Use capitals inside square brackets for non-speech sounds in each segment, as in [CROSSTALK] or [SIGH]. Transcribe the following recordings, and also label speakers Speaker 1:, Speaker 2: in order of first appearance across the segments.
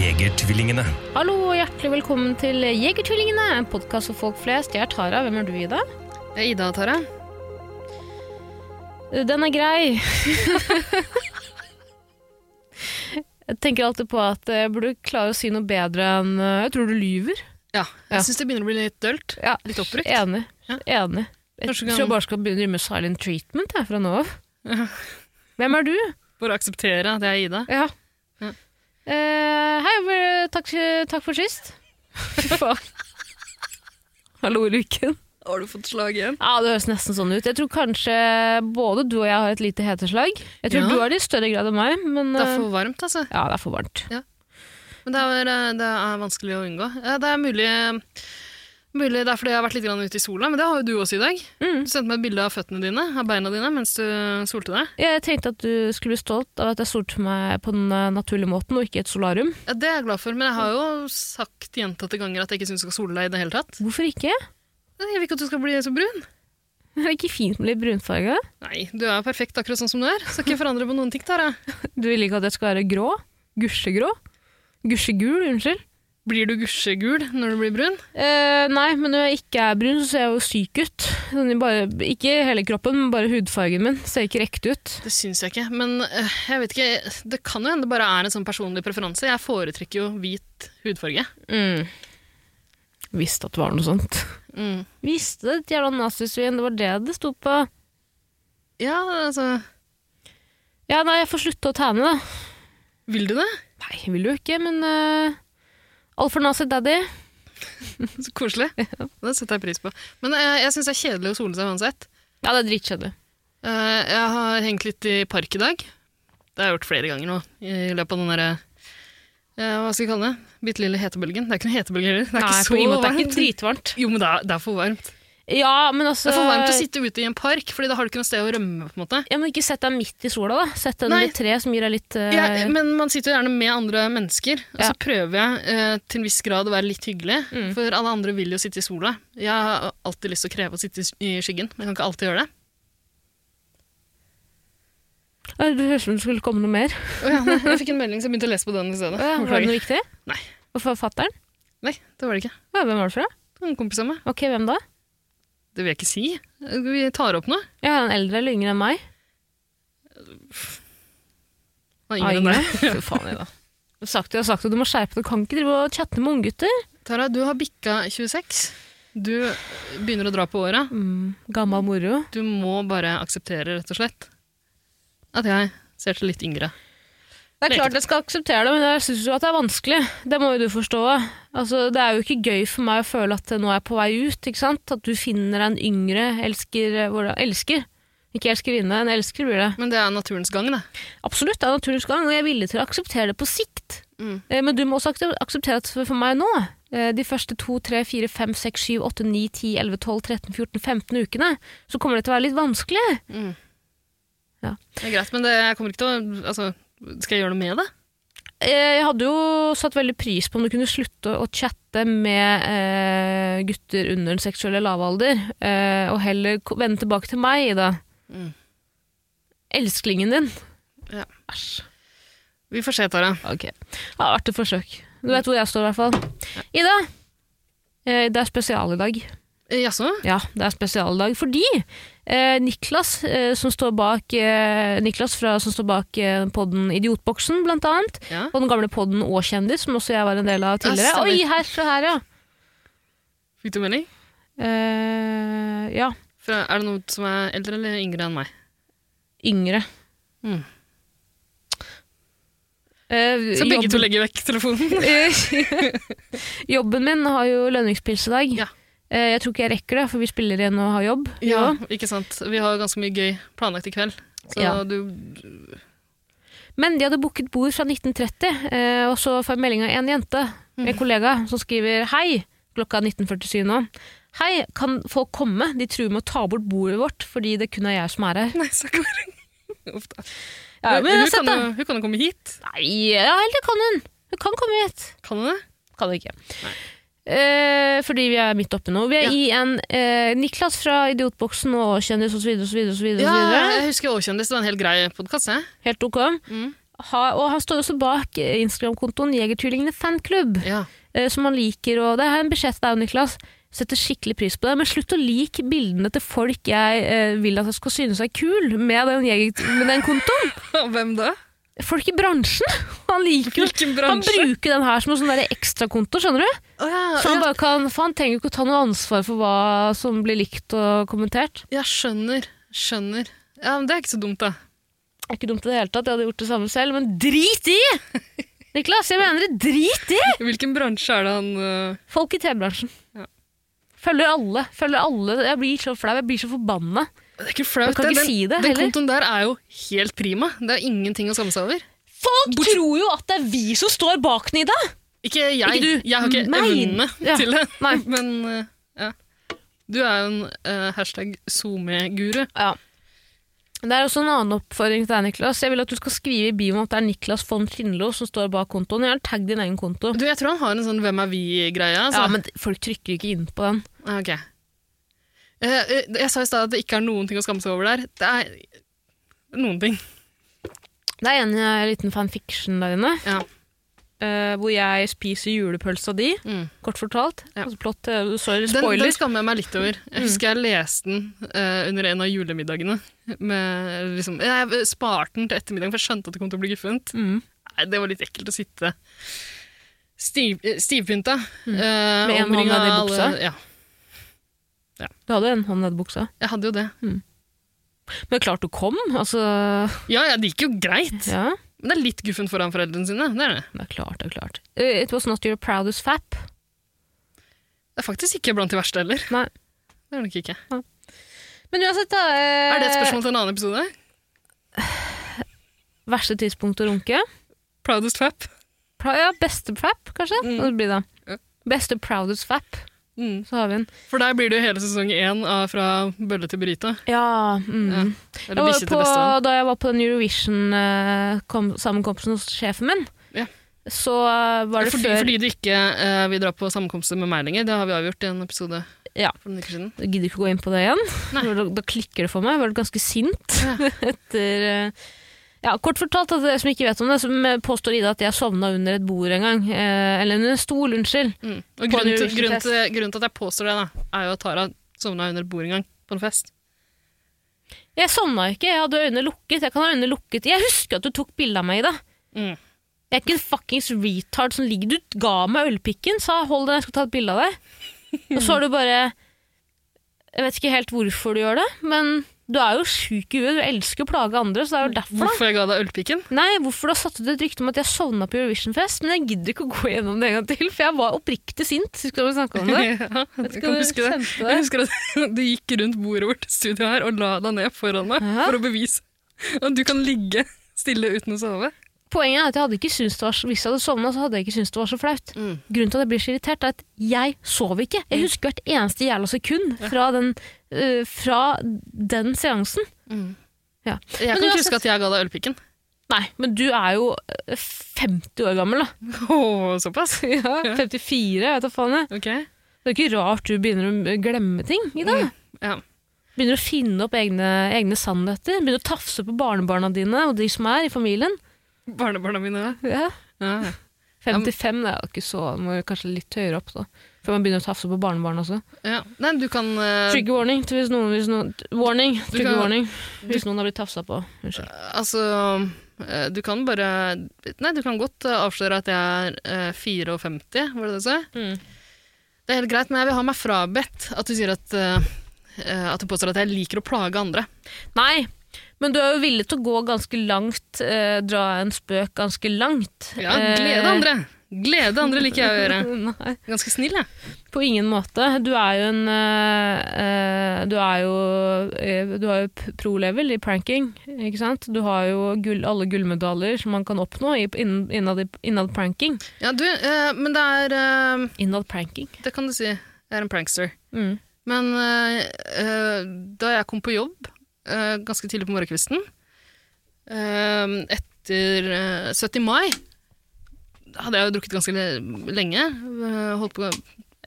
Speaker 1: Jegertvillingene.
Speaker 2: Hallo og hjertelig velkommen til Jegertvillingene, en podkast for folk flest. Jeg er Tara. Hvem er du, Ida?
Speaker 3: Det er Ida og Tara.
Speaker 2: Den er [LAUGHS] grei. jeg tenker alltid på at jeg burde klare å si noe bedre enn eh, Jeg tror du lyver.
Speaker 3: Ja, jeg
Speaker 2: Ja.
Speaker 3: synes syns det begynner å bli litt [LAUGHS] dølt.
Speaker 2: Ja,
Speaker 3: Litt oppbrukt.
Speaker 2: Enig.
Speaker 3: Ja.
Speaker 2: Enig. Jeg
Speaker 3: Kanskje du
Speaker 2: tror
Speaker 3: kan-
Speaker 2: jeg bare skal begynne med silent treatment jeg, fra nå av. Hvem er du?
Speaker 3: For å akseptere at jeg er Ida.
Speaker 2: Ja.
Speaker 3: Ja.
Speaker 2: Eh, hei, vel, takk, takk for sist. Fy faen. Hallo, Ruken.
Speaker 3: Har du fått slag igjen?
Speaker 2: Ja, Det høres nesten sånn ut. Jeg tror kanskje både du og jeg har et lite heteslag. Jeg tror
Speaker 3: Ja.
Speaker 2: du har det i større grad enn meg, men
Speaker 3: Det
Speaker 2: eh,
Speaker 3: er for varmt, altså.
Speaker 2: ja, det er for varmt.
Speaker 3: Men det er, eh, det er vanskelig å unngå. Eh, Det er mulig, eh, mulig det er fordi jeg har vært litt grann ute i sola, men det har jo du også i dag.
Speaker 2: Mm.
Speaker 3: Du sendte meg et bilde av føttene dine, av beina dine, mens du solte deg.
Speaker 2: Jeg tenkte at du skulle bli stolt av at jeg solte meg på den eh, naturlige måten, og ikke et solarium.
Speaker 3: Ja, det er jeg glad for, men jeg har jo sagt gjentatte ganger at jeg ikke syns du skal sole deg i det hele tatt.
Speaker 2: Hvorfor ikke? [LAUGHS]
Speaker 3: Jeg vil ikke at du skal bli så brun.
Speaker 2: Er det ikke fint med litt brunfarge?
Speaker 3: Nei, du er jo perfekt akkurat sånn som du er. Skal ikke forandre på noen ting, Tara.
Speaker 2: Du vil ikke at jeg skal være grå? Gusjegrå? Gusjegul, unnskyld.
Speaker 3: Blir du gusjegul når du blir brun?
Speaker 2: Eh, nei, men når jeg ikke er brun, så ser jeg jo syk ut. Sånn, i bare, ikke hele kroppen, men bare hudfargen min ser ikke riktig ut.
Speaker 3: Det syns jeg ikke, men øh, jeg vet ikke, det kan jo hende det bare er en sånn personlig preferanse. Jeg foretrekker jo hvit hudfarge.
Speaker 2: Mm. Visste at det var noe sånt.
Speaker 3: Mm.
Speaker 2: Visste det, et jævla nazisvin. Det var det det sto på.
Speaker 3: Ja, altså
Speaker 2: Ja, nei, jeg får slutte å tegne, da.
Speaker 3: Vil du det?
Speaker 2: Nei, jeg vil jo ikke, men uh, All for nazi daddy.
Speaker 3: Så koselig. Det setter jeg pris på. Men øh, jeg syns det er kjedelig å sole seg uansett.
Speaker 2: Ja, det er dritkjedelig.
Speaker 3: Eh, jeg har hengt litt i park i dag. Det har jeg gjort flere ganger nå i løpet av den derre eh, Hva skal jeg kalle det? Bitte lille hetebølgen. Det er ikke noe hetebølge heller. Det er
Speaker 2: Nei,
Speaker 3: ikke
Speaker 2: på grunn av
Speaker 3: så
Speaker 2: at det er
Speaker 3: varmt.
Speaker 2: ikke dritvarmt.
Speaker 3: jo, men det er, det er for varmt.
Speaker 2: Ja, men altså
Speaker 3: Det er for varmt å sitte ute i en park, fordi da har du ikke noe sted å rømme. på en måte.
Speaker 2: Ja, men Ikke sett deg midt i sola, da. Sett deg
Speaker 3: Nei.
Speaker 2: under et tre som gir deg litt eh,
Speaker 3: Ja, men man sitter jo gjerne med andre mennesker, og
Speaker 2: Ja. Mm.
Speaker 3: så prøver jeg eh, til en viss grad å være litt hyggelig, for alle andre vil jo sitte i sola. Jeg har alltid lyst til å kreve å sitte i s- i skyggen, men jeg kan ikke alltid gjøre det.
Speaker 2: Ja, Det høres ut som det skulle komme noe mer.
Speaker 3: Å ja, nei, [LAUGHS] jeg fikk en melding, så jeg begynte å lese på den i stedet.
Speaker 2: Ja, var det
Speaker 3: Beklager.
Speaker 2: noe viktig?
Speaker 3: Nei.
Speaker 2: Og forfatteren?
Speaker 3: Nei, det var det ikke.
Speaker 2: Ja, hvem var det fra?
Speaker 3: Det var en kompis av meg.
Speaker 2: Ok, hvem da?
Speaker 3: Det vil jeg ikke si. Vi tar opp noe.
Speaker 2: Ja, en eldre eller yngre enn meg?
Speaker 3: Nei,
Speaker 2: Ah,
Speaker 3: ingen enn deg.
Speaker 2: Fy faen, Ida. Jeg har Sagt det, jeg har sagt det, du må skjerpe deg. Du kan ikke drive og chatte med unggutter.
Speaker 3: Tara, du har bikka 26. Du begynner å dra på åra.
Speaker 2: Mm, gammel moro.
Speaker 3: Du må bare akseptere, rett og slett, at jeg ser til litt yngre.
Speaker 2: Det er klart jeg skal akseptere det, men jeg syns jo at det er vanskelig. Det må jo du forstå. Altså, det er jo ikke gøy for meg å føle at nå er jeg på vei ut. ikke sant? At du finner en yngre elsker hvordan- Elsker. Ikke elskerinne, en elsker blir det.
Speaker 3: Men det er naturens gang, det.
Speaker 2: Absolutt, det er naturens gang, og jeg er villig til å akseptere det på sikt.
Speaker 3: Mm.
Speaker 2: Eh, Men du må også akse- akseptere at for for meg nå, eh, de første 2, 3, 4, 5, 6, 7, 8, 9, 10, 11, 12, 13, 14, 15 ukene, så kommer det til å være litt vanskelig.
Speaker 3: Mm.
Speaker 2: Ja.
Speaker 3: Det er greit, men det, jeg kommer ikke til å altså, Skal jeg gjøre noe med det?
Speaker 2: Eh, Jeg hadde jo satt veldig pris på om du kunne slutte å chatte med eh, gutter under den seksuelle lavalder, eh, og heller ko- vende tilbake til meg, Ida.
Speaker 3: Mm.
Speaker 2: Elsklingen din.
Speaker 3: Ja.
Speaker 2: Æsj.
Speaker 3: Vi får se, Tara.
Speaker 2: Ok. Ja, artig forsøk. Du vet hvor jeg står, i hvert fall. Ida, eh, det er spesial i dag.
Speaker 3: Eh, Jaså?
Speaker 2: Ja, det er spesialdag fordi eh, Niklas, eh, som står bak, eh, Niklas fra, som står bak eh, podden Idiotboksen, blant annet,
Speaker 3: Ja.
Speaker 2: og den gamle podden Åkjendis, som også jeg var en del av tidligere.
Speaker 3: Ja, stemmer.
Speaker 2: Oi, her, se her, ja.
Speaker 3: Fikk du melding?
Speaker 2: Eh, ja,
Speaker 3: Fra, er det noen som er eldre eller yngre enn meg?
Speaker 2: yngre.
Speaker 3: Mm.
Speaker 2: Eh,
Speaker 3: Så begge
Speaker 2: jobben-
Speaker 3: to legger [LAUGHS] vekk telefonen?
Speaker 2: [LAUGHS] Jobben min har jo lønningspils i dag.
Speaker 3: Ja.
Speaker 2: Eh, jeg tror ikke jeg rekker det, for vi spiller igjen og har jobb.
Speaker 3: ja, ikke sant. Vi har ganske mye gøy planlagt i kveld. Så
Speaker 2: Ja.
Speaker 3: du
Speaker 2: Men de hadde booket
Speaker 3: Mm.
Speaker 2: bord fra 1930, eh, og så får jeg melding av en jente, en kollega, som skriver «Hei, klokka 19.47 nå. Hei, kan folk komme? De truer med å ta bort bordet vårt fordi det kun er jeg som er her.
Speaker 3: [LAUGHS] Nei, stakkar. Uff da.
Speaker 2: Ja, men
Speaker 3: hun,
Speaker 2: uansett,
Speaker 3: kan
Speaker 2: da.
Speaker 3: jo, hun kan jo komme hit.
Speaker 2: Nei, ja, heller kan hun. Hun kan komme hit.
Speaker 3: Kan hun det?
Speaker 2: Kan hun ikke. Eh, fordi vi er midt oppe nå. Vi er
Speaker 3: Ja.
Speaker 2: i en eh, Niklas fra Idiotboksen og Kjendis osv. osv.
Speaker 3: Ja,
Speaker 2: osv.
Speaker 3: jeg husker Åkjendis. Det var en helt grei podkast.
Speaker 2: Helt ok.
Speaker 3: Mm.
Speaker 2: Ha, og han står også bak eh, Instagram-kontoen Jegertvillingene fanklubb,
Speaker 3: [LAUGHS] Ja.
Speaker 2: eh, som han liker. Og det er en beskjed til deg, Niklas. Setter skikkelig pris på det. Men slutt å like bildene til folk jeg eh, vil at jeg skal synes er kul med den, jeger- med den kontoen.
Speaker 3: Hvem da?
Speaker 2: Folk i bransjen! [LAUGHS] Han liker jo
Speaker 3: Hvilken
Speaker 2: Han
Speaker 3: bransje?
Speaker 2: bruker den her som en sånn der ekstrakonto, skjønner du?
Speaker 3: Å, ja,
Speaker 2: Så han
Speaker 3: ja.
Speaker 2: bare kan, for han trenger jo ikke å ta noe ansvar for hva som blir likt og kommentert.
Speaker 3: ja, skjønner. Skjønner. Ja, men Det er ikke så dumt, da.
Speaker 2: Det er ikke dumt i det hele tatt, jeg hadde gjort det samme selv, men drit [LAUGHS] i! Niklas, jeg mener det, drit i!
Speaker 3: Hvilken bransje er det han øh,
Speaker 2: Folk i TV-bransjen.
Speaker 3: Ja.
Speaker 2: Følger alle, følger alle. Jeg blir så flau, jeg blir så forbanna.
Speaker 3: Det er ikke flaut.
Speaker 2: Jeg kan
Speaker 3: det.
Speaker 2: ikke
Speaker 3: den,
Speaker 2: si det
Speaker 3: den
Speaker 2: heller.
Speaker 3: kontoen der er jo helt prima. Det er ingenting å skamme seg over.
Speaker 2: Folk tror jo at det er vi som står bak den i dag!
Speaker 3: Ikke jeg.
Speaker 2: Ikke du.
Speaker 3: Jeg har ikke
Speaker 2: Nei.
Speaker 3: evnene
Speaker 2: Ja.
Speaker 3: til det.
Speaker 2: Nei.
Speaker 3: [LAUGHS] Men øh, ja. Du er jo en øh, hashtag SoMe-guru.
Speaker 2: Ja. Det er også en annen oppfordring til deg, Niklas. Jeg vil at du skal skrive i bioen at det er Niklas von Tindlo som står bak kontoen. Gjerne tagg din egen konto.
Speaker 3: Du, Jeg tror han har en sånn 'hvem er vi'-greie. Altså.
Speaker 2: Ja, men folk trykker ikke inn på den.
Speaker 3: Ah, Ok. Eh, eh, jeg sa i stad at det ikke er noen ting å skamme seg over der. Det er noen ting.
Speaker 2: Det er en eh, liten fanfiction der inne,
Speaker 3: Ja.
Speaker 2: eh, hvor jeg spiser julepølsa di,
Speaker 3: Mm.
Speaker 2: kort fortalt.
Speaker 3: Ja.
Speaker 2: Altså plott, eh, sorry,
Speaker 3: Den, den
Speaker 2: spoiler. Mm.
Speaker 3: skammer jeg meg litt over. Jeg husker jeg leste den eh, under en av julemiddagene. Med, liksom, jeg sparte den til ettermiddagen, for jeg skjønte at det kom til å bli guffent.
Speaker 2: Mm.
Speaker 3: Nei, det var litt ekkelt å sitte stiv, eh, stivpynta. eh,
Speaker 2: Mm. Med en hånd
Speaker 3: omringet
Speaker 2: ned i
Speaker 3: av
Speaker 2: buksa?
Speaker 3: alle- eh, Ja,
Speaker 2: Du hadde en hånd ned i buksa.
Speaker 3: jeg hadde jo det.
Speaker 2: Men klart du kom, altså.
Speaker 3: Ja, ja, det gikk jo greit.
Speaker 2: Ja,
Speaker 3: Men det er litt guffent foran foreldrene sine. Det er, det.
Speaker 2: det er klart, det er klart. Eh, it was not your proudest fap.
Speaker 3: det er faktisk ikke blant de verste heller.
Speaker 2: Nei.
Speaker 3: Det er det nok ikke.
Speaker 2: Men uansett da. eh,
Speaker 3: Er det et spørsmål til en annen episode?
Speaker 2: Verste tidspunkt å runke?
Speaker 3: Proudest fap?
Speaker 2: Pra ja, beste fap, kanskje?
Speaker 3: Mm.
Speaker 2: Det blir det.
Speaker 3: Ja.
Speaker 2: Beste proudest fap,
Speaker 3: Mm.
Speaker 2: så har vi en.
Speaker 3: For der blir det jo hele sesong én av Fra bølle til burrito.
Speaker 2: Ja, mm.
Speaker 3: Ja. Eller
Speaker 2: Jeg var
Speaker 3: bikkje til
Speaker 2: på-
Speaker 3: bestevenn.
Speaker 2: Da jeg var på den eh, Eurovision-sammenkomsten hos sjefen min,
Speaker 3: Ja.
Speaker 2: så eh, var det
Speaker 3: Fordi,
Speaker 2: før
Speaker 3: fordi du ikke eh, vil dra på sammenkomster med meg lenger. Det har vi avgjort i en episode
Speaker 2: Ja.
Speaker 3: for noen uker siden.
Speaker 2: Jeg gidder ikke gå inn på det igjen.
Speaker 3: Nei.
Speaker 2: Da, da klikker det for meg. Jeg ble ganske sint
Speaker 3: Ja.
Speaker 2: [LAUGHS] etter eh, ja, Kort fortalt, at dere som ikke vet om det, som påstår Ida at jeg sovna under et bord en gang. Eh, eller under en stol, unnskyld.
Speaker 3: Mm. Og
Speaker 2: På en
Speaker 3: grunnen til,
Speaker 2: Eurovision-fest.
Speaker 3: grunnen, til, grunnen til at jeg påstår det, da, er jo at Tara sovna under et bord en gang på en fest.
Speaker 2: Jeg sovna ikke, jeg hadde øynene lukket. Jeg kan ha øynene lukket. Jeg husker at du tok bilde av meg, Ida.
Speaker 3: Mm.
Speaker 2: Jeg er ikke en fuckings retard som ligger Du ga meg ølpikken, sa 'hold den, jeg skal ta et bilde av deg'. Og så har du bare Jeg vet ikke helt hvorfor du gjør det, men du er jo sjuk i huet. Du elsker å plage andre, så det er jo derfor, da.
Speaker 3: Hvorfor jeg ga deg ølpikken?
Speaker 2: Nei, hvorfor du har satt ut et rykte om at jeg sovna på Eurovision-fest, men jeg gidder ikke å gå gjennom det en gang til, for jeg var oppriktig sint. Skal vi snakke om det?
Speaker 3: ja,
Speaker 2: Vet
Speaker 3: [LAUGHS] jeg
Speaker 2: ikke om
Speaker 3: kan
Speaker 2: du
Speaker 3: huske det.
Speaker 2: kjente
Speaker 3: Jeg
Speaker 2: det?
Speaker 3: husker at [LAUGHS] du gikk rundt bordet vårt i studio her og la deg ned foran meg
Speaker 2: Ja.
Speaker 3: for å bevise at du kan ligge stille uten å sove.
Speaker 2: Poenget er at jeg hadde ikke syntes det var så, hvis jeg hadde sovna, så hadde jeg ikke syntes det var så flaut.
Speaker 3: Mm.
Speaker 2: Grunnen til at jeg blir så irritert, er at jeg sov ikke. Jeg husker hvert eneste jævla sekund fra den, øh, fra den seansen. Ja. Men
Speaker 3: Jeg kan ikke
Speaker 2: uansett-
Speaker 3: huske at jeg ga deg ølpikken.
Speaker 2: Nei, men du er jo øh, 50 år
Speaker 3: [LAUGHS]
Speaker 2: gammel, da.
Speaker 3: Åh, såpass?
Speaker 2: Ja, 54, jeg vet da faen. jeg.
Speaker 3: Ok.
Speaker 2: Det er ikke rart du begynner å glemme ting i dag.
Speaker 3: Mm, Ja.
Speaker 2: Begynner å finne opp egne, egne sannheter. Begynner å tafse på barnebarna dine og de som er i familien.
Speaker 3: Barnebarna mine da.
Speaker 2: Ja.
Speaker 3: Ja.
Speaker 2: 55 det er jo ikke så må jo Kanskje litt høyere opp, da. Før man begynner å tafse på barnebarn også.
Speaker 3: Ja. Nei, du kan eh,
Speaker 2: Trigger warning til hvis noen, hvis noen Warning! Trigger
Speaker 3: kan-
Speaker 2: warning hvis noen har blitt tafsa på. Unnskyld.
Speaker 3: Altså, eh, du kan bare Nei, du kan godt eh, avsløre at jeg er eh, 54, var det det du sa?
Speaker 2: Mm.
Speaker 3: Det er helt greit, men jeg vil ha meg frabedt at du sier at eh, eh, At du påstår at jeg liker å plage andre.
Speaker 2: Nei, men du er jo villig til å gå ganske langt, eh, dra en spøk ganske langt.
Speaker 3: Ja, glede andre! Glede andre liker jeg å gjøre.
Speaker 2: [LAUGHS] Nei,
Speaker 3: Ganske snill, jeg.
Speaker 2: på ingen måte. Du er jo en eh, eh, Du er jo, eh, du har jo p- pro-level i pranking, ikke sant? Du har jo gull, alle gullmedaljer som man kan oppnå i- innen- innad i- innad pranking.
Speaker 3: Ja, du, eh, men det er eh,
Speaker 2: Innad pranking.
Speaker 3: Det kan du si. Jeg er en prankster.
Speaker 2: Mm.
Speaker 3: Men eh, eh, da jeg kom på jobb eh, ganske tidlig på morgenkvisten, eh, etter eh, 70. mai, da hadde jeg jo drukket ganske le- lenge. eh, holdt på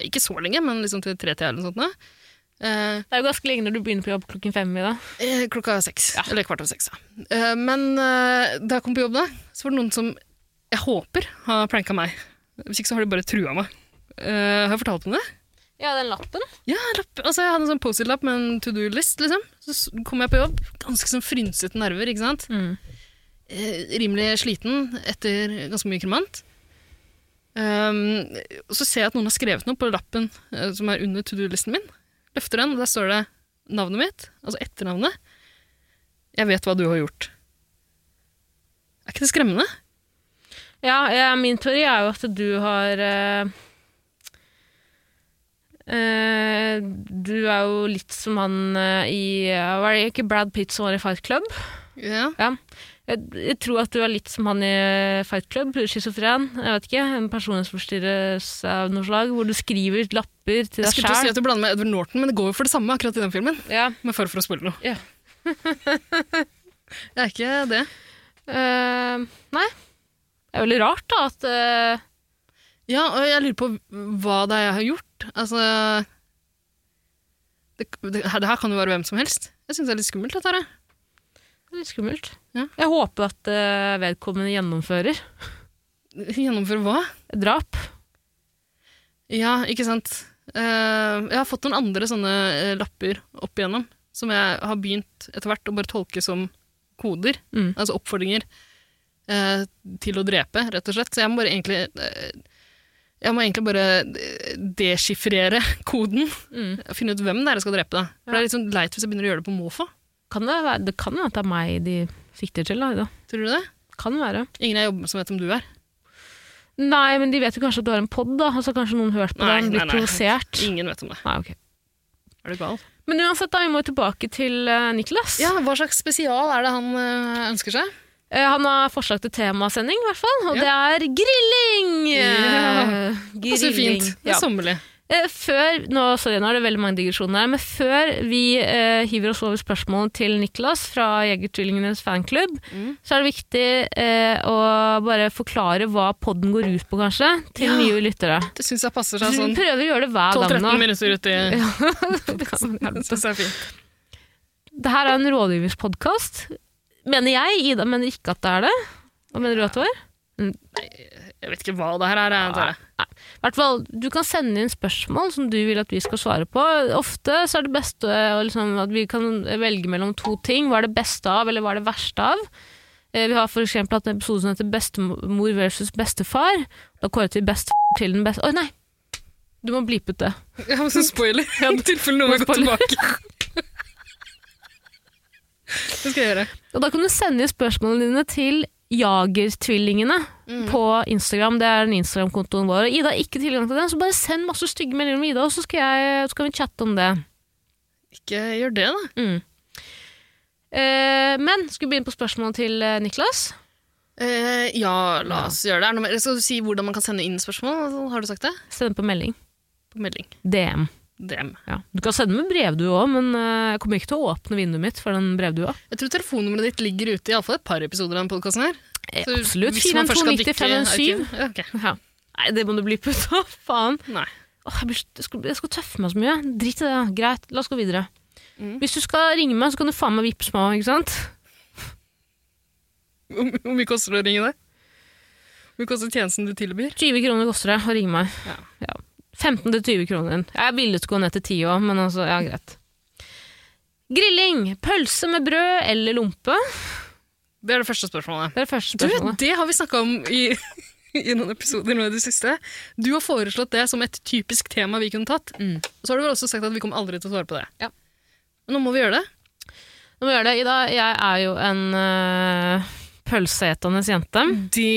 Speaker 3: Ikke så lenge, men liksom til tre til eller noe sånt. nå. Eh,
Speaker 2: Det er jo ganske lenge når du begynner på jobb klokken fem i dag.
Speaker 3: Eh, Klokka seks. Eller kvart over seks. Ja. Eh, Men eh, da jeg kom på jobb, da, så var det noen som jeg håper har pranka meg. Hvis ikke så har de bare trua meg. Eh, har jeg fortalt om det?
Speaker 2: Ja, den lappen.
Speaker 3: Ja, lapp. Altså, jeg hadde en sånn Post-It-lapp med en to do-list. liksom. Så s- kom jeg på jobb, ganske sånn frynsete nerver. ikke sant?
Speaker 2: Mm.
Speaker 3: Eh, rimelig sliten etter ganske mye kremant. Um, og så ser jeg at noen har skrevet noe på lappen eh, som er under to do-listen min. Løfter den, og der står det navnet mitt, altså etternavnet. Jeg vet hva du har gjort. Er ikke det skremmende?
Speaker 2: Ja, ja, min teori er jo at du har eh, eh, Du er jo litt som han eh, i eh, Var det ikke Brad Pitt som var i Fight Club?
Speaker 3: Ja.
Speaker 2: Jeg, jeg tror at du er litt som han i Fight Club, schizofren. Jeg vet ikke, En personlighetsforstyrrelse av noe slag, hvor du skriver lapper til
Speaker 3: Jeg
Speaker 2: deg
Speaker 3: skulle til å si
Speaker 2: sjæl.
Speaker 3: at du blander med Edward Norton, men det går jo for det samme akkurat i den filmen.
Speaker 2: Ja.
Speaker 3: Men for for å spille noe.
Speaker 2: Ja.
Speaker 3: jeg er ikke [LAUGHS] det.
Speaker 2: Eh, nei. Det er veldig rart, da, at eh,
Speaker 3: Ja, og jeg lurer på hva det er jeg har gjort. Altså Det, det, det her kan jo være hvem som helst. Jeg syns det er litt skummelt, dette her.
Speaker 2: Det er litt skummelt.
Speaker 3: Ja.
Speaker 2: Jeg håper at eh, vedkommende gjennomfører
Speaker 3: jeg. Gjennomføre hva?
Speaker 2: drap.
Speaker 3: Ja, ikke sant. Eh, jeg har fått noen andre sånne eh, lapper opp igjennom, som jeg har begynt etter hvert å bare tolke som koder,
Speaker 2: Mm.
Speaker 3: altså oppfordringer eh, til å drepe, rett og slett. Så jeg må bare egentlig eh, jeg må egentlig bare eh, deskifrere [LAUGHS] koden.
Speaker 2: Mm.
Speaker 3: Finne ut hvem det er jeg skal drepe. Da. For
Speaker 2: Ja.
Speaker 3: Det er litt sånn leit hvis jeg begynner å gjøre det på måfå.
Speaker 2: Kan det, være, det kan være at det er meg de sikter til. Da. Ida.
Speaker 3: Tror du det?
Speaker 2: Kan være.
Speaker 3: Ingen jeg jobber med som vet om du er.
Speaker 2: Nei, men de vet jo kanskje at du har en pod, da. Altså, kanskje noen hørt på
Speaker 3: Nei,
Speaker 2: den,
Speaker 3: nei,
Speaker 2: blitt
Speaker 3: nei.
Speaker 2: provosert.
Speaker 3: Ingen vet om det.
Speaker 2: Nei, ok.
Speaker 3: Er du gal?
Speaker 2: Men uansett, da, vi må jo tilbake til eh, Niklas.
Speaker 3: Ja, hva slags spesial er det han øh, ønsker seg?
Speaker 2: Eh, han har forslag til temasending, i hvert fall, og det er grilling!
Speaker 3: Ja.
Speaker 2: Eh,
Speaker 3: Det passer jo fint. Det
Speaker 2: Ja.
Speaker 3: er sommerlig.
Speaker 2: Eh, før, nå, sorry, nå er det veldig mange digresjoner her, men før vi eh, hiver oss over spørsmålet til Niklas fra Jegertvillingenes fanklubb,
Speaker 3: Mm.
Speaker 2: så er det viktig eh, å bare forklare hva podden går ut på, kanskje, til
Speaker 3: Ja.
Speaker 2: nye lyttere.
Speaker 3: Det syns jeg passer
Speaker 2: Vi
Speaker 3: seg [LAUGHS] sånn
Speaker 2: prøver å gjøre det hver gang
Speaker 3: 12-13
Speaker 2: nå.
Speaker 3: minutter ut i [LAUGHS]
Speaker 2: Det kan man gjerne
Speaker 3: Det
Speaker 2: si.
Speaker 3: syns jeg er fint.
Speaker 2: Det her er en rådgiverspodkast. Mener jeg, Ida mener ikke at det er det. Hva mener du at det var?
Speaker 3: Jeg vet ikke hva det her er. Jeg, tar det.
Speaker 2: I hvert fall, du kan sende inn spørsmål som du vil at vi skal svare på. Ofte så er det beste eh, å liksom, at vi kan velge mellom to ting. Hva er det beste av, eller hva er det verste av? Eh, Vi har for eksempel hatt en episode som heter Bestemor versus bestefar. Da kåret vi bestefar til den beste... Oi, nei! Du må blipe ut det.
Speaker 3: jeg har sånn [LAUGHS] spoiler i tilfelle noen vil gå
Speaker 2: Spoiler.
Speaker 3: tilbake. Det skal jeg gjøre.
Speaker 2: Og da kan du sende inn spørsmålene dine til Jagertvillingene på Instagram. Det er den Instagram-kontoen vår. Og Ida har ikke tilgang til den, så bare send masse stygge meldinger om Ida, og så, skal jeg, så kan vi chatte om det.
Speaker 3: Ikke gjør det, da.
Speaker 2: Mm. Eh, men skal vi begynne på spørsmålet til eh, Niklas?
Speaker 3: Eh, ja, la oss gjøre det. Er det. noe mer- Skal du si hvordan man kan sende inn spørsmål? Har du sagt det?
Speaker 2: Send på melding.
Speaker 3: På melding.
Speaker 2: DM.
Speaker 3: DM.
Speaker 2: Ja. Du kan sende med brevdue òg, men eh, jeg kommer ikke til å åpne vinduet mitt for den brevdua.
Speaker 3: Jeg tror telefonnummeret ditt ligger ute i alle fall et par episoder av denne podkasten her.
Speaker 2: Eh,
Speaker 3: Så
Speaker 2: absolutt.
Speaker 3: hvis man først skal
Speaker 2: 412
Speaker 3: dykke i
Speaker 2: 9517.
Speaker 3: arkiv- Ja, ok.
Speaker 2: [LAUGHS] Ja. Nei, det må du bli på. [LAUGHS] Hva faen?
Speaker 3: Nei. [LAUGHS]
Speaker 2: Åh, jeg, blir, så- jeg, skal, jeg skal tøffe meg så mye. Drit i det. Greit, la oss gå videre.
Speaker 3: Mm.
Speaker 2: Hvis du skal ringe meg, så kan du faen meg vippse meg òg, ikke sant?
Speaker 3: Hvor hvor mye koster det å ringe deg? Hvor mye koster tjenesten du tilbyr?
Speaker 2: 20 kroner koster det å ringe meg.
Speaker 3: Ja.
Speaker 2: 15-20 kroner. Jeg er villig til å gå ned til 10 òg, men altså, ja, greit. Grilling. Pølse med brød eller lompe?
Speaker 3: Det er det første spørsmålet.
Speaker 2: Det er det første
Speaker 3: Du,
Speaker 2: spørsmålet.
Speaker 3: det har vi snakka om i, [LAUGHS] i noen episoder nå i det siste. Du har foreslått det som et typisk tema vi kunne tatt.
Speaker 2: Mm.
Speaker 3: Og så har du vel også sagt at vi kommer aldri til å svare på det.
Speaker 2: Ja.
Speaker 3: Men nå må vi gjøre det.
Speaker 2: Nå må vi gjøre det. Ida, jeg er jo en øh, pølseetende jente.
Speaker 3: Det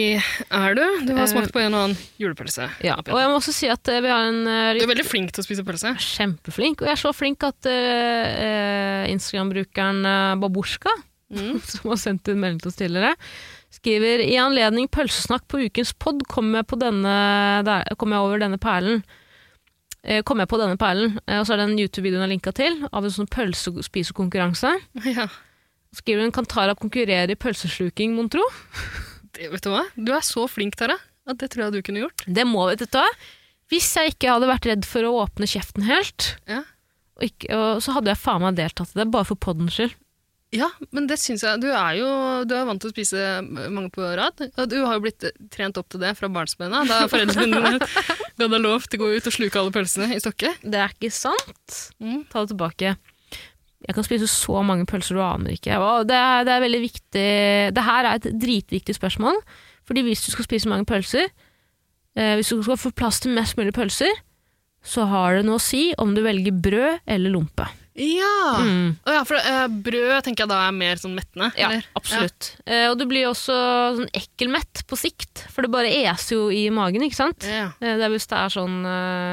Speaker 3: er du. Du har
Speaker 2: Eh,
Speaker 3: smakt på en og annen julepølse.
Speaker 2: Ja.
Speaker 3: opp
Speaker 2: Og
Speaker 3: igjen.
Speaker 2: jeg må også si at eh, vi har en eh,
Speaker 3: Du er veldig flink til å spise pølse.
Speaker 2: kjempeflink, og jeg er så flink at eh, eh, Instagram-brukeren eh, Babushka,
Speaker 3: Mm.
Speaker 2: [LAUGHS] som har sendt inn melding til oss tidligere, skriver i anledning pølsesnakk på ukens pod kom jeg, på denne, der, kom jeg over denne perlen. Eh, kom jeg på denne perlen, Eh, og så er det en YouTube-video hun har linka til, av en sånn pølsespisekonkurranse.
Speaker 3: [LAUGHS] Ja.
Speaker 2: Skriver hun kan Tara konkurrere i pølsesluking, mon tro?
Speaker 3: Det, vet du hva? Du er så flink, Tara, at det tror jeg du kunne gjort.
Speaker 2: Det må vi, vet du hva. Hvis jeg ikke hadde vært redd for å åpne kjeften helt,
Speaker 3: Ja.
Speaker 2: og ikke, og så hadde jeg faen meg deltatt i det, bare for poddens skyld.
Speaker 3: Ja, men det syns jeg. Du er jo du er vant til å spise mange på rad. Og du har jo blitt trent opp til det fra barnsbena, da foreldrene dine [LAUGHS] ga deg lov til å gå ut og sluke alle pølsene i stokket.
Speaker 2: Det er ikke sant.
Speaker 3: Mm.
Speaker 2: Ta det tilbake. Jeg kan spise så mange pølser du aner ikke. Og det, er, det er veldig viktig Det her er et dritviktig spørsmål. Fordi hvis du skal spise mange pølser, eh, hvis du skal få plass til mest mulig pølser, så har det noe å si om du velger brød eller lompe.
Speaker 3: Ja!
Speaker 2: Mm.
Speaker 3: Å ja, for eh, brød tenker jeg da er mer sånn mettende.
Speaker 2: Ja,
Speaker 3: eller?
Speaker 2: absolutt. Eh, og du blir jo også sånn ekkelmett på sikt, for det bare eser jo i magen, ikke sant?
Speaker 3: Ja.
Speaker 2: Eh, det er hvis det er sånn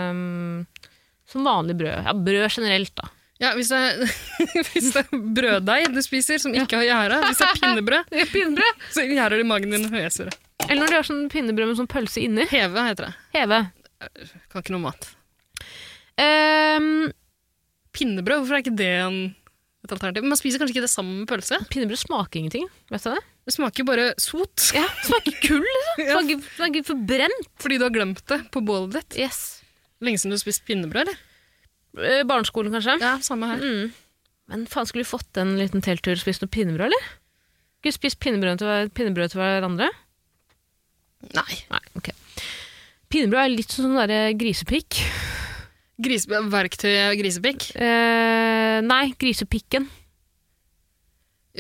Speaker 2: eh, som vanlig brød. Ja, brød generelt, [LAUGHS] da.
Speaker 3: ja, hvis det er, [LAUGHS] hvis det er brøddeig du spiser som ikke har gjæra, hvis det er pinnebrød,
Speaker 2: Pinnebrød!
Speaker 3: så gjærer det i magen din og eser det.
Speaker 2: Eller når du har sånn pinnebrød med sånn pølse inni.
Speaker 3: Heve heter det.
Speaker 2: Heve.
Speaker 3: Kan ikke noe mat.
Speaker 2: Ehm,
Speaker 3: Pinnebrød, hvorfor er ikke det en, et alternativ? Men man spiser kanskje ikke det sammen med pølse?
Speaker 2: pinnebrød smaker ingenting, vet du det?
Speaker 3: Det smaker jo bare sot.
Speaker 2: Ja, smaker kull, [LAUGHS] liksom. Smaker, smaker forbrent.
Speaker 3: Fordi du har glemt det på bålet ditt.
Speaker 2: Yes.
Speaker 3: Lenge siden du har spist pinnebrød, eller?
Speaker 2: Eh, barneskolen, kanskje.
Speaker 3: Ja, samme her.
Speaker 2: Mm. Men faen, skulle vi fått en liten telttur og spist noe pinnebrød, eller? Skulle vi spist pinnebrød til, hver- pinnebrød til hverandre?
Speaker 3: Nei.
Speaker 2: Nei, ok. Pinnebrød er litt sånn der grisepikk.
Speaker 3: Gris, verktøy og grisepikk.
Speaker 2: Eh, nei, grisepikken.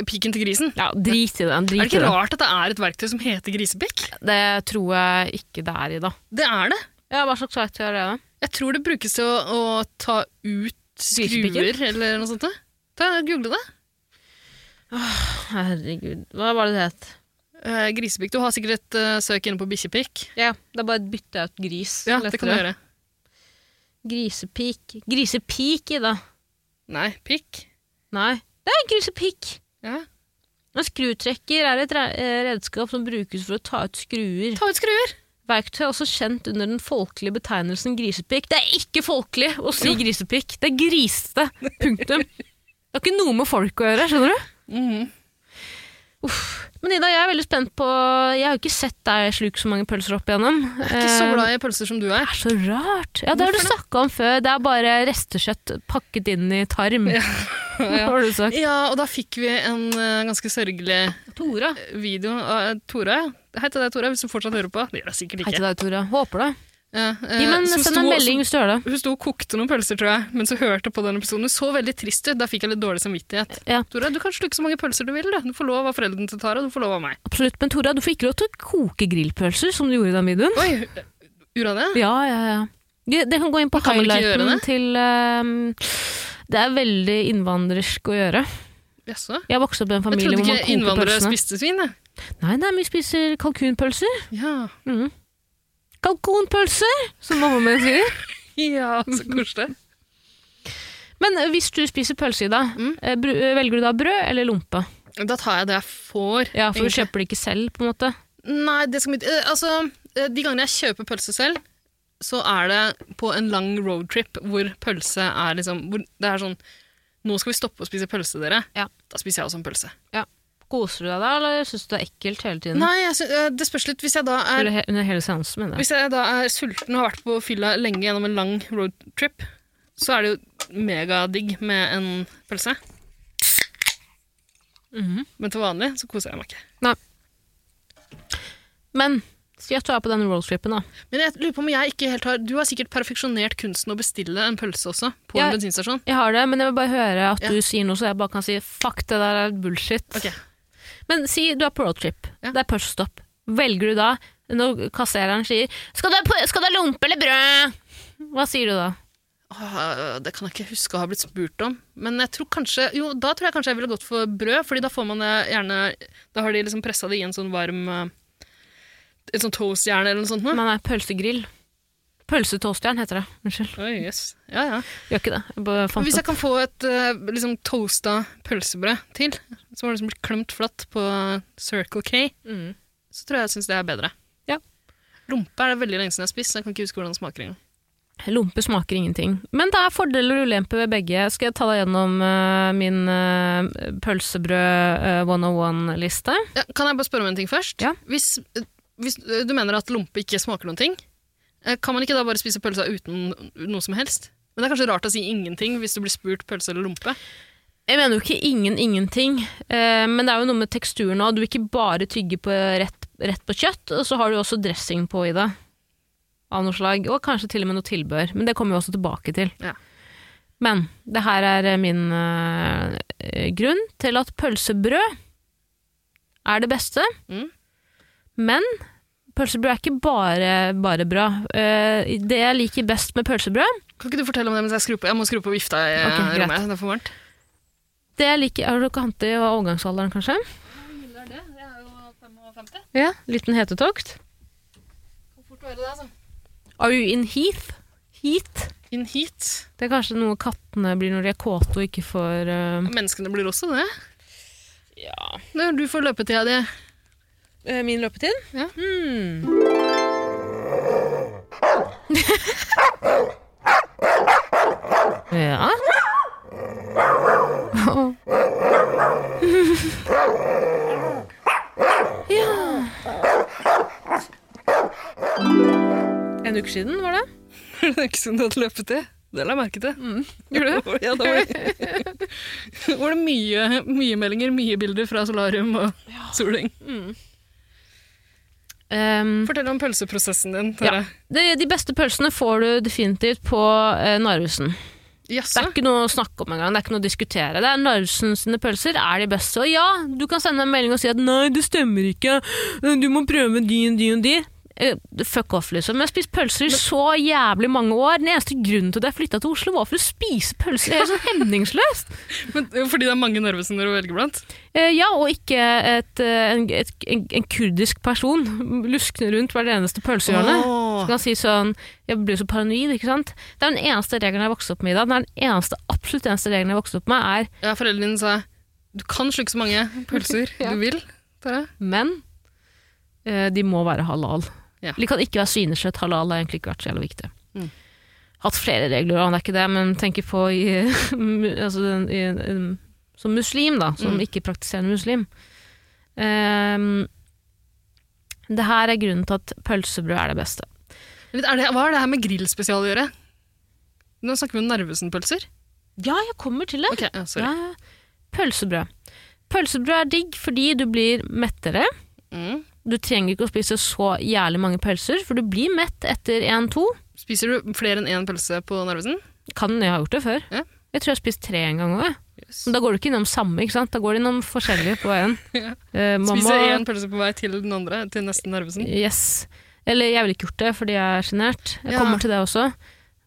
Speaker 3: Pikken til grisen.
Speaker 2: Ja, drit i det. Drit
Speaker 3: Er det
Speaker 2: i
Speaker 3: ikke rart at det er et verktøy som heter grisepikk?
Speaker 2: Det tror jeg ikke det er i, da.
Speaker 3: Det er det.
Speaker 2: Ja, Hva slags verktøy er det? da?
Speaker 3: Jeg tror det brukes til å, å ta ut skruer
Speaker 2: Grisepikken?
Speaker 3: eller noe sånt. da. Ta, Google det.
Speaker 2: Herregud, hva var det det het?
Speaker 3: Eh, grisepikk. Du har sikkert et eh, søk inne på bikkjepikk.
Speaker 2: Ja, det er bare et bytte ut gris.
Speaker 3: Ja, det kan du gjøre.
Speaker 2: Grisepik. Grisepik i, da.
Speaker 3: Nei, pikk.
Speaker 2: Nei, det er grisepikk.
Speaker 3: Ja.
Speaker 2: En skrutrekker er et re- eh, redskap som brukes for å ta ut skruer.
Speaker 3: Ta ut skruer!
Speaker 2: Verktøy er også kjent under den folkelige betegnelsen grisepikk. Det er ikke folkelig å si grisepikk. Det er grisete. Punktum. Det har ikke noe med folk å gjøre, skjønner du?
Speaker 3: Mhm.
Speaker 2: Uff. Men Ida, jeg er veldig spent på Jeg har jo ikke sett deg sluke så mange pølser opp igjennom. Jeg
Speaker 3: Ikke så glad i pølser som du er.
Speaker 2: Det er så rart. Ja, det har du snakka om før. Det er bare restekjøtt pakket inn i tarm. [LAUGHS] Har du sagt.
Speaker 3: [LAUGHS] Ja, og da fikk vi en eh, ganske sørgelig
Speaker 2: Tora.
Speaker 3: video av Tora. Hei til deg, Tora, hvis du fortsatt hører på. Det gjør jeg sikkert
Speaker 2: Hei
Speaker 3: ikke.
Speaker 2: til deg, Tora. Håper det.
Speaker 3: Ja, eh,
Speaker 2: Gi meg en-
Speaker 3: som
Speaker 2: send en
Speaker 3: sto-
Speaker 2: melding hvis du hører det.
Speaker 3: Som, hun sto og kokte noen pølser, tror jeg, men så hørte på den episoden. Hun så veldig trist ut. Da fikk jeg litt dårlig samvittighet.
Speaker 2: Ja.
Speaker 3: Tora, du kan slukke så mange pølser du vil. Du, du får lov av foreldrene til Tara, du får lov av meg.
Speaker 2: Absolutt. Men Tora, du får ikke lov til å koke grillpølser, som du gjorde i den videoen.
Speaker 3: Oi, eh, gjorde han det?
Speaker 2: Ja, ja, ja. De- Dere kan gå inn på
Speaker 3: kan man ikke
Speaker 2: highlighten
Speaker 3: gjøre det?
Speaker 2: til ehm, Det er veldig innvandrersk å gjøre.
Speaker 3: Jaså?
Speaker 2: Jeg vokste opp i en
Speaker 3: Jeg
Speaker 2: familie
Speaker 3: trodde
Speaker 2: hvor man
Speaker 3: ikke
Speaker 2: koker
Speaker 3: innvandrere
Speaker 2: pølsene.
Speaker 3: spiste svin, jeg.
Speaker 2: Nei, nei, vi spiser kalkunpølser.
Speaker 3: Ja.
Speaker 2: Mm. Kalkunpølser, som mamma min sier.
Speaker 3: [LAUGHS] ja, så koselig.
Speaker 2: Men eh, hvis du spiser pølse, Ida,
Speaker 3: Mm.
Speaker 2: eh, bru- eh, velger du da brød eller lompe?
Speaker 3: Da tar jeg det jeg får.
Speaker 2: Ja, For du
Speaker 3: egentlig.
Speaker 2: kjøper det ikke selv, på en måte.
Speaker 3: Nei, det skal mitt eh, Altså, eh, de gangene jeg kjøper pølse selv, så er det på en lang roadtrip hvor pølse er liksom hvor Det er sånn Nå skal vi stoppe å spise pølse, dere.
Speaker 2: Ja.
Speaker 3: Da spiser jeg også en pølse.
Speaker 2: Koser du deg da, eller syns du det er ekkelt hele tiden?
Speaker 3: Nei, jeg sy- eh, det spørs litt. Hvis jeg da
Speaker 2: Mm.
Speaker 3: er,
Speaker 2: Eller he under hele seansen, mener jeg.
Speaker 3: hvis jeg da er sulten og har vært på fylla lenge gjennom en lang roadtrip, så er det jo megadigg med en pølse.
Speaker 2: Mhm.
Speaker 3: Men til vanlig så koser jeg meg ikke.
Speaker 2: Men si at du er på den roadtripen, da.
Speaker 3: Men jeg lurer på om jeg ikke helt har Du har sikkert perfeksjonert kunsten å bestille en pølse også, på
Speaker 2: Ja.
Speaker 3: en bensinstasjon.
Speaker 2: Jeg har det, men jeg vil bare høre at
Speaker 3: Ja.
Speaker 2: du sier noe, så jeg bare kan si fuck, det der er bullshit.
Speaker 3: Ok.
Speaker 2: Men si du er på roadtrip,
Speaker 3: Ja.
Speaker 2: det er pølsestopp. Velger du da, når kassereren sier skal du, ha pø- skal du ha lompe eller brød? Hva sier du da?
Speaker 3: Åh, Det kan jeg ikke huske å ha blitt spurt om. Men jeg tror kanskje, jo, da tror jeg kanskje jeg ville gått for brød, fordi da får man det gjerne Da har de liksom pressa det i en sånn varm eh, Et sånn toastjern eller noe sånt. noe.
Speaker 2: Men nei, pølsegrill. Pølsetoastjern heter det. Unnskyld.
Speaker 3: Oi, yes. Ja, ja.
Speaker 2: Gjør ikke det. Jeg bare
Speaker 3: Men
Speaker 2: fant
Speaker 3: Hvis
Speaker 2: det.
Speaker 3: jeg kan få et eh, liksom toasta pølsebrød til, som har liksom blitt klemt flatt på eh, Circle K,
Speaker 2: Mm.
Speaker 3: så tror jeg jeg syns det er bedre.
Speaker 2: Ja.
Speaker 3: Rumpe er det veldig lenge siden jeg har spist, så jeg kan ikke huske hvordan det smaker engang.
Speaker 2: Lompe smaker ingenting. Men det er fordeler og ulemper ved begge. Skal jeg ta deg gjennom eh, min eh, pølsebrød eh, 101-liste?
Speaker 3: Ja, kan jeg bare spørre om en ting først?
Speaker 2: Ja.
Speaker 3: Hvis, hvis du mener at lompe ikke smaker noen ting, eh, kan man ikke da bare spise pølsa uten noe som helst? Men det er kanskje rart å si ingenting hvis du blir spurt pølse eller lompe.
Speaker 2: Jeg mener jo ikke ingen ingenting, eh, men det er jo noe med teksturen òg. Du vil ikke bare tygge på rett, rett på kjøtt, og så har du jo også dressing på i det. Av noe slag. Og kanskje til og med noe tilbør. Men det kommer vi også tilbake til.
Speaker 3: Ja.
Speaker 2: Men det her er eh, min eh, eh, grunn til at pølsebrød er det beste.
Speaker 3: Mm.
Speaker 2: Men pølsebrød er ikke bare, bare bra. Eh, det jeg liker best med pølsebrød
Speaker 3: Kan ikke du fortelle om det mens jeg skrur på? Jeg må skru på vifta i
Speaker 2: Ok,
Speaker 3: eh,
Speaker 2: greit.
Speaker 3: rommet. Det er for varmt.
Speaker 2: det jeg liker, Har dere hatt det i overgangsalderen, kanskje? Ja, Liten hetetokt.
Speaker 3: altså?
Speaker 2: Are you in heath? Heat?
Speaker 3: Inn hit.
Speaker 2: Det er kanskje noe kattene blir når de er kåte og ikke får eh,
Speaker 3: Menneskene blir også det. Ja. Du får løpetida di. [LAUGHS]
Speaker 2: Eh, Min løpetid?
Speaker 3: Ja.
Speaker 2: Hmm. ja. ja En uke siden, var det?
Speaker 3: det er ikke sånn at løpetid. Det la jeg merke til. Gjorde du? Mm. [LAUGHS] Ja, da var det, [LAUGHS] var det mye, mye meldinger, mye bilder fra solarium og soling.
Speaker 2: Um,
Speaker 3: Fortell om pølseprosessen din. Tara.
Speaker 2: de, de beste pølsene får du definitivt på eh, Narvesen. Det
Speaker 3: Jaså?
Speaker 2: er ikke noe å snakke om engang. Det er ikke noe å diskutere. Det er Narvesen sine pølser er de beste. Og ja, du kan sende en melding og si at nei, det stemmer ikke, du må prøve de og de og de. Eh, Fuck off, liksom. Jeg har spist pølser i så jævlig mange år. Den eneste grunnen til at jeg flytta til Oslo, var for å spise pølser. Det er helt sånn hemningsløst.
Speaker 3: Men, eh, fordi det er mange Narvesener å velge blant?
Speaker 2: Eh, ja, og ikke et, eh, en, et, en, en kurdisk person luskende rundt hvert eneste pølsehjørne. Så kan han si sånn Jeg blir jo så paranoid, ikke sant? Det er den eneste regelen jeg vokste opp med i dag. Den er den eneste, absolutt eneste regelen jeg vokste opp med, er
Speaker 3: Ja, Foreldrene dine sa du kan slukke så mange pølser
Speaker 2: [LAUGHS] Ja.
Speaker 3: du vil. Tara.
Speaker 2: Men eh, de må være halal.
Speaker 3: Ja.
Speaker 2: De kan ikke være svinekjøtt. Halal har egentlig ikke vært så jævlig viktig.
Speaker 3: Mm.
Speaker 2: Hatt flere regler, og det er ikke det, men tenker på i, [LAUGHS] mu- altså, den- i, um, Som muslim, da. Som ikke-praktiserende muslim. Ehm, det her er grunnen til at pølsebrød er det beste.
Speaker 3: Men Er det, hva har det her med grillspesial å gjøre? Nå snakker vi om Narvesen-pølser.
Speaker 2: Ja, jeg kommer til det.
Speaker 3: Ok, ja, sorry.
Speaker 2: Ja, ja. Pølsebrød. Pølsebrød er digg fordi du blir mettere.
Speaker 3: Mm.
Speaker 2: Du trenger ikke å spise så jævlig mange pølser, for du blir mett etter én-to.
Speaker 3: Spiser du flere enn én pølse på Narvesen?
Speaker 2: Kan jeg ha gjort det før.
Speaker 3: Ja.
Speaker 2: Jeg tror jeg har spist tre en gang òg.
Speaker 3: Yes.
Speaker 2: Men da går du ikke innom samme, ikke sant? Da går du innom forskjellige på veien.
Speaker 3: [LAUGHS] Ja.
Speaker 2: Eh, mamma-
Speaker 3: Spiser én pølse på vei til den andre, til neste Narvesen?
Speaker 2: Yes. Eller jeg ville ikke gjort det fordi jeg er sjenert. Jeg
Speaker 3: Ja.
Speaker 2: kommer til det også.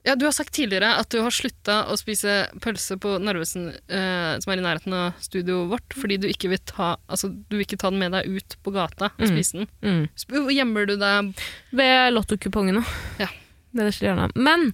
Speaker 3: Ja, Du har sagt tidligere at du har slutta å spise pølse på Narvesen, eh, som er i nærheten av studioet vårt, fordi du ikke vil ta, altså, du vil ikke ta den med deg ut på gata og
Speaker 2: Mm.
Speaker 3: spise den.
Speaker 2: Mm.
Speaker 3: Sp gjemmer du deg
Speaker 2: Ved lottokupongene.
Speaker 3: Ja.
Speaker 2: Nederst i hjørnet. Men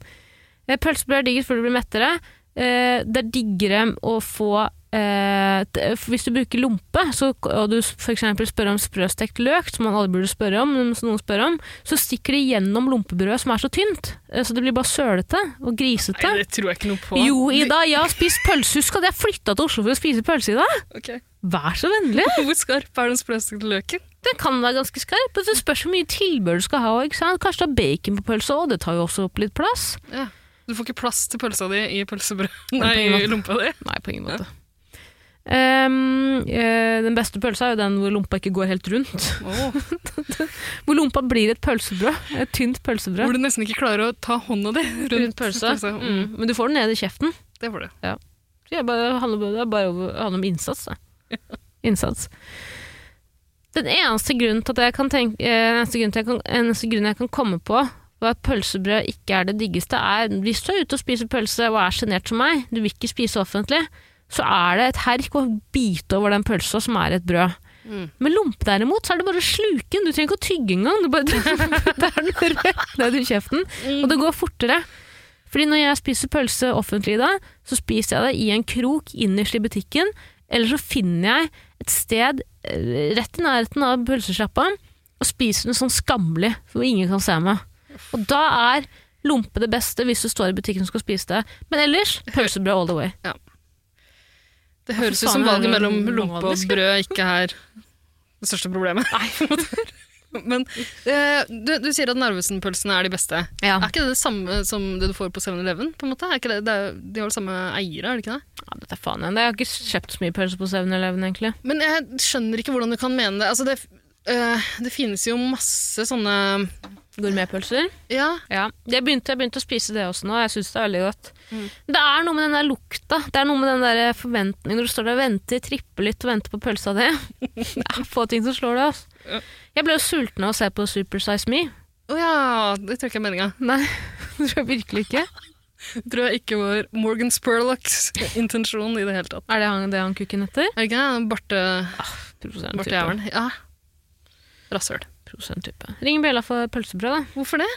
Speaker 2: eh, pølsebrød er diggert før du blir mettere. Eh, det er diggere å få eh, t- eh, Hvis du bruker lompe, så, og du f.eks. spør om sprøstekt løk, som man aldri burde spørre om, men som noen spør om, så stikker det gjennom lompebrødet som er så tynt. Eh, så det blir bare sølete og grisete.
Speaker 3: Nei, det tror jeg ikke noe på.
Speaker 2: jo, Ida, jeg har spist pølse. Husk at jeg flytta til Oslo for å spise pølse i dag.
Speaker 3: Ok. [LAUGHS]
Speaker 2: Vær så vennlig.
Speaker 3: Hvor skarp er den sprøstekte løken?
Speaker 2: Den kan være ganske skarp. og Det spørs hvor mye tilbør du skal ha. Ikke sant? Kanskje du har bacon på pølsa òg, det tar jo også opp litt plass.
Speaker 3: Ja. Du får ikke plass til pølsa di i pølsebrød
Speaker 2: på
Speaker 3: Nei,
Speaker 2: ingen
Speaker 3: i lompa di.
Speaker 2: Nei, på ingen måte. Ehm, eh, den beste pølsa er jo den hvor lompa ikke går helt rundt.
Speaker 3: Oh.
Speaker 2: Hvor lompa blir et pølsebrød. Et tynt pølsebrød.
Speaker 3: Hvor du nesten ikke klarer å ta hånda di rundt,
Speaker 2: Rundt pølsa.
Speaker 3: Mm.
Speaker 2: Mm. Men du får den ned i kjeften.
Speaker 3: Det får du.
Speaker 2: Så jeg bare, det handler det er bare over- det handler om innsats. Da. [LAUGHS] Innsats. Den eneste grunnen til at jeg kan tenke eh, den eneste grunnen, til jeg kan, den eneste grunnen jeg kan komme på Og at pølsebrød ikke er det diggeste, er hvis du er ute og spiser pølse og er sjenert som meg, du vil ikke spise offentlig, så er det et herk å bite over den pølsa som er et brød.
Speaker 3: Mm.
Speaker 2: Med lompe derimot, så er det bare å sluke den. Du trenger ikke å tygge engang. Du bare, [LAUGHS] det er den rett ned i kjeften. Og det går fortere. Fordi når jeg spiser pølse offentlig i dag, så spiser jeg det i en krok innerst i butikken. Eller så finner jeg et sted eh, rett i nærheten av pølsesjappa og spiser den sånn skamlig, hvor ingen kan se meg. Og da er lompe det beste hvis du står i butikken og skal spise det. Men ellers pølsebrød all the way.
Speaker 3: Det høres
Speaker 2: for
Speaker 3: ut
Speaker 2: faen,
Speaker 3: som valget
Speaker 2: det er jo
Speaker 3: mellom lompe og
Speaker 2: magisk,
Speaker 3: brød ikke er det største problemet. [LAUGHS] Men eh, du, du sier at Narvesen-pølsene er de beste.
Speaker 2: Ja.
Speaker 3: Er ikke det det samme som det du får på 7-Eleven? på en måte? Er ikke det, det er, de har jo samme eiere, er det ikke det?
Speaker 2: Ja, Ah, dette er faen igjen. Jeg har ikke kjøpt så mye pølse på 7-Eleven, egentlig.
Speaker 3: Men jeg skjønner ikke hvordan du kan mene det. Altså, det, eh, det finnes jo masse sånne
Speaker 2: Gourmetpølser.
Speaker 3: Ja,
Speaker 2: Ja. Jeg begynte, jeg begynte å spise det også nå, og jeg syns det er veldig godt. Men Det er noe med den der lukta. Det er noe med den der forventningen når du står der og venter, tripper litt og venter på pølsa di. [LAUGHS] Det er få ting som slår det.
Speaker 3: Ja.
Speaker 2: Altså. Jeg ble jo sulten av å se på Super Size Me.
Speaker 3: Å ja, det tror jeg ikke er meninga.
Speaker 2: Nei, [LAUGHS] det tror jeg virkelig ikke.
Speaker 3: Det tror jeg ikke var Morgan Spurlocks intensjon i det hele tatt.
Speaker 2: Er det han, det han kukken heter?
Speaker 3: Er det ikke det? Barte,
Speaker 2: Ah, Prosent
Speaker 3: Barte
Speaker 2: type.
Speaker 3: Jævelen. Ja. Rasshøl.
Speaker 2: Prosent type. Ring bjella for pølsebrød, da.
Speaker 3: Hvorfor det?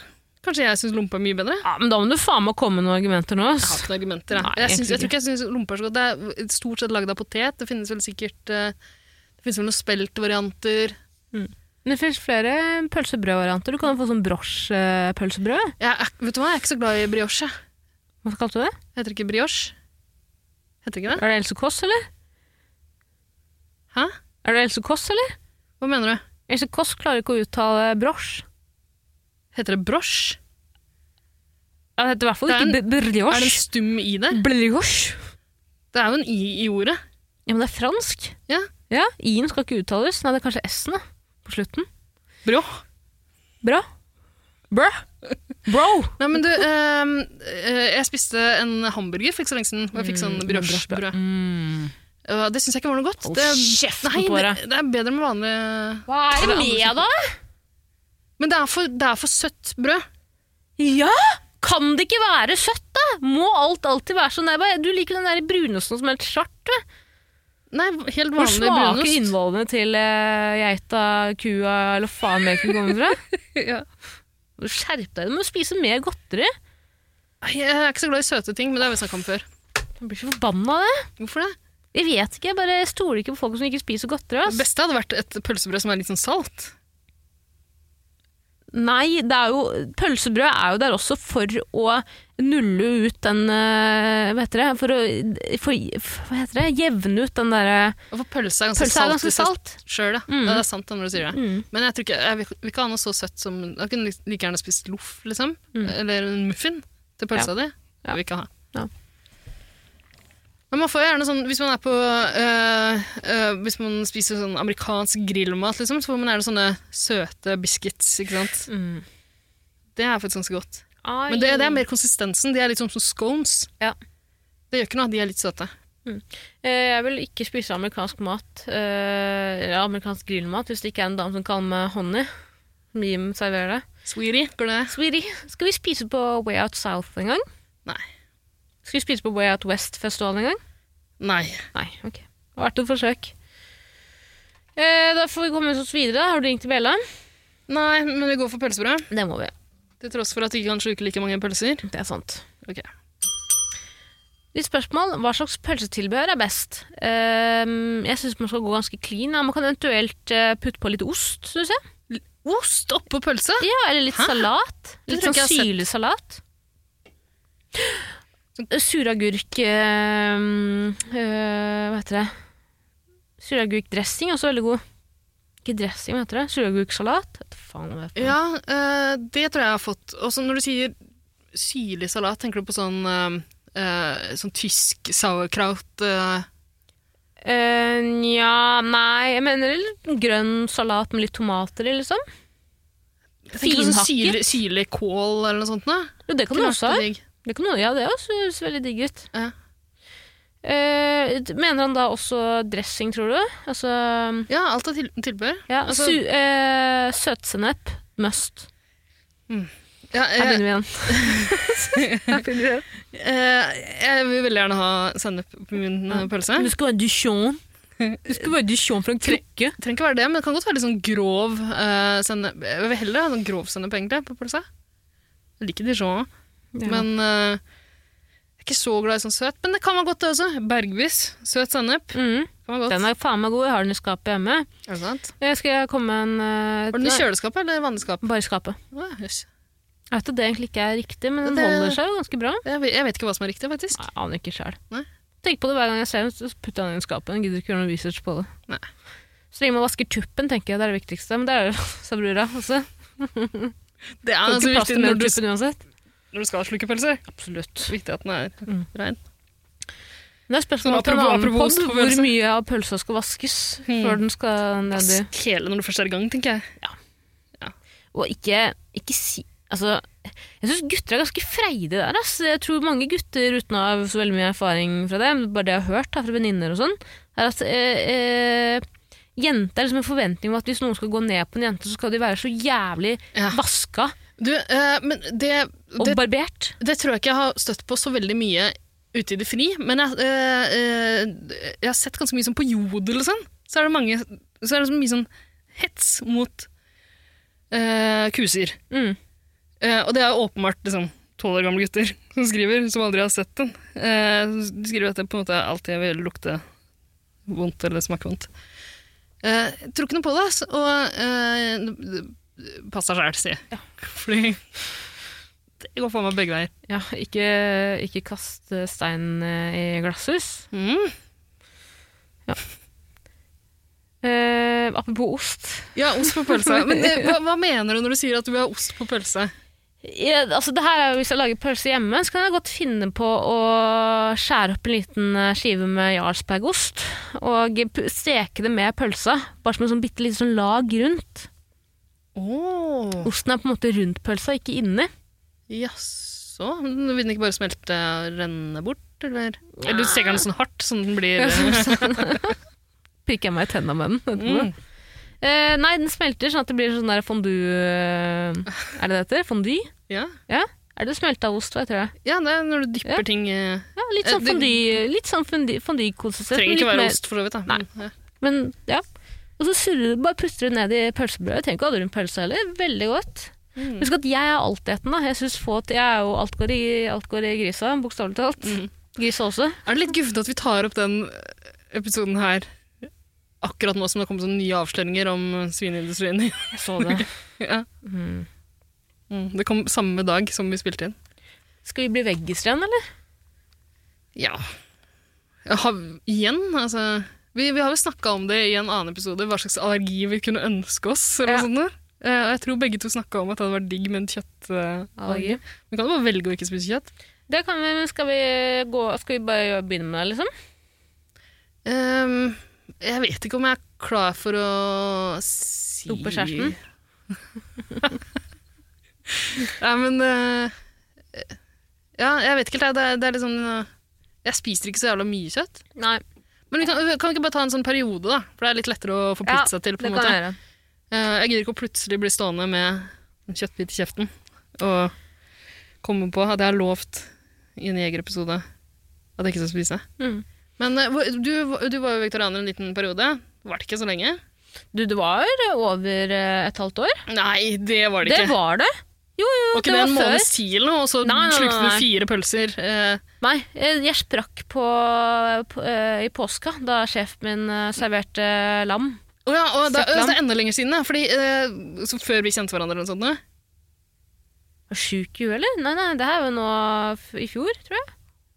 Speaker 3: Kanskje jeg syns lompe er mye bedre?
Speaker 2: Ja, men da må du faen meg komme med noen argumenter nå.
Speaker 3: Jeg har
Speaker 2: ass.
Speaker 3: ikke noen argumenter. Jeg,
Speaker 2: Nei,
Speaker 3: jeg, syns- jeg tror
Speaker 2: egentlig
Speaker 3: ikke jeg syns lompe er så godt. Det er stort sett lagd av potet. Det finnes vel sikkert eh, Det finnes vel noen speltvarianter.
Speaker 2: Men Det fins flere pølsebrødvarianter. Du kan jo få sånn brosjepølsebrød.
Speaker 3: Jeg, er ikke- vet du hva, jeg er ikke så glad i brioche. jeg.
Speaker 2: Hva kalte du det?
Speaker 3: Heter det ikke brioche? Heter det ikke det?
Speaker 2: Er det Else Kåss, eller?
Speaker 3: Hæ?
Speaker 2: Er det Else Kåss, eller?
Speaker 3: Hva mener du?
Speaker 2: Else Kåss klarer ikke å uttale brosj.
Speaker 3: Heter det brosje?
Speaker 2: Ja, det heter i hvert fall
Speaker 3: Det er
Speaker 2: ikke b-
Speaker 3: Er det en
Speaker 2: brioche.
Speaker 3: stum i det?
Speaker 2: Brioche.
Speaker 3: Det er jo en i i ordet.
Speaker 2: Ja, men det er fransk.
Speaker 3: Ja.
Speaker 2: Ja, I-en skal ikke uttales. Nei, det er kanskje S-en da, på slutten.
Speaker 3: Bro.
Speaker 2: Bra. Bra. Bro.
Speaker 3: Nei, men du, ehm, eh, jeg spiste en hamburger for ikke så lenge siden, og jeg fikk sånn briochebrød.
Speaker 2: Mm.
Speaker 3: Og Det syns jeg ikke var noe godt.
Speaker 2: Hold
Speaker 3: Det,
Speaker 2: kjeften
Speaker 3: nei,
Speaker 2: på
Speaker 3: det, det er bedre med vanlig
Speaker 2: Hva er det med da?
Speaker 3: Men det er for, det er for søtt brød.
Speaker 2: Ja! Kan det ikke være søtt da? Må alt alltid være sånn? Nei, bare- du liker den der brunosten som er helt svart. du.
Speaker 3: Nei, helt
Speaker 2: Hvor
Speaker 3: vanlig
Speaker 2: smaker
Speaker 3: brunost.
Speaker 2: innvollene til eh, geita, kua, eller faen mer kan komme fra? [LAUGHS]
Speaker 3: Ja.
Speaker 2: Skjerp deg, du må spise mer godteri.
Speaker 3: Nei, Jeg er ikke så glad i søte ting, men det har vi snakka om før.
Speaker 2: Jeg blir så forbanna av det.
Speaker 3: Hvorfor det?
Speaker 2: Jeg vet ikke, jeg bare stoler ikke på folk som ikke spiser godteri.
Speaker 3: Det
Speaker 2: ass.
Speaker 3: beste hadde vært et pølsebrød som er litt sånn salt.
Speaker 2: Nei, det er jo, pølsebrød er jo der også for å nulle ut den eh, Hva heter det? For å for, hva heter det? jevne ut den eh, derre
Speaker 3: Og for pølse er ganske
Speaker 2: Pølse er
Speaker 3: salt.
Speaker 2: ganske
Speaker 3: hvis jeg-
Speaker 2: salt.
Speaker 3: Sjøl, ja.
Speaker 2: Mm.
Speaker 3: ja. Det er sant det når du sier det.
Speaker 2: Mm.
Speaker 3: Men jeg, tror ikke, jeg vil vil ikke ha noe så søtt som Jeg kunne lik- like gjerne spist loff, liksom.
Speaker 2: Mm.
Speaker 3: Eller en muffin til pølsa di. Det vil jeg ikke ha.
Speaker 2: Ja.
Speaker 3: Men man får jo gjerne sånn, hvis man er på øh, øh, Hvis man spiser sånn amerikansk grillmat, liksom, så får man gjerne sånne søte biscuits. Ikke sant?
Speaker 2: Mm.
Speaker 3: Det er faktisk ganske godt. Men det, det er mer konsistensen. De er litt sånn som scones.
Speaker 2: Ja.
Speaker 3: Det gjør ikke noe, de er litt søte.
Speaker 2: Eh, Jeg vil ikke spise amerikansk mat, eh, eller amerikansk grillmat, hvis det ikke er en dame som kaller meg honey. Som Jim serverer det.
Speaker 3: Sweetie, går det?
Speaker 2: Sweetie, skal vi spise på Way Out South en gang?
Speaker 3: Nei.
Speaker 2: Skal vi spise på Way Out West-festivalen en gang?
Speaker 3: Nei.
Speaker 2: Nei, ok. Det har vært et forsøk. Eh, da får vi komme oss videre. da. Har du ringt til Bella?
Speaker 3: Nei, men vi går for pølsebrød.
Speaker 2: Det må vi.
Speaker 3: Til tross for at de ikke kan sluke like mange pølser.
Speaker 2: Det er sant.
Speaker 3: Ok.
Speaker 2: Ditt spørsmål hva slags pølsetilbehør er best? Ehm, jeg syns man skal gå ganske clean. Ja. Man kan eventuelt eh, putte på litt ost, syns jeg.
Speaker 3: Ost oppå pølse?
Speaker 2: Ja, eller litt
Speaker 3: Hæ?
Speaker 2: salat. Litt
Speaker 3: Det tror jeg
Speaker 2: sånn
Speaker 3: ikke jeg har sett.
Speaker 2: sylesalat. Sånn Suragurk ehm, eh, Hva heter det? Suragurkdressing er også veldig god. Ikke dressing, hva heter det? Suragurksalat? Vet Faen, hva heter det?
Speaker 3: Ja, eh, det tror jeg jeg har fått. Og så når du sier syrlig salat, tenker du på sånn, eh, eh, sånn tysk sauerkraut eh,
Speaker 2: Eh, Nja, nei Jeg mener litt grønn salat med litt tomater i, liksom.
Speaker 3: jeg tenker på Sånn
Speaker 2: Finhakket.
Speaker 3: syrlig, syrlig kål eller noe sånt. Da.
Speaker 2: Jo, det kan du også ha. Det kan du, ja, det også høres veldig digg ut.
Speaker 3: Ja.
Speaker 2: Eh, mener han da også dressing, tror du? Altså,
Speaker 3: Ja, alt er til tilbehør.
Speaker 2: ja,
Speaker 3: Altså-
Speaker 2: su eh, Søtsennep. Must.
Speaker 3: Ja,
Speaker 2: Her
Speaker 3: jeg,
Speaker 2: begynner vi igjen. [LAUGHS] Her begynner vi igjen.
Speaker 3: eh, jeg vil veldig gjerne ha sennep på min eh, pølse.
Speaker 2: Du skal være Duchon. Du skal være Duchon fra en krukke.
Speaker 3: Det trenger ikke være det, men det kan godt være litt sånn grov eh, sennep. Jeg vil heller ha sånn grov sennep, egentlig, på pølsa. Jeg liker dijon, men eh, jeg er ikke så glad i sånn søt. Men det kan være godt, det også. Bergvis. Søt sennep.
Speaker 2: mm,
Speaker 3: Kan være godt.
Speaker 2: Den er faen meg god. Jeg har den i skapet hjemme.
Speaker 3: Er det sant?
Speaker 2: Jeg skal komme med en eh,
Speaker 3: Var den i kjøleskapet eller vannskapet?
Speaker 2: Bare i skapet.
Speaker 3: Ah, jøss.
Speaker 2: Jeg vet at det egentlig ikke er riktig, men den
Speaker 3: Det-
Speaker 2: holder seg jo ganske bra.
Speaker 3: jeg, vet, jeg vet ikke hva som er riktig, faktisk.
Speaker 2: Nei, Jeg aner ikke sjøl.
Speaker 3: Nei.
Speaker 2: Tenk på det hver gang jeg ser den, så putter jeg den i skapet. Jeg gidder ikke gjøre noe research på det.
Speaker 3: Nei.
Speaker 2: Så lenge man vasker tuppen, tenker jeg det er det viktigste. Men det er jo [LAUGHS] sa brura også.
Speaker 3: Det
Speaker 2: Får ikke
Speaker 3: er altså
Speaker 2: plass
Speaker 3: viktig
Speaker 2: til mer
Speaker 3: når
Speaker 2: enn
Speaker 3: du,
Speaker 2: tuppen uansett.
Speaker 3: når du skal slukke pølser.
Speaker 2: Absolutt.
Speaker 3: Viktig at den er
Speaker 2: Mm.
Speaker 3: rein.
Speaker 2: Men det er
Speaker 3: Sånn
Speaker 2: spørsmål til en
Speaker 3: apropos-
Speaker 2: annen
Speaker 3: apropos
Speaker 2: podd hvor
Speaker 3: pølse.
Speaker 2: mye av pølsa skal vaskes
Speaker 3: Hmm.
Speaker 2: før den skal ned i
Speaker 3: Hele når du først er i gang, tenker jeg.
Speaker 2: Og ikke, ikke si Altså, jeg syns gutter er ganske freidige der. Ass. Jeg tror mange gutter, uten å ha så veldig mye erfaring fra det, men bare det jeg har hørt da, fra venninner og sånn, er at eh, eh, jenter er liksom en forventning om at hvis noen skal gå ned på en jente, så skal de være så jævlig
Speaker 3: Ja.
Speaker 2: vaska
Speaker 3: Du, eh, men det,
Speaker 2: og
Speaker 3: det,
Speaker 2: barbert.
Speaker 3: det tror jeg ikke jeg har støtt på så veldig mye ute i det fri, men jeg, eh, eh, jeg har sett ganske mye sånn på jodel og sånn. Så er det, mange, så er det så mye sånn hets mot eh, kuser.
Speaker 2: Mm.
Speaker 3: Eh, og det er åpenbart liksom, 12 år gamle gutter som skriver, som aldri har sett den. Eh, de skriver at det på en måte alltid vil lukte vondt eller smake vondt. Eh, jeg tror ikke noe på det, ass, og eh, pass deg sjæl, sier jeg. Fordi det går faen meg begge veier.
Speaker 2: Ja, ikke, ikke kast eh, stein eh, i glasshus.
Speaker 3: Mm.
Speaker 2: Eh, apropos ost.
Speaker 3: Ja, ost på pølse. Men det, hva, hva mener du når du sier at du vil ha ost på pølse?
Speaker 2: Ja, altså det her er jo Hvis jeg lager pølse hjemme, så kan jeg godt finne på å skjære opp en liten eh, skive med Jarlsbergost og p- steke det med pølsa. Bare som en sånn bitte lite sånn lag rundt.
Speaker 3: Oh.
Speaker 2: Osten er på en måte rundt pølsa, ikke inni.
Speaker 3: Jaså? Men Vil den ikke bare smelte og renne bort, eller? Eller du steker den sånn hardt, sånn at den
Speaker 2: [LAUGHS]
Speaker 3: blir
Speaker 2: Pirker jeg meg i tenna med den.
Speaker 3: Mm.
Speaker 2: Eh, nei, den smelter sånn at det blir sånn der fondue eh, Er det det heter? Fondy?
Speaker 3: Ja.
Speaker 2: Er det smelta ost, hva heter det?
Speaker 3: Ja, det er når du dypper
Speaker 2: Ja.
Speaker 3: ting eh,
Speaker 2: Ja, litt sånn
Speaker 3: Eh, det-
Speaker 2: fondy- litt sånn fondy- fondykonsistens.
Speaker 3: Trenger
Speaker 2: men
Speaker 3: ikke
Speaker 2: litt
Speaker 3: være
Speaker 2: mer-
Speaker 3: ost, for så vidt. Da.
Speaker 2: Nei.
Speaker 3: Men, ja.
Speaker 2: Men ja. Og så surrer du, bare puster du ned i pølsebrødet. Trenger ikke ha det rundt pølsa heller. Veldig godt.
Speaker 3: Mm.
Speaker 2: Husk at jeg er altetende. Jeg synes få til, jeg er jo alt går i, alt går i grisa, bokstavelig talt.
Speaker 3: Mm.
Speaker 2: Grisa også.
Speaker 3: Er det litt guffent at vi tar opp den eh, episoden her akkurat nå som det kommer sånne nye avsløringer om eh, svineindustrien? [LAUGHS]
Speaker 2: Jeg så det.
Speaker 3: ja.
Speaker 2: Mm.
Speaker 3: mm. Det kom samme dag som vi spilte inn.
Speaker 2: [LAUGHS] Skal vi bli veggiser igjen, eller?
Speaker 3: Ja. Ha, igjen, altså Vi, vi har jo snakka om det i en annen episode, hva slags allergi vi kunne ønske oss. Eller
Speaker 2: Ja.
Speaker 3: noe sånt der. Eh, og jeg tror begge to snakka om at det hadde vært digg med en kjøttallergi.
Speaker 2: Allergi.
Speaker 3: Vi kan jo bare velge å ikke spise kjøtt.
Speaker 2: Det kan vi, men skal vi, gå, skal vi bare gjøre- begynne med det, liksom?
Speaker 3: Ehm, jeg vet ikke om jeg er klar for å si
Speaker 2: Dope kjæresten?
Speaker 3: [LAUGHS] Nei, men eh, Ja, jeg vet ikke helt. Det er, det er litt sånn eh, Jeg spiser ikke så jævla mye kjøtt.
Speaker 2: Nei,
Speaker 3: Men vi kan, kan vi ikke bare ta en sånn periode, da? For det er litt lettere å
Speaker 2: Ja,
Speaker 3: forplikte seg til. på
Speaker 2: det
Speaker 3: en
Speaker 2: kan
Speaker 3: måte.
Speaker 2: jeg gjøre.
Speaker 3: Eh, jeg gidder ikke å plutselig bli stående med en kjøttbit i kjeften og komme på at jeg har lovt i en jegerepisode at jeg ikke skal spise.
Speaker 2: Mm.
Speaker 3: Men eh, hvor- du, du var jo vegetarianer en liten periode. Var det ikke så lenge?
Speaker 2: Du, det var over eh, et halvt år.
Speaker 3: Nei, det var det
Speaker 2: Det
Speaker 3: ikke.
Speaker 2: var det. Jo, jo,
Speaker 3: var
Speaker 2: det
Speaker 3: ikke det en
Speaker 2: var før.
Speaker 3: måneds tid eller noe, og så
Speaker 2: Nei, nei, nei,
Speaker 3: slukte
Speaker 2: nei.
Speaker 3: du fire pølser. Eh,
Speaker 2: Nei, eh, jeg sprakk på, på, eh, i påska da sjefen min eh, serverte lam.
Speaker 3: Å ja, og det,
Speaker 2: Støkland.
Speaker 3: det er enda lenger siden, da, fordi eh, så før vi kjente hverandre eller noe sånt. da.
Speaker 2: Var Sjuk i huet, eller? Nei, nei, det her var jo nå f i fjor, tror jeg.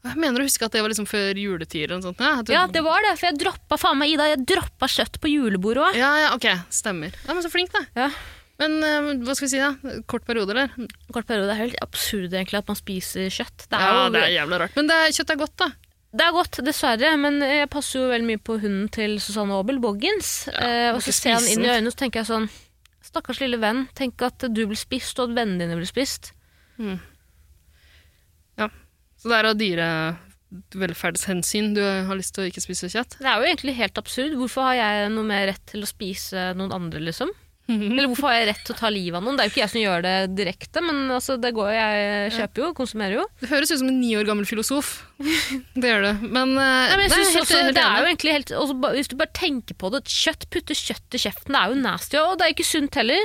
Speaker 3: Jeg mener å huske at det var liksom før juletider eller noe sånt. Ja, At du-
Speaker 2: Ja, det var det, for jeg droppa faen meg Ida, jeg droppa kjøtt på julebordet òg.
Speaker 3: ja, ja, ok, stemmer. Ja, men så flink, da.
Speaker 2: Ja.
Speaker 3: Men eh, hva skal vi si, da? Kort periode, eller?
Speaker 2: Kort periode. Det er helt absurd egentlig at man spiser kjøtt. Det er,
Speaker 3: Ja,
Speaker 2: jo,
Speaker 3: det er jævla rart. Men det er, kjøtt er godt, da.
Speaker 2: det er godt, dessverre, men jeg passer jo veldig mye på hunden til Susanne Aabel, Boggins. eh,
Speaker 3: må
Speaker 2: og så
Speaker 3: ikke
Speaker 2: ser jeg han
Speaker 3: spise
Speaker 2: inn i
Speaker 3: den.
Speaker 2: øynene, og så tenker jeg sånn Stakkars lille venn, tenk at du blir spist, og at vennene dine blir spist.
Speaker 3: Så det er av dyrevelferdshensyn du har lyst til å
Speaker 2: [LAUGHS]
Speaker 3: ikke spise kjøtt.
Speaker 2: Det er jo egentlig helt absurd. Hvorfor har jeg noe mer rett til å spise noen andre, liksom? Eller hvorfor har jeg rett til å ta livet av noen? Det er jo ikke jeg som gjør det direkte, men altså, det går, jeg kjøper jo, konsumerer jo.
Speaker 3: Det høres ut som en ni år gammel
Speaker 2: [LAUGHS]
Speaker 3: filosof. Det gjør det. Men, eh,
Speaker 2: Nei, men jeg synes
Speaker 3: helt,
Speaker 2: også,
Speaker 3: helt
Speaker 2: det er jo
Speaker 3: enig.
Speaker 2: egentlig helt også, ba- Hvis du bare tenker på det, kjøtt, putte kjøtt i kjeften, det er jo nasty. Og det er ikke sunt heller.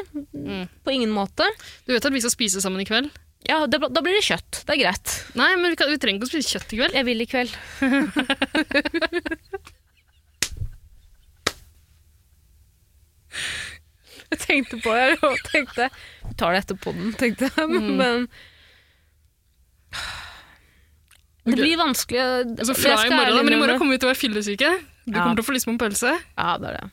Speaker 2: På ingen måte.
Speaker 3: Du vet at vi skal spise sammen i kveld?
Speaker 2: Ja, det, Da blir det kjøtt. Det er greit.
Speaker 3: Nei, men vi, kan, vi trenger ikke å spise kjøtt i kveld.
Speaker 2: Jeg vil i kveld. jeg tenkte på det og tenkte Vi tar det etterpå den, tenkte jeg. Men det blir vanskelig. å-
Speaker 3: Altså,
Speaker 2: jeg
Speaker 3: fra
Speaker 2: skal
Speaker 3: i morgen,
Speaker 2: ærlig
Speaker 3: da, men i
Speaker 2: innrømme.
Speaker 3: morgen kommer vi til å være fyllesyke. Du
Speaker 2: Ja.
Speaker 3: kommer til å få lyst på en pølse.
Speaker 2: Ja, det er det.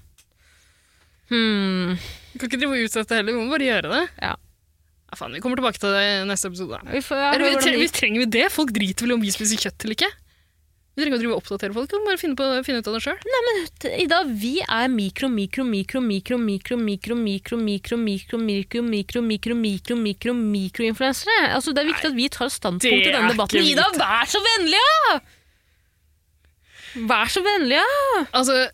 Speaker 2: Hmm.
Speaker 3: Vi kan ikke drive og utsette det heller, vi må bare gjøre det.
Speaker 2: Ja.
Speaker 3: Ja, faen, vi kommer tilbake til det i neste episode. Da.
Speaker 2: Vi får ja, høre
Speaker 3: Eller, vi,
Speaker 2: hvordan
Speaker 3: tre-
Speaker 2: det
Speaker 3: vi
Speaker 2: gikk.
Speaker 3: trenger vi det? Folk driter vel i om vi spiser kjøtt eller ikke? Vi trenger ikke å drive og oppdatere folk, vi kan bare finne, på, finne ut av det sjøl.
Speaker 2: Ida, vi er mikro, mikro, mikro, mikro, mikro, mikro, mikro, mikro, mikro, mikro, mikro, mikro, mikro, mikro, mikroinfluensere. Altså, det er viktig at vi tar standpunkt i
Speaker 3: det
Speaker 2: denne
Speaker 3: er
Speaker 2: debatten.
Speaker 3: ikke
Speaker 2: Ida,
Speaker 3: mitt.
Speaker 2: vær så vennlig, ja! Vær så vennlig, ja!
Speaker 3: Altså,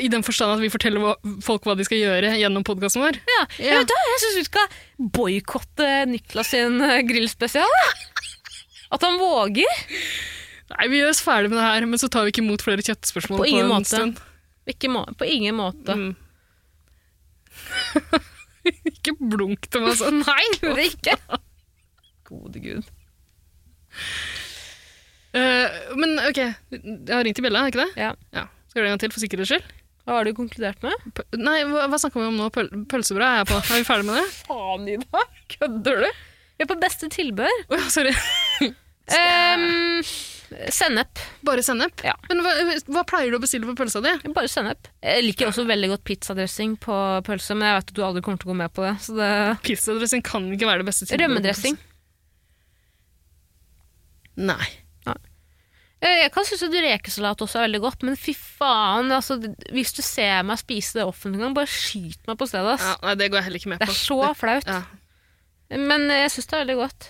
Speaker 3: I den forstand at vi forteller hva- folk hva de skal gjøre gjennom podkasten vår.
Speaker 2: ja.
Speaker 3: Ja.
Speaker 2: Jeg, vet, da, jeg synes vi skal boykotte Niklas sin eh, grillspesial. da. At han våger.
Speaker 3: Nei, Vi gjør oss ferdig med det her, men så tar vi ikke imot flere kjøttspørsmål.
Speaker 2: På ingen
Speaker 3: en
Speaker 2: måte.
Speaker 3: stund.
Speaker 2: Ikke må, på ingen måte.
Speaker 3: Mm. [LAUGHS] ikke blunk til meg sånn.
Speaker 2: Altså, Nei, gjorde jeg ikke. Gode Gud.
Speaker 3: Eh, men ok, jeg har ringt til Bjella, er ikke det?
Speaker 2: Ja.
Speaker 3: Skal gjøre det en gang til, for sikkerhets skyld?
Speaker 2: Hva har du konkludert med?
Speaker 3: Pø- Nei, hva, hva snakka vi om nå? Pøl pølsebrød er jeg på. Er vi ferdig med det? [LAUGHS]
Speaker 2: faen, Ida? [LAUGHS] Kødder du? Vi er på beste tilbør.
Speaker 3: Å, sorry.
Speaker 2: Um, sennep.
Speaker 3: Bare sennep?
Speaker 2: Ja.
Speaker 3: Men hva, hva pleier du å bestille på pølsa di?
Speaker 2: Bare sennep. Jeg liker også veldig godt pizzadressing på pølse, men jeg vet at du aldri kommer til å gå med på det. Så det
Speaker 3: Pizzadressing kan ikke være det beste tilbudet.
Speaker 2: Rømmedressing.
Speaker 3: Nei.
Speaker 2: Eh, Jeg kan synes at rekesalat også er veldig godt, men fy faen, altså, hvis du ser meg spise det offentlig en gang, bare skyt meg på stedet.
Speaker 3: Ja,
Speaker 2: Ass.
Speaker 3: nei, det går jeg heller ikke med
Speaker 2: Det
Speaker 3: på.
Speaker 2: er så flaut.
Speaker 3: ja.
Speaker 2: Men eh, jeg synes det er veldig godt.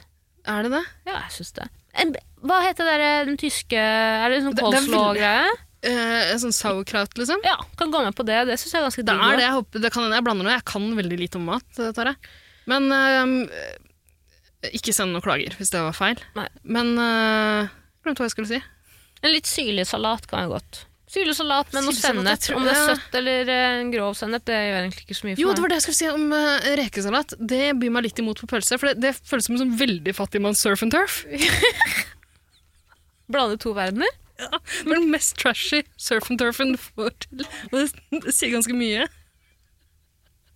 Speaker 3: Er det det?
Speaker 2: Ja, jeg synes det. En, hva heter det, der, eh, den tyske, er det sånn
Speaker 3: Det- det er veldig-
Speaker 2: coleslaw-greie?
Speaker 3: Eh, en sånn sauerkraut, liksom?
Speaker 2: Ja, kan gå med på det. Det synes jeg er ganske
Speaker 3: Det
Speaker 2: digg. også.
Speaker 3: er det. Jeg, håper, det kan, hende jeg blander noe. Jeg kan veldig lite om mat, eh, Tara. Men eh, Ikke send noen klager hvis det var feil.
Speaker 2: Nei.
Speaker 3: Men eh, Glemte hva jeg skulle si.
Speaker 2: En litt syrlig salat kan jeg godt. Syrlig salat med noe
Speaker 3: Syrlig salat, jeg
Speaker 2: sennep.
Speaker 3: tror-
Speaker 2: Om det er
Speaker 3: ja.
Speaker 2: søtt eller eh, en grov sennep, det gjør egentlig ikke så mye for
Speaker 3: Jo,
Speaker 2: meg.
Speaker 3: det var det jeg skulle si om eh, rekesalat. Det byr meg litt imot på pølse, for det, det føles som en sånn veldig fattig manns surf and turf.
Speaker 2: Blande to verdener.
Speaker 3: Det var den mest trashy surf and turfen du får til. Og det, det sier ganske mye.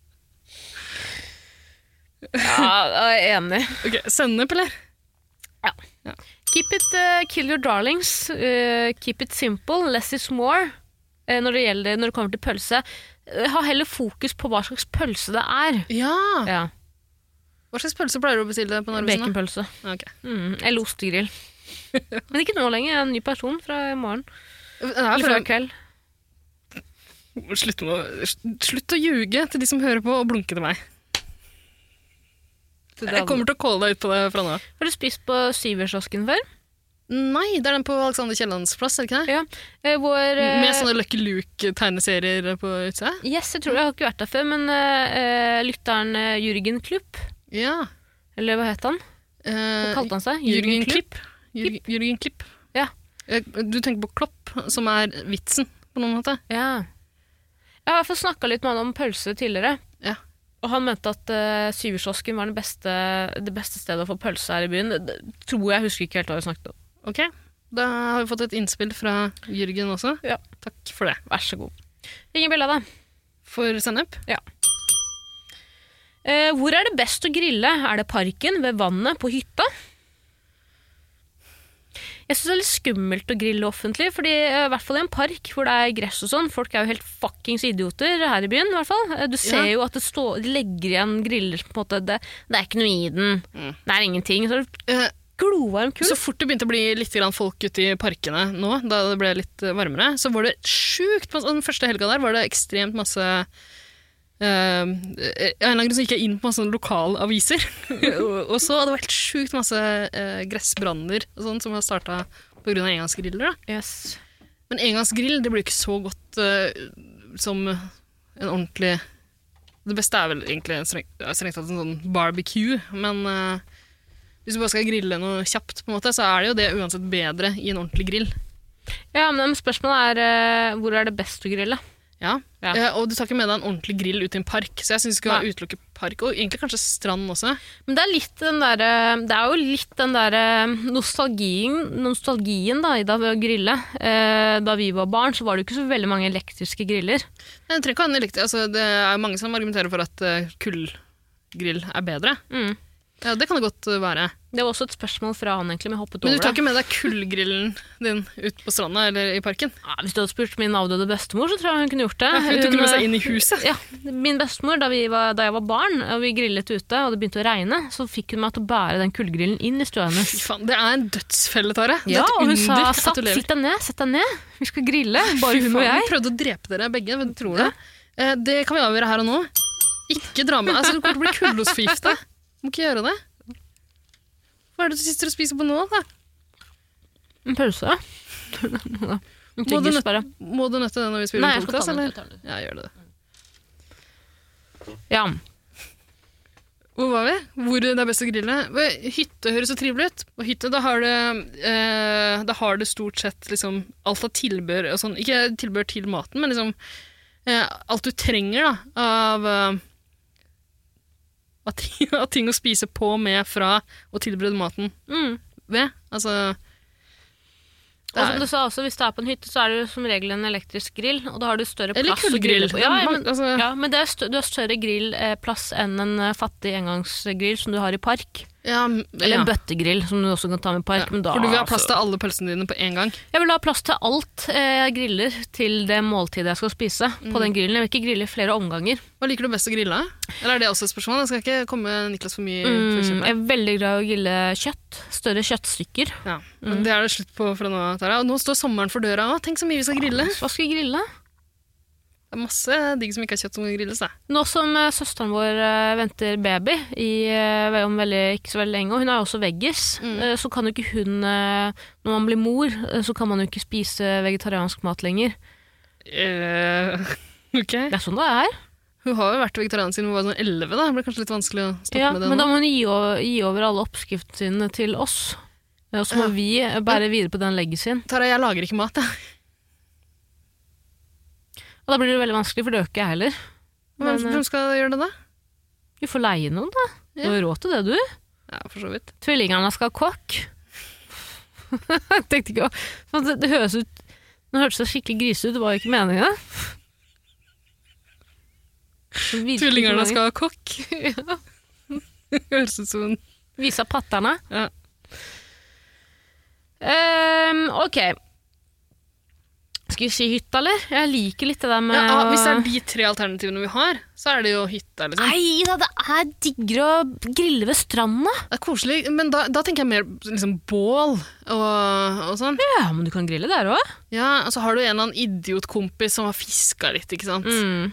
Speaker 2: [LAUGHS] Ja, jeg er enig.
Speaker 3: Ok, Sennep, eller?
Speaker 2: Keep it, eh, kill your darlings. eh, keep it simple. Less is more. eh, når, det gjelder, når det kommer til pølse. Eh, ha heller fokus på hva slags pølse det er.
Speaker 3: Ja!
Speaker 2: Ja,
Speaker 3: Hva slags pølse pleier du å bestille på Narvesen? da?
Speaker 2: Baconpølse.
Speaker 3: Ok.
Speaker 2: Mm, eller ostegrill. [LAUGHS] Men ikke nå lenger. Jeg er en ny person fra i morgen.
Speaker 3: Det er
Speaker 2: Eller fra i
Speaker 3: fra-
Speaker 2: kveld.
Speaker 3: Slutt, med å- slutt å ljuge til de som hører på, og blunke til meg. Jeg kommer til å calle deg ut på det fra nå av.
Speaker 2: Har du spist på Syverkiosken [LAUGHS] før?
Speaker 3: Nei, det er den på Alexander Kiellands plass, er det ikke det?
Speaker 2: Ja. Eh, hvor, eh,
Speaker 3: Med sånne Lucky Luke-tegneserier på utsida?
Speaker 2: Yes, jeg tror Jeg har ikke vært der før, men eh, eh, lytteren eh, Jürgen Klupp,
Speaker 3: Ja.
Speaker 2: eller hva het han? Hva
Speaker 3: Eh,
Speaker 2: kalte han seg?
Speaker 3: Jürgen Klipp. Jürgen Jürgen Klipp.
Speaker 2: Ja.
Speaker 3: Eh, Du tenker på Klopp, som er vitsen, på noen måte?
Speaker 2: Ja. Jeg har i hvert fall snakka litt med han om pølse tidligere.
Speaker 3: Ja.
Speaker 2: Og han mente at uh, Syverkiosken var den beste, det beste stedet å få pølse her i byen. Det, det tror jeg husker ikke helt hva vi snakket om.
Speaker 3: Ok, da har vi fått et innspill fra Jørgen også.
Speaker 2: Ja.
Speaker 3: Takk for det.
Speaker 2: Vær så god. Ring en bjelle, da.
Speaker 3: For sennep?
Speaker 2: Eh, hvor er det best å grille? Er det parken, ved vannet, på hytta? Jeg syns det er litt skummelt å grille offentlig, fordi eh, i hvert fall i en park hvor det er gress og sånn. Folk er jo helt fuckings idioter her i byen, i hvert fall. Eh, Du ser jo at det står, de legger igjen griller på en måte. Det, det er ikke noe i den.
Speaker 3: Mm.
Speaker 2: Det er ingenting. Så er det
Speaker 3: Eh,
Speaker 2: glovarm kull.
Speaker 3: så fort det begynte å bli litt grann folk ute i parkene nå, da det ble litt eh, varmere, så var det sjukt masse Den første helga der var det ekstremt masse eh, Av en eller annen grunn så gikk jeg inn på masse sånne [LAUGHS] lokalaviser. og, og så hadde det vært sjukt masse eh, gressbrander og sånn som var starta pga. engangsgriller. Da.
Speaker 2: Yes.
Speaker 3: Men engangsgrill det blir jo ikke så godt eh, som en ordentlig Det beste er vel egentlig en streng, ja, strengt tatt en sånn barbecue, men eh, hvis du bare skal grille noe kjapt, på en måte, så er det jo det uansett bedre i en ordentlig grill.
Speaker 2: Ja, men spørsmålet er eh, hvor er det best å grille?
Speaker 3: Ja.
Speaker 2: Ja.
Speaker 3: Eh, og du tar ikke med deg en ordentlig grill ut i en park, så jeg syns du skal
Speaker 2: Nei.
Speaker 3: utelukke park, og egentlig kanskje strand også.
Speaker 2: Men det er litt den der, eh, det er jo litt den der eh, nostalgien, nostalgien da, i da ved å grille. Eh, Da vi var barn, så var det jo ikke så veldig mange elektriske griller.
Speaker 3: Nei, Du trenger ikke ha en elektrisk altså, Det er mange som argumenterer for at eh, kullgrill er bedre.
Speaker 2: Mm.
Speaker 3: Ja, det kan det godt eh, være.
Speaker 2: Det var også et spørsmål fra han, egentlig, men jeg hoppet
Speaker 3: Men du
Speaker 2: over
Speaker 3: tar
Speaker 2: det.
Speaker 3: ikke med deg kullgrillen din ut på stranda eller i parken?
Speaker 2: Ja, hvis du hadde spurt min avdøde bestemor, så tror jeg hun kunne gjort det.
Speaker 3: Hun tok den med
Speaker 2: eh,
Speaker 3: seg inn i huset.
Speaker 2: Ja, Min bestemor, da, vi var, da jeg var barn og vi grillet ute og det begynte å regne, så fikk hun meg til å bære den kullgrillen inn i stua hennes.
Speaker 3: Fy faen, det er en dødsfelle, Tare. Det er
Speaker 2: Ja,
Speaker 3: et
Speaker 2: og hun
Speaker 3: under
Speaker 2: sa
Speaker 3: at du
Speaker 2: satt,
Speaker 3: lever.
Speaker 2: sitt deg ned, sett deg ned, vi skal grille,
Speaker 3: Fy
Speaker 2: bare hun og
Speaker 3: faen,
Speaker 2: jeg.
Speaker 3: Vi prøvde å drepe dere begge, men tror du det? Eh, Det kan vi avgjøre her og nå. Ikke dra med altså, Du kommer til å bli kullosforgifta. Må ikke gjøre det. Hva er det du sitter og spiser på nå? da?
Speaker 2: En pause.
Speaker 3: Må du,
Speaker 2: Tyggis bare.
Speaker 3: nøt- må du nøtte det når vi spiller
Speaker 2: Nei, jeg skal
Speaker 3: podcast,
Speaker 2: ta den.
Speaker 3: eller? Ja, gjør det.
Speaker 2: Ja.
Speaker 3: Hvor var vi? Hvor det er best å grille? Ved Hytte høres så trivelig ut. På hytte da har det, eh, da har det stort sett liksom, alt av tilbør og sånn. Ikke tilbør til maten, men liksom eh, alt du trenger da, av, eh, av, ting, [LAUGHS] av ting å spise på, med, fra og tilberede maten
Speaker 2: Mm.
Speaker 3: ved. Altså det
Speaker 2: Og som
Speaker 3: er,
Speaker 2: du sa også, hvis det er på en hytte, så er det jo som regel en elektrisk grill, og da har du større
Speaker 3: Eller
Speaker 2: plass å
Speaker 3: kullgrill.
Speaker 2: grille på.
Speaker 3: Det
Speaker 2: Ja,
Speaker 3: er
Speaker 2: men,
Speaker 3: mange- altså-
Speaker 2: ja, men det er stø- du har større grillplass enn en eh, fattig engangsgrill som du har i park.
Speaker 3: ja, m-
Speaker 2: Eller
Speaker 3: ja.
Speaker 2: en bøttegrill, som du også kan ta med i
Speaker 3: Ja,
Speaker 2: park. Men da,
Speaker 3: For du vil ha plass
Speaker 2: altså-
Speaker 3: til alle pølsene dine på én gang.
Speaker 2: Jeg vil ha plass til alt eh, jeg griller til det måltidet jeg skal spise.
Speaker 3: Mm.
Speaker 2: på den grillen. Jeg vil ikke grille i flere omganger.
Speaker 3: Hva liker du best å grille? Eller er det også et spørsmål? Jeg skal ikke komme Niklas for mye. for
Speaker 2: Mm,
Speaker 3: kjøpet.
Speaker 2: jeg er veldig glad i å grille kjøtt. Større kjøttstykker.
Speaker 3: Ja, men Det er det slutt på fra nå av. Tara. Og nå står sommeren for døra òg. Tenk så mye vi skal grille.
Speaker 2: Hva skal jeg grille?
Speaker 3: Det er masse digg som ikke er kjøtt som kan grilles. Da.
Speaker 2: Nå som eh, søsteren vår eh, venter baby i, eh, om veldig, ikke så veldig lenge, og hun er jo også veggis, eh, så kan jo ikke hun eh, Når man blir mor, eh, så kan man jo ikke spise vegetariansk mat lenger.
Speaker 3: Eh, ok.
Speaker 2: Det er sånn det er.
Speaker 3: Hun har jo vært vegetarianer siden hun var sånn 11. Da. Det blir kanskje litt vanskelig å stoppe
Speaker 2: Ja,
Speaker 3: med det
Speaker 2: men da
Speaker 3: nå.
Speaker 2: må hun gi over, gi over alle oppskriftene sine til oss. Eh, Og så må vi eh, bære videre på den legacyen.
Speaker 3: Tara, jeg lager ikke mat, jeg.
Speaker 2: Og da blir det veldig vanskelig, for det øker jeg heller.
Speaker 3: Hvem,
Speaker 2: Men, eh,
Speaker 3: hvem skal gjøre det, da?
Speaker 2: Du får leie noen, da. Du har råd til det, du.
Speaker 3: Ja, for så vidt.
Speaker 2: Tvillingene skal ha kokk. [LAUGHS] Jeg Tenkte ikke å- sånn, Det, det høres ut Nå hørtes det skikkelig grisete ut, det var jo ikke meninga. Det virker ikke
Speaker 3: Tvillingerne
Speaker 2: meningen.
Speaker 3: skal ha kokk. [LAUGHS] Høres ut som en
Speaker 2: Vise patterne.
Speaker 3: ja.
Speaker 2: Ehm, ok. Skal vi si hytta, eller? Jeg liker litt det der med
Speaker 3: ja, ah,
Speaker 2: å-
Speaker 3: Hvis det er de tre alternativene vi har, så er det jo hytta. Liksom.
Speaker 2: eh, Nei da, det er diggere å grille ved stranda.
Speaker 3: Det er koselig, men da, da tenker jeg mer liksom, bål og, og sånn.
Speaker 2: Ja, men du kan grille der òg.
Speaker 3: Ja, og så har du en eller annen idiotkompis som har fiska litt, ikke sant?
Speaker 2: Mm.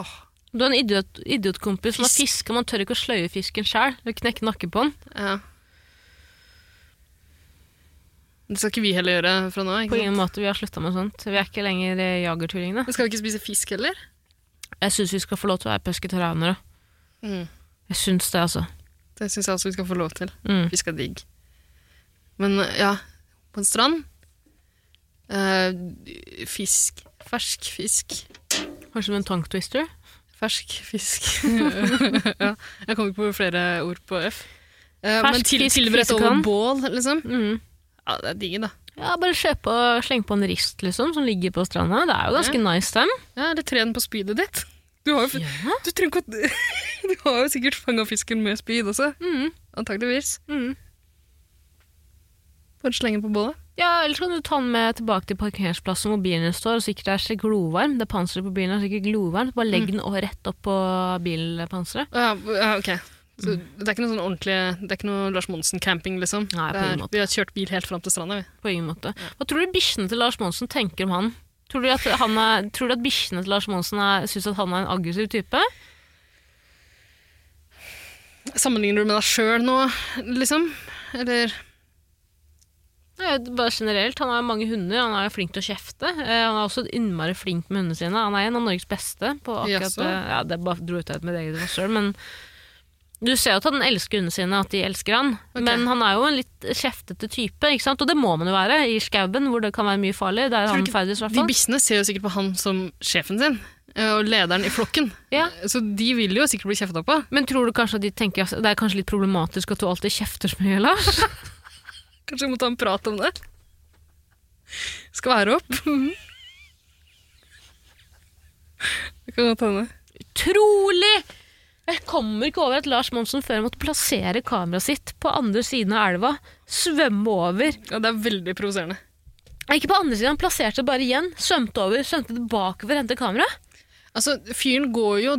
Speaker 3: Åh,
Speaker 2: Du har en idiot, idiotkompis som har
Speaker 3: Fisk.
Speaker 2: fiska, man tør ikke å sløye fisken sjøl. Knekke nakken på den.
Speaker 3: ja. Det skal ikke vi heller gjøre fra nå.
Speaker 2: På
Speaker 3: ikke sant?
Speaker 2: ingen måte, vi har slutta med sånt. Vi er ikke lenger eh, jagertvillingene.
Speaker 3: Men Skal vi ikke spise fisk heller?
Speaker 2: Jeg syns vi skal få lov til å være pesketarianere.
Speaker 3: Mm.
Speaker 2: Jeg syns det, altså.
Speaker 3: Det syns jeg også vi skal få lov til.
Speaker 2: Mm.
Speaker 3: Fisk er digg. Men ja, på en strand eh, Fisk. Fersk fisk.
Speaker 2: Kanskje med en tongue twister?
Speaker 3: Fersk fisk.
Speaker 2: [LAUGHS]
Speaker 3: ja, jeg kom ikke på flere ord på F. Eh,
Speaker 2: Fersk
Speaker 3: men til,
Speaker 2: fisk,
Speaker 3: tilberedt over
Speaker 2: fisekann. bål.
Speaker 3: bål, liksom.
Speaker 2: Mm.
Speaker 3: Ja, det er digg, da.
Speaker 2: Ja, bare kjøpe og slenge på en rist, liksom, som ligger på stranda. Det er jo ganske nice, den.
Speaker 3: Ja, eller tren på spydet ditt. Du har jo, du trenger ikke å- [LAUGHS] du har jo sikkert fanga fisken med spyd også.
Speaker 2: Mm.
Speaker 3: Antakeligvis.
Speaker 2: Mm.
Speaker 3: Bare slenge den på bålet.
Speaker 2: Ja, Ellers kan du ta den med tilbake til parkeringsplassen hvor bilen din står, og sikkert det er så glovarm. Det panseret på bilen er sikkert glovarmt. Bare legg den og rett opp på bilpanseret.
Speaker 3: Ja, ja, ok. Så det er ikke noe sånn ordentlig Det er ikke noe Lars Monsen-camping, liksom.
Speaker 2: Nei, på
Speaker 3: Det er-
Speaker 2: ingen måte.
Speaker 3: Vi har kjørt bil helt fram til stranda, vi.
Speaker 2: På ingen måte. Hva tror du bikkjene til Lars Monsen tenker om han? Tror du at, han er- tror du at bikkjene til Lars Monsen er- syns at han er en aggressiv type?
Speaker 3: Sammenligner du med deg sjøl nå, liksom? Eller
Speaker 2: Ja, Bare generelt, Han har jo mange hunder, han er jo flink til å kjefte. Eh, Han er også innmari flink med hundene sine. Han er en av Norges beste på akkurat
Speaker 3: Jaså?
Speaker 2: det. Ja, det bare dro ut av mitt eget vassøl, men du ser jo at han elsker hundene sine, at de elsker han.
Speaker 3: Ok.
Speaker 2: Men han er jo en litt kjeftete type, ikke sant? og det må man jo være i skauen, hvor det kan være mye farlig. Der
Speaker 3: Tror du
Speaker 2: han
Speaker 3: ikke
Speaker 2: ferdes, i hvert
Speaker 3: De
Speaker 2: fall.
Speaker 3: bikkjene ser jo sikkert på han som sjefen sin, eh, og lederen i flokken.
Speaker 2: Ja.
Speaker 3: Så de vil jo sikkert bli kjefta på.
Speaker 2: Men tror du kanskje at de tenker at det er kanskje litt problematisk at du alltid kjefter så mye, [LAUGHS] Lars?
Speaker 3: Kanskje vi må ta en prat om det? Skal være opp.
Speaker 2: Mhm.
Speaker 3: Det kan godt hende.
Speaker 2: Utrolig! Jeg kommer ikke over at Lars Monsen før måtte plassere kameraet sitt på andre siden av elva. Svømme over.
Speaker 3: Ja, det er veldig provoserende.
Speaker 2: Nei, Ikke på andre siden, han plasserte det bare igjen. Svømte over, svømte tilbake for å hente kameraet.
Speaker 3: Altså, fyren går jo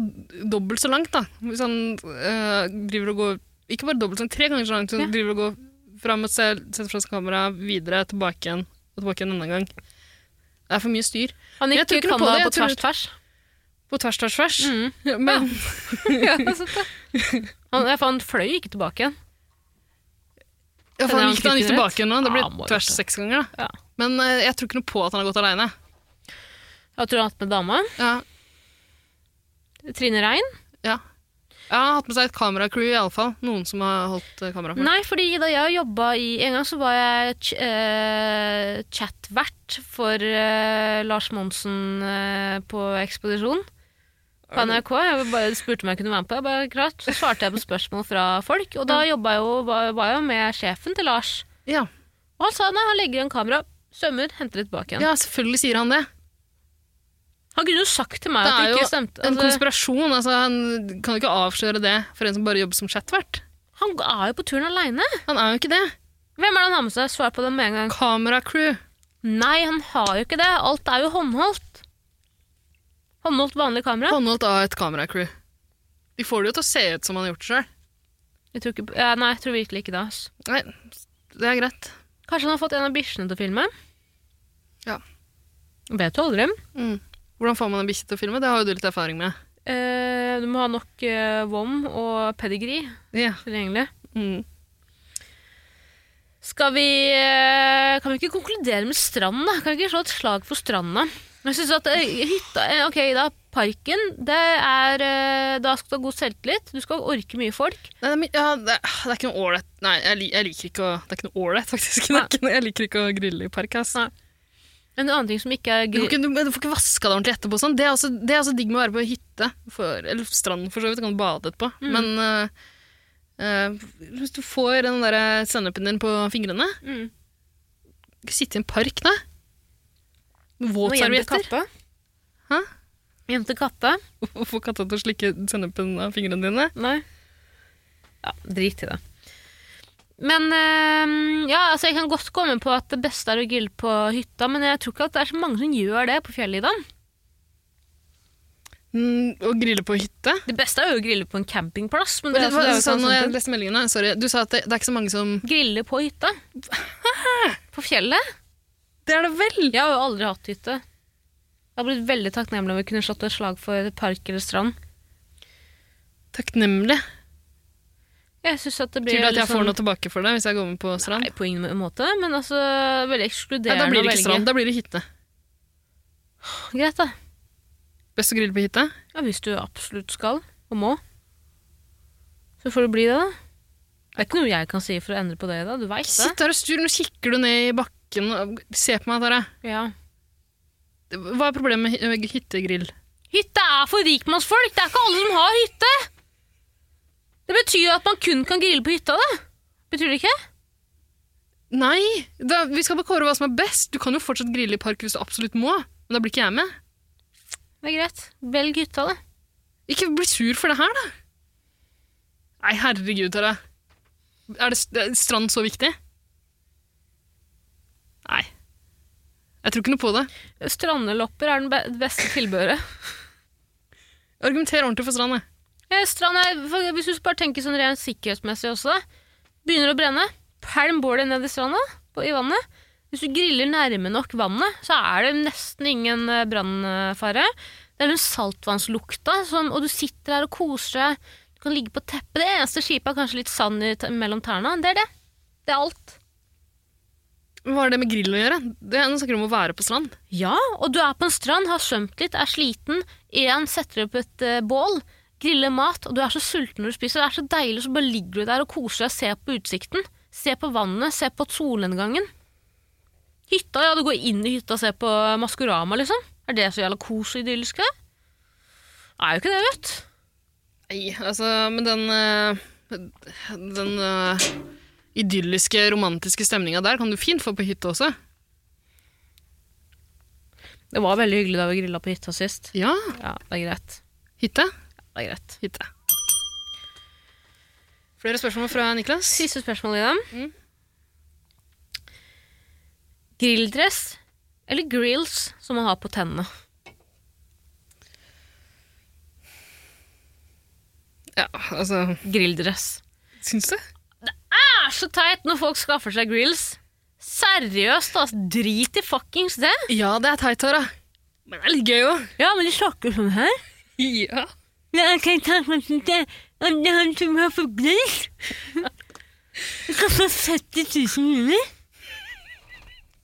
Speaker 3: dobbelt så langt, da. Hvis han eh, driver og går Ikke bare dobbelt, men tre ganger så langt. Så
Speaker 2: Ja.
Speaker 3: driver og går fram og ser- setter fra seg kameraet, videre, tilbake igjen, og tilbake igjen enda en gang. Det er for mye styr.
Speaker 2: Han
Speaker 3: Jeg
Speaker 2: gikk
Speaker 3: tror ikke noe på
Speaker 2: Canada
Speaker 3: det,
Speaker 2: på,
Speaker 3: jeg tror-
Speaker 2: tvers tvers.
Speaker 3: På tvers, tvers, tvers.
Speaker 2: Mm. [LAUGHS]
Speaker 3: [LAUGHS] Men
Speaker 2: Han, ja, for han fløy ikke tilbake igjen.
Speaker 3: ja, for
Speaker 2: Den er
Speaker 3: han
Speaker 2: han
Speaker 3: gikk,
Speaker 2: kvikker
Speaker 3: han gikk
Speaker 2: rett.
Speaker 3: tilbake igjen nå.
Speaker 2: Ja,
Speaker 3: Det
Speaker 2: han
Speaker 3: blir
Speaker 2: må
Speaker 3: tvers
Speaker 2: det.
Speaker 3: seks ganger, da.
Speaker 2: Ja.
Speaker 3: Men eh, jeg tror ikke noe på at han har gått aleine.
Speaker 2: Jeg tror han har hatt med dama.
Speaker 3: Ja,
Speaker 2: Trine Rein.
Speaker 3: Ja. Jeg har hatt med seg et kameracrew, iallfall. Noen som har holdt eh, kamera for.
Speaker 2: Nei, fordi da jeg jobba i En gang så var jeg ch eh, chatvert for eh, Lars Monsen eh, på ekspedisjon. på NRK. Jeg bare spurte om jeg kunne være med på det. Jeg bare, klart. Så svarte jeg på spørsmål fra folk, og da
Speaker 3: Mm.
Speaker 2: jobba jeg jo, var, var jeg jo med sjefen til Lars.
Speaker 3: Ja.
Speaker 2: Og han sa nei, han legger igjen kamera, svømmer, henter det tilbake igjen.
Speaker 3: ja, selvfølgelig sier han det.
Speaker 2: Han kunne jo sagt til meg
Speaker 3: Det
Speaker 2: at
Speaker 3: er
Speaker 2: det
Speaker 3: jo
Speaker 2: ikke stemte.
Speaker 3: En
Speaker 2: Altså,
Speaker 3: konspirasjon. altså Han kan jo ikke avsløre det for en som bare jobber som chatvert.
Speaker 2: han er jo på turen aleine.
Speaker 3: Han er jo ikke det.
Speaker 2: Hvem er det han har med seg? Svar på det med en gang.
Speaker 3: Kameracrew.
Speaker 2: Nei, han har jo ikke det. Alt er jo håndholdt. Håndholdt vanlig kamera.
Speaker 3: Håndholdt av et kameracrew. De får det jo til å se ut som han har gjort det sjøl.
Speaker 2: Jeg tror ikke, ja, nei, jeg tror virkelig ikke det. ass.
Speaker 3: Nei, det er greit.
Speaker 2: Kanskje han har fått en av bikkjene til å filme?
Speaker 3: Ja.
Speaker 2: Vet du aldri.
Speaker 3: Mm. Hvordan får man en bikkje til å filme? Det har jo du litt erfaring med.
Speaker 2: Eh, du må ha nok eh, vom og pedigree
Speaker 3: Ja.
Speaker 2: tilgjengelig.
Speaker 3: Mm.
Speaker 2: Skal vi eh, Kan vi ikke konkludere med stranden, da? Kan vi ikke slå et slag for stranda? Jeg synes at eh, hytta eh, Ok, da. Parken. Det er eh, Da skal du ha god selvtillit. Du skal orke mye folk.
Speaker 3: Nei, det, er, mi- ja, det, er- det er ikke noe ålreit Nei, jeg, li- jeg liker ikke å Det er ikke noe ålreit, faktisk. [LAUGHS] Det er ikke, noe- jeg liker ikke å grille i park. ass.
Speaker 2: En annen ting som ikke er
Speaker 3: Du
Speaker 2: gri
Speaker 3: får ikke, du, du får ikke vaska deg ordentlig etterpå. og Sånn. Det, er også, det er også digg med å være på hytte, for, eller stranden for så vidt, du kan bade etterpå. Men eh, eh, hvis du får den der sennepen din på fingrene
Speaker 2: Mm.
Speaker 3: Ikke sitte i en park, da.
Speaker 2: Og hjem
Speaker 3: Med
Speaker 2: til
Speaker 3: Våtservietter.
Speaker 2: katta.
Speaker 3: Hæ?
Speaker 2: Hjem til katta?
Speaker 3: Og [LAUGHS] få katta til å slikke sennepen av fingrene dine.
Speaker 2: Nei. Ja, drit i det. Men eh, ja, altså Jeg kan godt komme på at det beste er å grille på hytta, men jeg tror ikke at det er så mange som gjør det på fjellet i dag.
Speaker 3: Mm, og grille på hytte.
Speaker 2: Det beste er jo å grille på en campingplass. Men
Speaker 3: Det,
Speaker 2: det,
Speaker 3: det,
Speaker 2: er
Speaker 3: var,
Speaker 2: altså- det er jo
Speaker 3: det,
Speaker 2: ikke
Speaker 3: når jeg
Speaker 2: sånn-
Speaker 3: leste meldingene, sorry, Du sa at det, det er ikke så mange som
Speaker 2: Grille på [LAUGHS] hytta. På fjellet.
Speaker 3: Det er det vel!
Speaker 2: Jeg har jo aldri hatt hytte. Jeg har blitt veldig takknemlig om vi kunne slått et slag for park eller strand.
Speaker 3: Takknemlig.
Speaker 2: Jeg synes at det blir
Speaker 3: Tydelig at
Speaker 2: litt
Speaker 3: jeg får
Speaker 2: sånn-
Speaker 3: noe tilbake for det hvis jeg går med på strand.
Speaker 2: Nei, på ingen måte, men altså veldig
Speaker 3: Nei,
Speaker 2: ekskluderende
Speaker 3: da
Speaker 2: å
Speaker 3: blir det
Speaker 2: velge.
Speaker 3: ikke strand, da blir det hytte.
Speaker 2: Greit, da.
Speaker 3: Best å grille på hytte.
Speaker 2: Ja, hvis du absolutt skal og må, så får det bli det, da. Det er ikke noe jeg kan si for å endre på det, da. Du veit
Speaker 3: Ikke
Speaker 2: det.
Speaker 3: sitt der og styr, nå kikker du ned i bakken. og- Se på meg, Tara.
Speaker 2: Ja.
Speaker 3: Hva er problemet med hy- med hyttegrill?
Speaker 2: Hytte er for rikmannsfolk! Det er ikke alle som har hytte! Det betyr jo at man kun kan grille på hytta, da. Betyr det ikke?
Speaker 3: Nei! Da, vi skal bare kåre hva som er best. Du kan jo fortsatt grille i park hvis du absolutt må, men da blir ikke jeg med.
Speaker 2: Det er greit. Velg hytta, da.
Speaker 3: Ikke bli sur for det her, da. Nei, herregud, Tara. Er, det, er strand så viktig? Nei. Jeg tror ikke noe på det.
Speaker 2: Strandelopper er den be beste tilbehøret.
Speaker 3: Argumenter ordentlig for strand, jeg.
Speaker 2: Eh, Strand er, for hvis du bare tenker sånn rent sikkerhetsmessig også, da. Begynner å brenne, pælm bålet ned i stranda, på, i vannet. Hvis du griller nærme nok vannet, så er det nesten ingen eh, brannfare. Det er den saltvannslukta, som, og du sitter her og koser deg. Du kan ligge på teppet. Det eneste skipet er kanskje litt sand i, t- mellom tærne. Det er det. Det er alt.
Speaker 3: Men Hva har det med grill å gjøre? Det er Nå snakker du om å være på strand.
Speaker 2: Ja, og du er på en strand, har svømt litt, er sliten, én setter opp et eh, bål, griller mat, og du er så sulten når du spiser, det er så deilig, så bare ligger du der og koser deg, ser på utsikten, ser på vannet, ser på solnedgangen. Hytta, ja, du går inn i hytta og ser på Maskorama, liksom. Er det så jævla kos og idyllisk, det? Er jo ikke det, vet du.
Speaker 3: Nei, altså, men den eh, Den eh, idylliske, romantiske stemninga der kan du fint få på hytta også.
Speaker 2: Det var veldig hyggelig da vi grilla på hytta sist.
Speaker 3: Ja.
Speaker 2: Ja, det er greit.
Speaker 3: Hytte?
Speaker 2: Det er greit.
Speaker 3: Hytte. Flere spørsmål fra Niklas?
Speaker 2: Siste spørsmål i dem.
Speaker 3: Mm.
Speaker 2: Mm. Grilldress eller grills som man har på tennene?
Speaker 3: Ja, altså
Speaker 2: Grilldress.
Speaker 3: Syns du?
Speaker 2: Det er så teit når folk skaffer seg grills. Seriøst, altså. Drit i fuckings det.
Speaker 3: Ja, det er teit, Tara. Men det er litt gøy òg.
Speaker 2: Ja, men de snakker sånn her.
Speaker 3: Ja.
Speaker 2: Det er ikke teit, men det er det han som har fått grills. Det koster 70 000 kroner.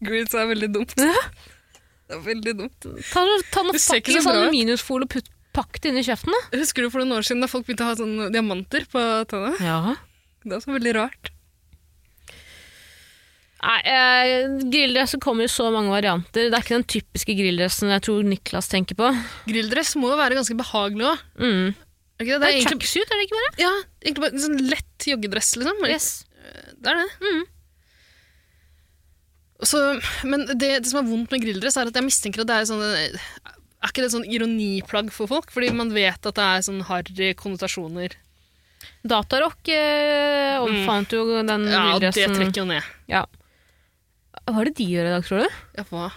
Speaker 3: Greens er veldig dumt.
Speaker 2: Ja.
Speaker 3: Det er veldig dumt.
Speaker 2: Ta, ta noe
Speaker 3: Det ser ikke så
Speaker 2: fuckings
Speaker 3: bra ut.
Speaker 2: aluminiumsfolie og putt, pakk det inn i kjeften, da.
Speaker 3: Husker du for noen år siden da folk begynte å ha sånne diamanter på tenna?
Speaker 2: Ja.
Speaker 3: Det var så veldig rart.
Speaker 2: Nei, eh, Grilldresser kommer i så mange varianter. Det er ikke den typiske grilldressen jeg tror Niklas tenker på.
Speaker 3: Grilldress må jo være ganske behagelig òg.
Speaker 2: Mm.
Speaker 3: Er ikke det?
Speaker 2: Det
Speaker 3: det
Speaker 2: er
Speaker 3: er egentlig,
Speaker 2: tracksuit, er det ikke bare?
Speaker 3: ja, egentlig bare en sånn lett joggedress, liksom.
Speaker 2: Yes.
Speaker 3: Det er det.
Speaker 2: Mm.
Speaker 3: Så, men det, det som er vondt med grilldress, er at jeg mistenker at det er sånn Er ikke det sånn ironiplagg for folk? Fordi man vet at det er sånn harry konnotasjoner.
Speaker 2: Datarock eh, omfant jo den
Speaker 3: Ja, og det
Speaker 2: grilldressen.
Speaker 3: trekker jo ned.
Speaker 2: Ja. Hva er det de gjør i dag, tror du?
Speaker 3: Ja, hva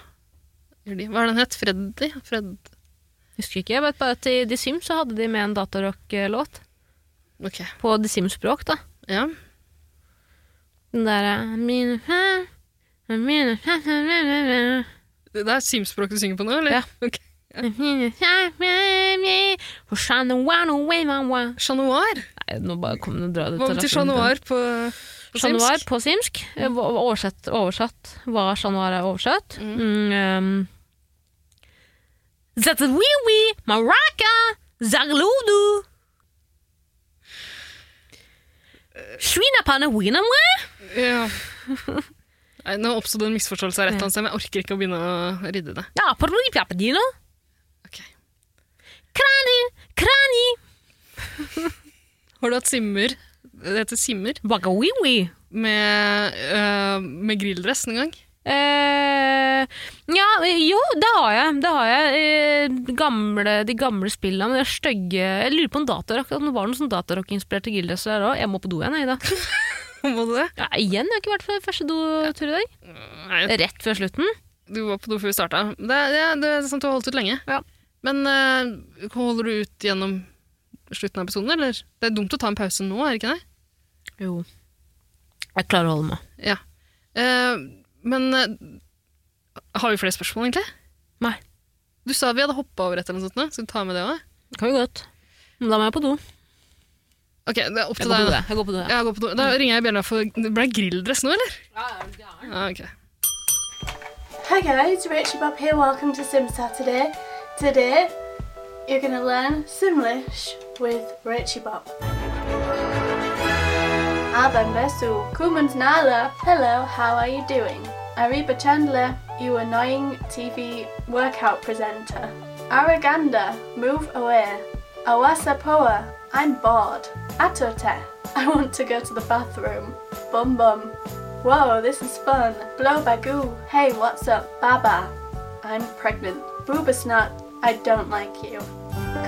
Speaker 3: gjør de? Hva er den het? Freddy? Fred...
Speaker 2: Husker ikke. Jeg vet bare at i The Sims så hadde de med en datarock-låt.
Speaker 3: Ok.
Speaker 2: På The Sims-språk, da.
Speaker 3: Ja.
Speaker 2: Den derre mine, hæ, mine, hæ, hæ, hæ, hæ, hæ.
Speaker 3: Det det er simspråk du synger på nå, eller?
Speaker 2: Ja.
Speaker 3: Ok.
Speaker 2: Mine, hæ, hæ, hæ. For Chat Noir, no way, my way.
Speaker 3: Chat Noir.
Speaker 2: Nei, nå bare kom den og dra det
Speaker 3: Hva
Speaker 2: til
Speaker 3: betyr
Speaker 2: rassen.
Speaker 3: chat noir på, på
Speaker 2: Chat Noir
Speaker 3: simsk?
Speaker 2: på simsk. Eh, hva- hva Oversett, oversatt hva chat noir er oversatt.
Speaker 3: Mm.
Speaker 2: Mm, ehm. That's a wee wee, maraca, zagludu. Svinapane winamwe.
Speaker 3: Ja. Nei, nå oppstod det en misforståelse her, rett annet sted, men jeg orker ikke å begynne å rydde det.
Speaker 2: Ja, parodipapadino.
Speaker 3: Ok.
Speaker 2: Krani, krani.
Speaker 3: Har du hatt simmer? Det heter simmer.
Speaker 2: Waka wee wee.
Speaker 3: Med, øh, med grilldress en gang. [LAUGHS]
Speaker 2: Eh, ja, jo, det har jeg. Det har jeg. Eh, gamle, de gamle spillene med de stygge Jeg lurer på om datarock om det var noen sånn datarock-inspirerte gilddresser der òg. Jeg må på do igjen, jeg, Ida.
Speaker 3: Må du det?
Speaker 2: Ja, igjen, jeg har ikke vært på første dotur i dag.
Speaker 3: Nei,
Speaker 2: Rett før slutten.
Speaker 3: Eh, du var på do før vi starta. Det, det, det er sant, du har holdt ut lenge.
Speaker 2: Ja.
Speaker 3: Men øh, holder du ut gjennom slutten av episoden, eller? Det er dumt å ta en pause nå, er det ikke det?
Speaker 2: Jo. Jeg klarer å holde meg.
Speaker 3: Ja. Eh, men eh, har vi flere spørsmål, egentlig?
Speaker 2: Nei.
Speaker 3: Du sa vi hadde hoppa over et eller noe sånt. nå. Skal du ta med det òg?
Speaker 2: Det kan vi godt. Men da må jeg på do.
Speaker 3: Ok, det er opp
Speaker 2: Jeg
Speaker 3: til
Speaker 2: går på
Speaker 3: deg.
Speaker 2: do,
Speaker 3: da.
Speaker 2: jeg. jeg. Går på do jeg.
Speaker 3: Ja, gå på do. Da ringer jeg bjella for Det ble grilldress nå, eller? Ja, ok.
Speaker 4: Hi guys, Rachel Bob here. Welcome to Sim Saturday. Today, you're going to learn Simlish with Rachel Bob. Abambesu, Kumans Nala. Hello, how are you doing? Ariba Chandler, you annoying TV workout presenter. Araganda, move away. Awasapoa, I'm bored. Atote, [LAUGHS] I want to go to the bathroom. Bum bum. Whoa, this is fun. Blow bagoo. Hey, what's up? Baba. I'm pregnant. Booba snot. I don't like you.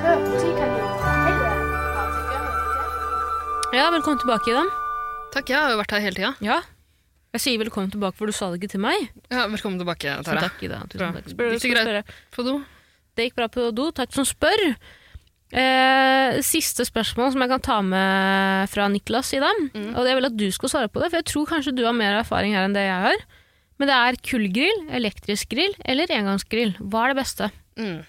Speaker 4: Cook, tika you. Hey there. How's it going?
Speaker 2: Ja, velkommen tilbake, Ida.
Speaker 3: Takk, jeg har jo vært her hele tida.
Speaker 2: Ja. Jeg sier velkommen tilbake, for du sa det ikke til meg.
Speaker 3: Ja, velkommen tilbake,
Speaker 2: Tusen
Speaker 3: Tara.
Speaker 2: takk, Ida.
Speaker 3: Bra.
Speaker 2: Tusen takk.
Speaker 3: Gikk det greit? På do.
Speaker 2: Det gikk bra på do, takk som spør. Eh, siste spørsmål som jeg kan ta med fra Niklas i dag. Og jeg vil at du skal svare på det, for jeg tror kanskje du har mer erfaring her enn det jeg har. Men det er kullgrill, elektrisk grill eller engangsgrill. Hva er det beste?
Speaker 3: Mm.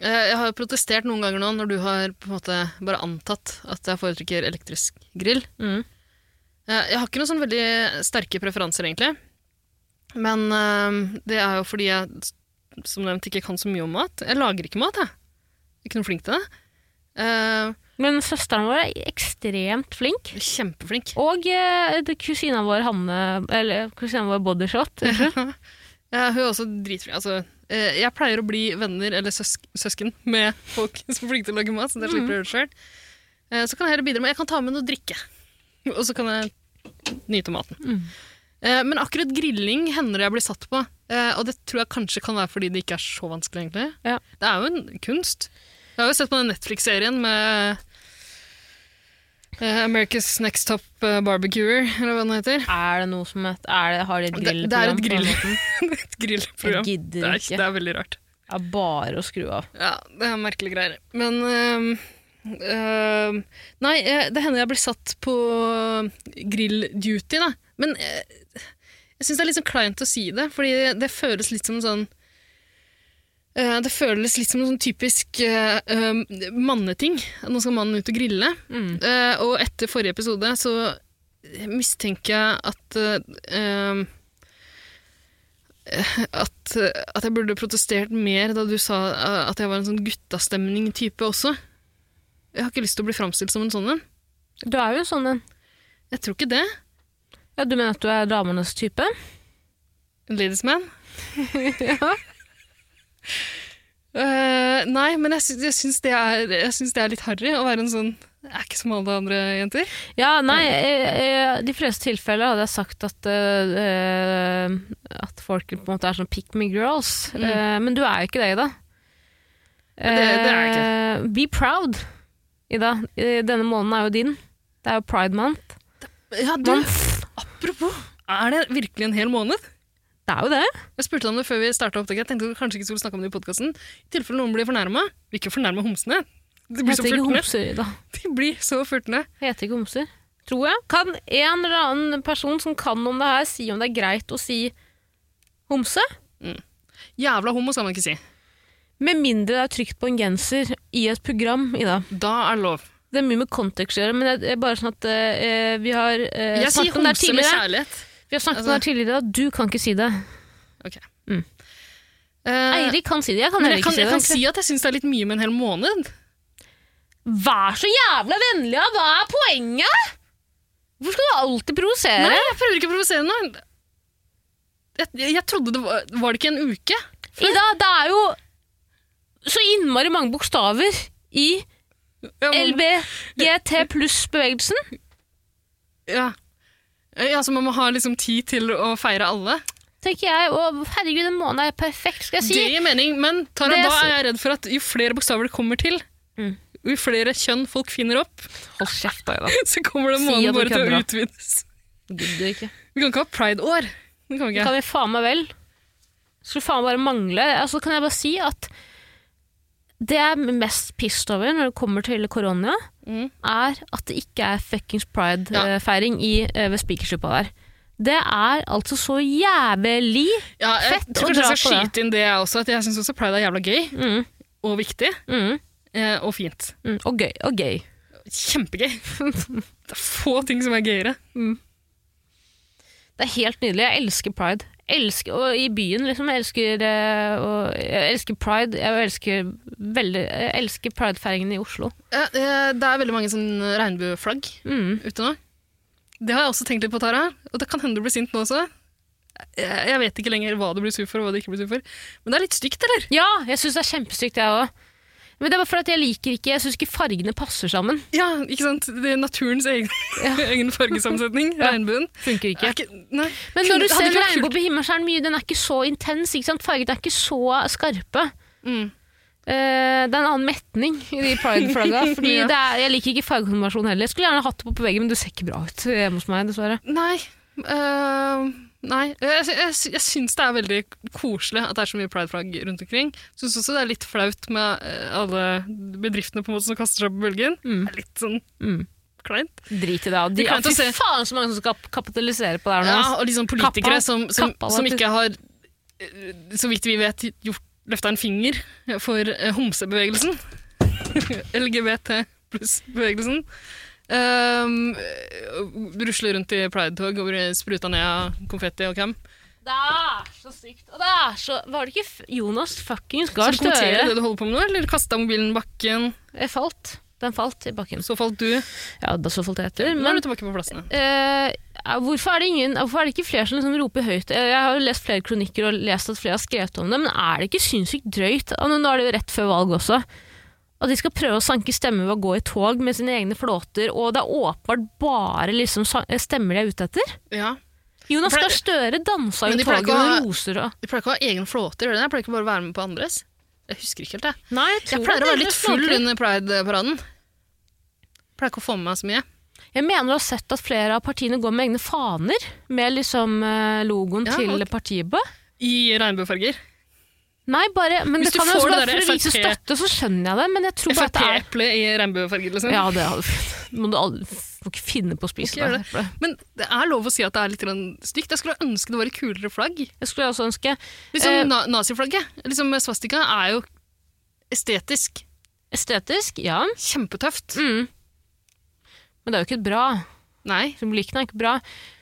Speaker 3: Eh, Jeg har jo protestert noen ganger nå når du har på en måte bare antatt at jeg foretrekker elektrisk grill.
Speaker 2: Mm.
Speaker 3: Eh, Jeg har ikke noen sånn veldig sterke preferanser, egentlig. Men eh, det er jo fordi jeg som nevnt ikke kan så mye om mat. Jeg lager ikke mat, jeg. Ikke noe flink til det. Eh,
Speaker 2: Men søsteren vår er ekstremt flink.
Speaker 3: kjempeflink.
Speaker 2: Og eh, det- kusina vår Hanne Eller kusina vår Bodyshot.
Speaker 3: [LAUGHS] Ja, hun er også dritflink. Altså, eh, jeg pleier å bli venner eller søsk søsken med folk [LAUGHS] som er flinke til å lage mat, så det
Speaker 2: Mm.
Speaker 3: slipper jeg å gjøre sjøl. Eh, Så kan jeg heller bidra med Jeg kan ta med noe drikke, og så kan jeg nyte maten.
Speaker 2: Mm.
Speaker 3: Eh, Men akkurat grilling hender det jeg blir satt på, eh, og det tror jeg kanskje kan være fordi det ikke er så vanskelig, egentlig.
Speaker 2: Ja.
Speaker 3: Det er jo en kunst. Jeg har jo sett på den Netflix-serien med eh, America's Next Top eh, Barbecuer, eller hva den heter. [LAUGHS]
Speaker 2: Er det noe som et, er det, Har de et
Speaker 3: Det- det er et
Speaker 2: grillprogram? på den
Speaker 3: grill. [LAUGHS]
Speaker 2: måten?
Speaker 3: Et grillprogram.
Speaker 2: Jeg
Speaker 3: Det
Speaker 2: gidder
Speaker 3: er,
Speaker 2: ikke.
Speaker 3: det er veldig rart.
Speaker 2: Det er bare å skru av.
Speaker 3: Ja, det er merkelige greier. Men øhm, øhm, Nei, eh, det hender jeg blir satt på grill-duty, da. Men eh, jeg syns det er litt sånn kleint å si det, fordi det føles litt som en sånn eh, det føles litt som en sånn typisk eh, øhm, manneting. Nå skal mannen ut og grille. Eh, og etter forrige episode så mistenker jeg at eh, øhm, at, at jeg burde protestert mer da du sa eh, at jeg var en sånn guttastemning-type også. Jeg har ikke lyst til å bli framstilt som en sånn en.
Speaker 2: Du er jo en sånn en.
Speaker 3: Jeg tror ikke det.
Speaker 2: Ja, du mener at du er damenes type?
Speaker 3: En ladies [LAUGHS] man. Eh, nei, men jeg, sy- jeg syns det, er- jeg syns det er litt harry å være en sånn Jeg er ikke som alle andre jenter.
Speaker 2: Ja, nei, eh, eh, de fleste tilfeller hadde jeg sagt at, eh, eh, at folk på en måte er sånn pick me girls,
Speaker 3: Mm.
Speaker 2: eh, men du er jo ikke det, Ida.
Speaker 3: det- det er jeg
Speaker 2: Eh, be proud, Ida. Eh, Denne måneden er jo din. Det er jo pride month.
Speaker 3: Ja, du, apropos, er det virkelig en hel måned?
Speaker 2: Det er jo det.
Speaker 3: Jeg spurte om det før vi starta opptaket. Jeg tenkte vi kanskje ikke skulle snakke om det i podkasten. I tilfelle noen blir fornærma. Vil ikke fornærme homsene. De blir
Speaker 2: Jeg
Speaker 3: så
Speaker 2: heter ikke
Speaker 3: furtne.
Speaker 2: homser, Ida.
Speaker 3: De blir så furtne.
Speaker 2: Jeg heter ikke homser. Tror jeg. Kan en eller annen person som kan om det her, si om det er greit å si homse?
Speaker 3: Jævla homo skal man ikke si.
Speaker 2: Med mindre det er trygt på en genser i et program, Ida.
Speaker 3: Da er det lov.
Speaker 2: Det er mye med kontekst å gjøre, men det er bare sånn at eh, vi har eh,
Speaker 3: Jeg sier
Speaker 2: snakket om det her
Speaker 3: homse med
Speaker 2: tidligere.
Speaker 3: kjærlighet.
Speaker 2: Vi har snakket om
Speaker 3: Altså-
Speaker 2: det her tidligere, at du kan ikke si det.
Speaker 3: Ok.
Speaker 2: Mm.
Speaker 3: Eh,
Speaker 2: Eirik kan si det, jeg kan
Speaker 3: men
Speaker 2: heller
Speaker 3: jeg
Speaker 2: ikke
Speaker 3: kan, jeg kan
Speaker 2: si det.
Speaker 3: si at jeg syns det er litt mye med en hel måned.
Speaker 2: Vær så jævla vennlig, da! Hva er poenget?! Hvorfor skal du alltid provosere?
Speaker 3: Nei, jeg prøver ikke å provosere noe. Jeg, jeg trodde det var, var det ikke en uke?
Speaker 2: Ida, det er jo så innmari mange bokstaver i
Speaker 3: Ja, man-
Speaker 2: LBGT pluss-bevegelsen.
Speaker 3: ja. ja, så man må ha liksom tid til å feire alle.
Speaker 2: Tenker jeg, å herregud, en måned er perfekt, skal jeg si.
Speaker 3: Det gir mening, men Tara,
Speaker 2: Det er
Speaker 3: da
Speaker 2: så-
Speaker 3: er jeg redd for at jo flere bokstaver det kommer til,
Speaker 2: Mm.
Speaker 3: jo flere kjønn folk finner opp, [LAUGHS]
Speaker 2: Hold kjeft, da, Ida.
Speaker 3: så kommer det
Speaker 2: Si
Speaker 3: måneden
Speaker 2: at du
Speaker 3: bare til å
Speaker 2: kødder,
Speaker 3: utvides.
Speaker 2: Gidder ikke.
Speaker 3: Vi kan ikke ha pride-år. Det kan vi
Speaker 2: Det
Speaker 3: ikke.
Speaker 2: kan vi faen meg vel. Skulle faen bare mangle. Altså, kan jeg bare si at det jeg er mest pissed over når det kommer til korona,
Speaker 3: Mm.
Speaker 2: er at det ikke er fuckings
Speaker 3: Ja.
Speaker 2: pride-feiring eh, ved Spikersuppa der. Det er altså så jævlig
Speaker 3: Ja, jeg
Speaker 2: Fett å
Speaker 3: tror kanskje
Speaker 2: dra
Speaker 3: jeg skal
Speaker 2: på det.
Speaker 3: skyte inn det jeg også, at jeg syns også pride er jævla gøy
Speaker 2: mm,
Speaker 3: og viktig
Speaker 2: mm,
Speaker 3: eh, og fint.
Speaker 2: mm, og gøy. Og gøy. [LAUGHS]
Speaker 3: Kjempegøy. Det er få ting som er gøyere.
Speaker 2: Det er helt nydelig. Jeg elsker pride. Elsker, og I byen, liksom. Jeg elsker, eh, og, jeg elsker pride. Jeg elsker, veldig- jeg elsker pridefeiringen i Oslo.
Speaker 3: Ja, eh, det er veldig mange sånn regnbueflagg
Speaker 2: Mm.
Speaker 3: ute nå. Det har jeg også tenkt litt på, Tara, og det kan hende du blir sint nå også. Jeg jeg vet ikke lenger hva du blir sur for, og hva du ikke blir sur for. Men det er litt stygt, eller?
Speaker 2: Ja, jeg syns det er kjempestygt, jeg òg. Men det er bare fordi at jeg liker ikke Jeg syns ikke fargene passer sammen.
Speaker 3: Ja, ikke sant? Det er naturens egen, [LAUGHS] egen fargesamsetning,
Speaker 2: Ja.
Speaker 3: regnbuen.
Speaker 2: Funker
Speaker 3: Er
Speaker 2: ikke.
Speaker 3: ikke, nei.
Speaker 2: Men når du
Speaker 3: Hadde
Speaker 2: ser
Speaker 3: ikke
Speaker 2: en
Speaker 3: vært
Speaker 2: regnbue på himmelen, så er den mye Den er ikke så intens. ikke sant? Fargene er ikke så skarpe.
Speaker 3: Mm.
Speaker 2: Eh, det er en annen metning i de pride-flagga. [LAUGHS] Fordi
Speaker 3: Ja.
Speaker 2: det er, Jeg liker ikke fargekonfirmasjon heller. Jeg skulle gjerne hatt det på på veggen, men det ser ikke bra ut hjemme hos meg, dessverre.
Speaker 3: Nei. øh, nei. Jeg, sy- jeg, sy- jeg syns det er veldig koselig at det er så mye prideflagg rundt omkring. Syns også det er litt flaut med øh, alle bedriftene på en måte som kaster seg på bølgen.
Speaker 2: Mm.
Speaker 3: Det er litt sånn
Speaker 2: Mm.
Speaker 3: kleint.
Speaker 2: Drit i det. Og de,
Speaker 3: Det er kleint
Speaker 2: fy
Speaker 3: å se.
Speaker 2: faen så mange som skal kapitalisere på det her nå.
Speaker 3: Ja,
Speaker 2: ass.
Speaker 3: og liksom politikere
Speaker 2: Kappa-
Speaker 3: som, som,
Speaker 2: kappa
Speaker 3: som
Speaker 2: det.
Speaker 3: ikke har, øh, så vidt vi vet, gjort løfta en finger for øh, homsebevegelsen. [LAUGHS] LGBT pluss-bevegelsen. Ehm, Um, øh, rusler rundt i pridetog og blir spruta ned av konfetti og hvem.
Speaker 2: Det er så sykt. Og det er så Var det ikke f- Jonas fuckings Gahr
Speaker 3: Skal du kommentere
Speaker 2: Støre?
Speaker 3: det du holder på med nå, eller kasta mobilen i bakken,
Speaker 2: Jeg falt. Den falt i bakken.
Speaker 3: så falt du?
Speaker 2: Ja, da så falt jeg etter.
Speaker 3: Nå
Speaker 2: Men
Speaker 3: er du tilbake på plassene.
Speaker 2: Eh, hvorfor, er det ingen, hvorfor er det ikke flere som liksom roper høyt? Eh, Jeg har jo lest flere kronikker og lest at flere har skrevet om det, men er det ikke sinnssykt drøyt? Ah, Nå er det jo rett før valg også. At de skal prøve å sanke stemmer ved å gå i tog med sine egne flåter, og det er åpenbart bare liksom sa- stemmer de er ute etter.
Speaker 3: Ja.
Speaker 2: Jonas
Speaker 3: For det-
Speaker 2: Gahr Støre dansa jo
Speaker 3: Men
Speaker 2: i
Speaker 3: de
Speaker 2: toget
Speaker 3: pleier ikke
Speaker 2: med
Speaker 3: å ha-
Speaker 2: roser og
Speaker 3: De pleier ikke å ha egen flåte, gjør de det? Jeg pleier ikke bare å være med på andres. Jeg husker ikke helt, jeg.
Speaker 2: Nei, jeg,
Speaker 3: Jeg
Speaker 2: tror
Speaker 3: pleier
Speaker 2: at
Speaker 3: å være
Speaker 2: det
Speaker 3: litt
Speaker 2: er
Speaker 3: full
Speaker 2: smakelig.
Speaker 3: under Pride-paraden. Pleier ikke å få med meg så mye.
Speaker 2: Jeg mener å ha sett at flere av partiene går med egne faner, med liksom eh, logoen
Speaker 3: Ja,
Speaker 2: til
Speaker 3: ok.
Speaker 2: partiet på.
Speaker 3: I regnbuefarger.
Speaker 2: Nei, bare, men
Speaker 3: Hvis
Speaker 2: det
Speaker 3: du
Speaker 2: kan jo
Speaker 3: får
Speaker 2: også
Speaker 3: det
Speaker 2: være
Speaker 3: der
Speaker 2: for å vise
Speaker 3: FrP
Speaker 2: støtte, så skjønner jeg det, men jeg tror bare at det er
Speaker 3: Frp-eple i regnbuefarger, liksom.
Speaker 2: Ja, det hadde, [LAUGHS] må du aldri må ikke finne på å spise
Speaker 3: Ikke gjør
Speaker 2: det. eplet.
Speaker 3: Men det er lov å si at det er litt grann stygt. Jeg skulle ønske det var et kulere flagg.
Speaker 2: Det skulle jeg også ønske.
Speaker 3: Liksom
Speaker 2: Eh,
Speaker 3: na naziflagget. Liksom svastika er jo estetisk
Speaker 2: Estetisk, ja.
Speaker 3: kjempetøft.
Speaker 2: Mm. Men det er jo ikke bra.
Speaker 3: Nei.
Speaker 2: Symbolikken er ikke bra.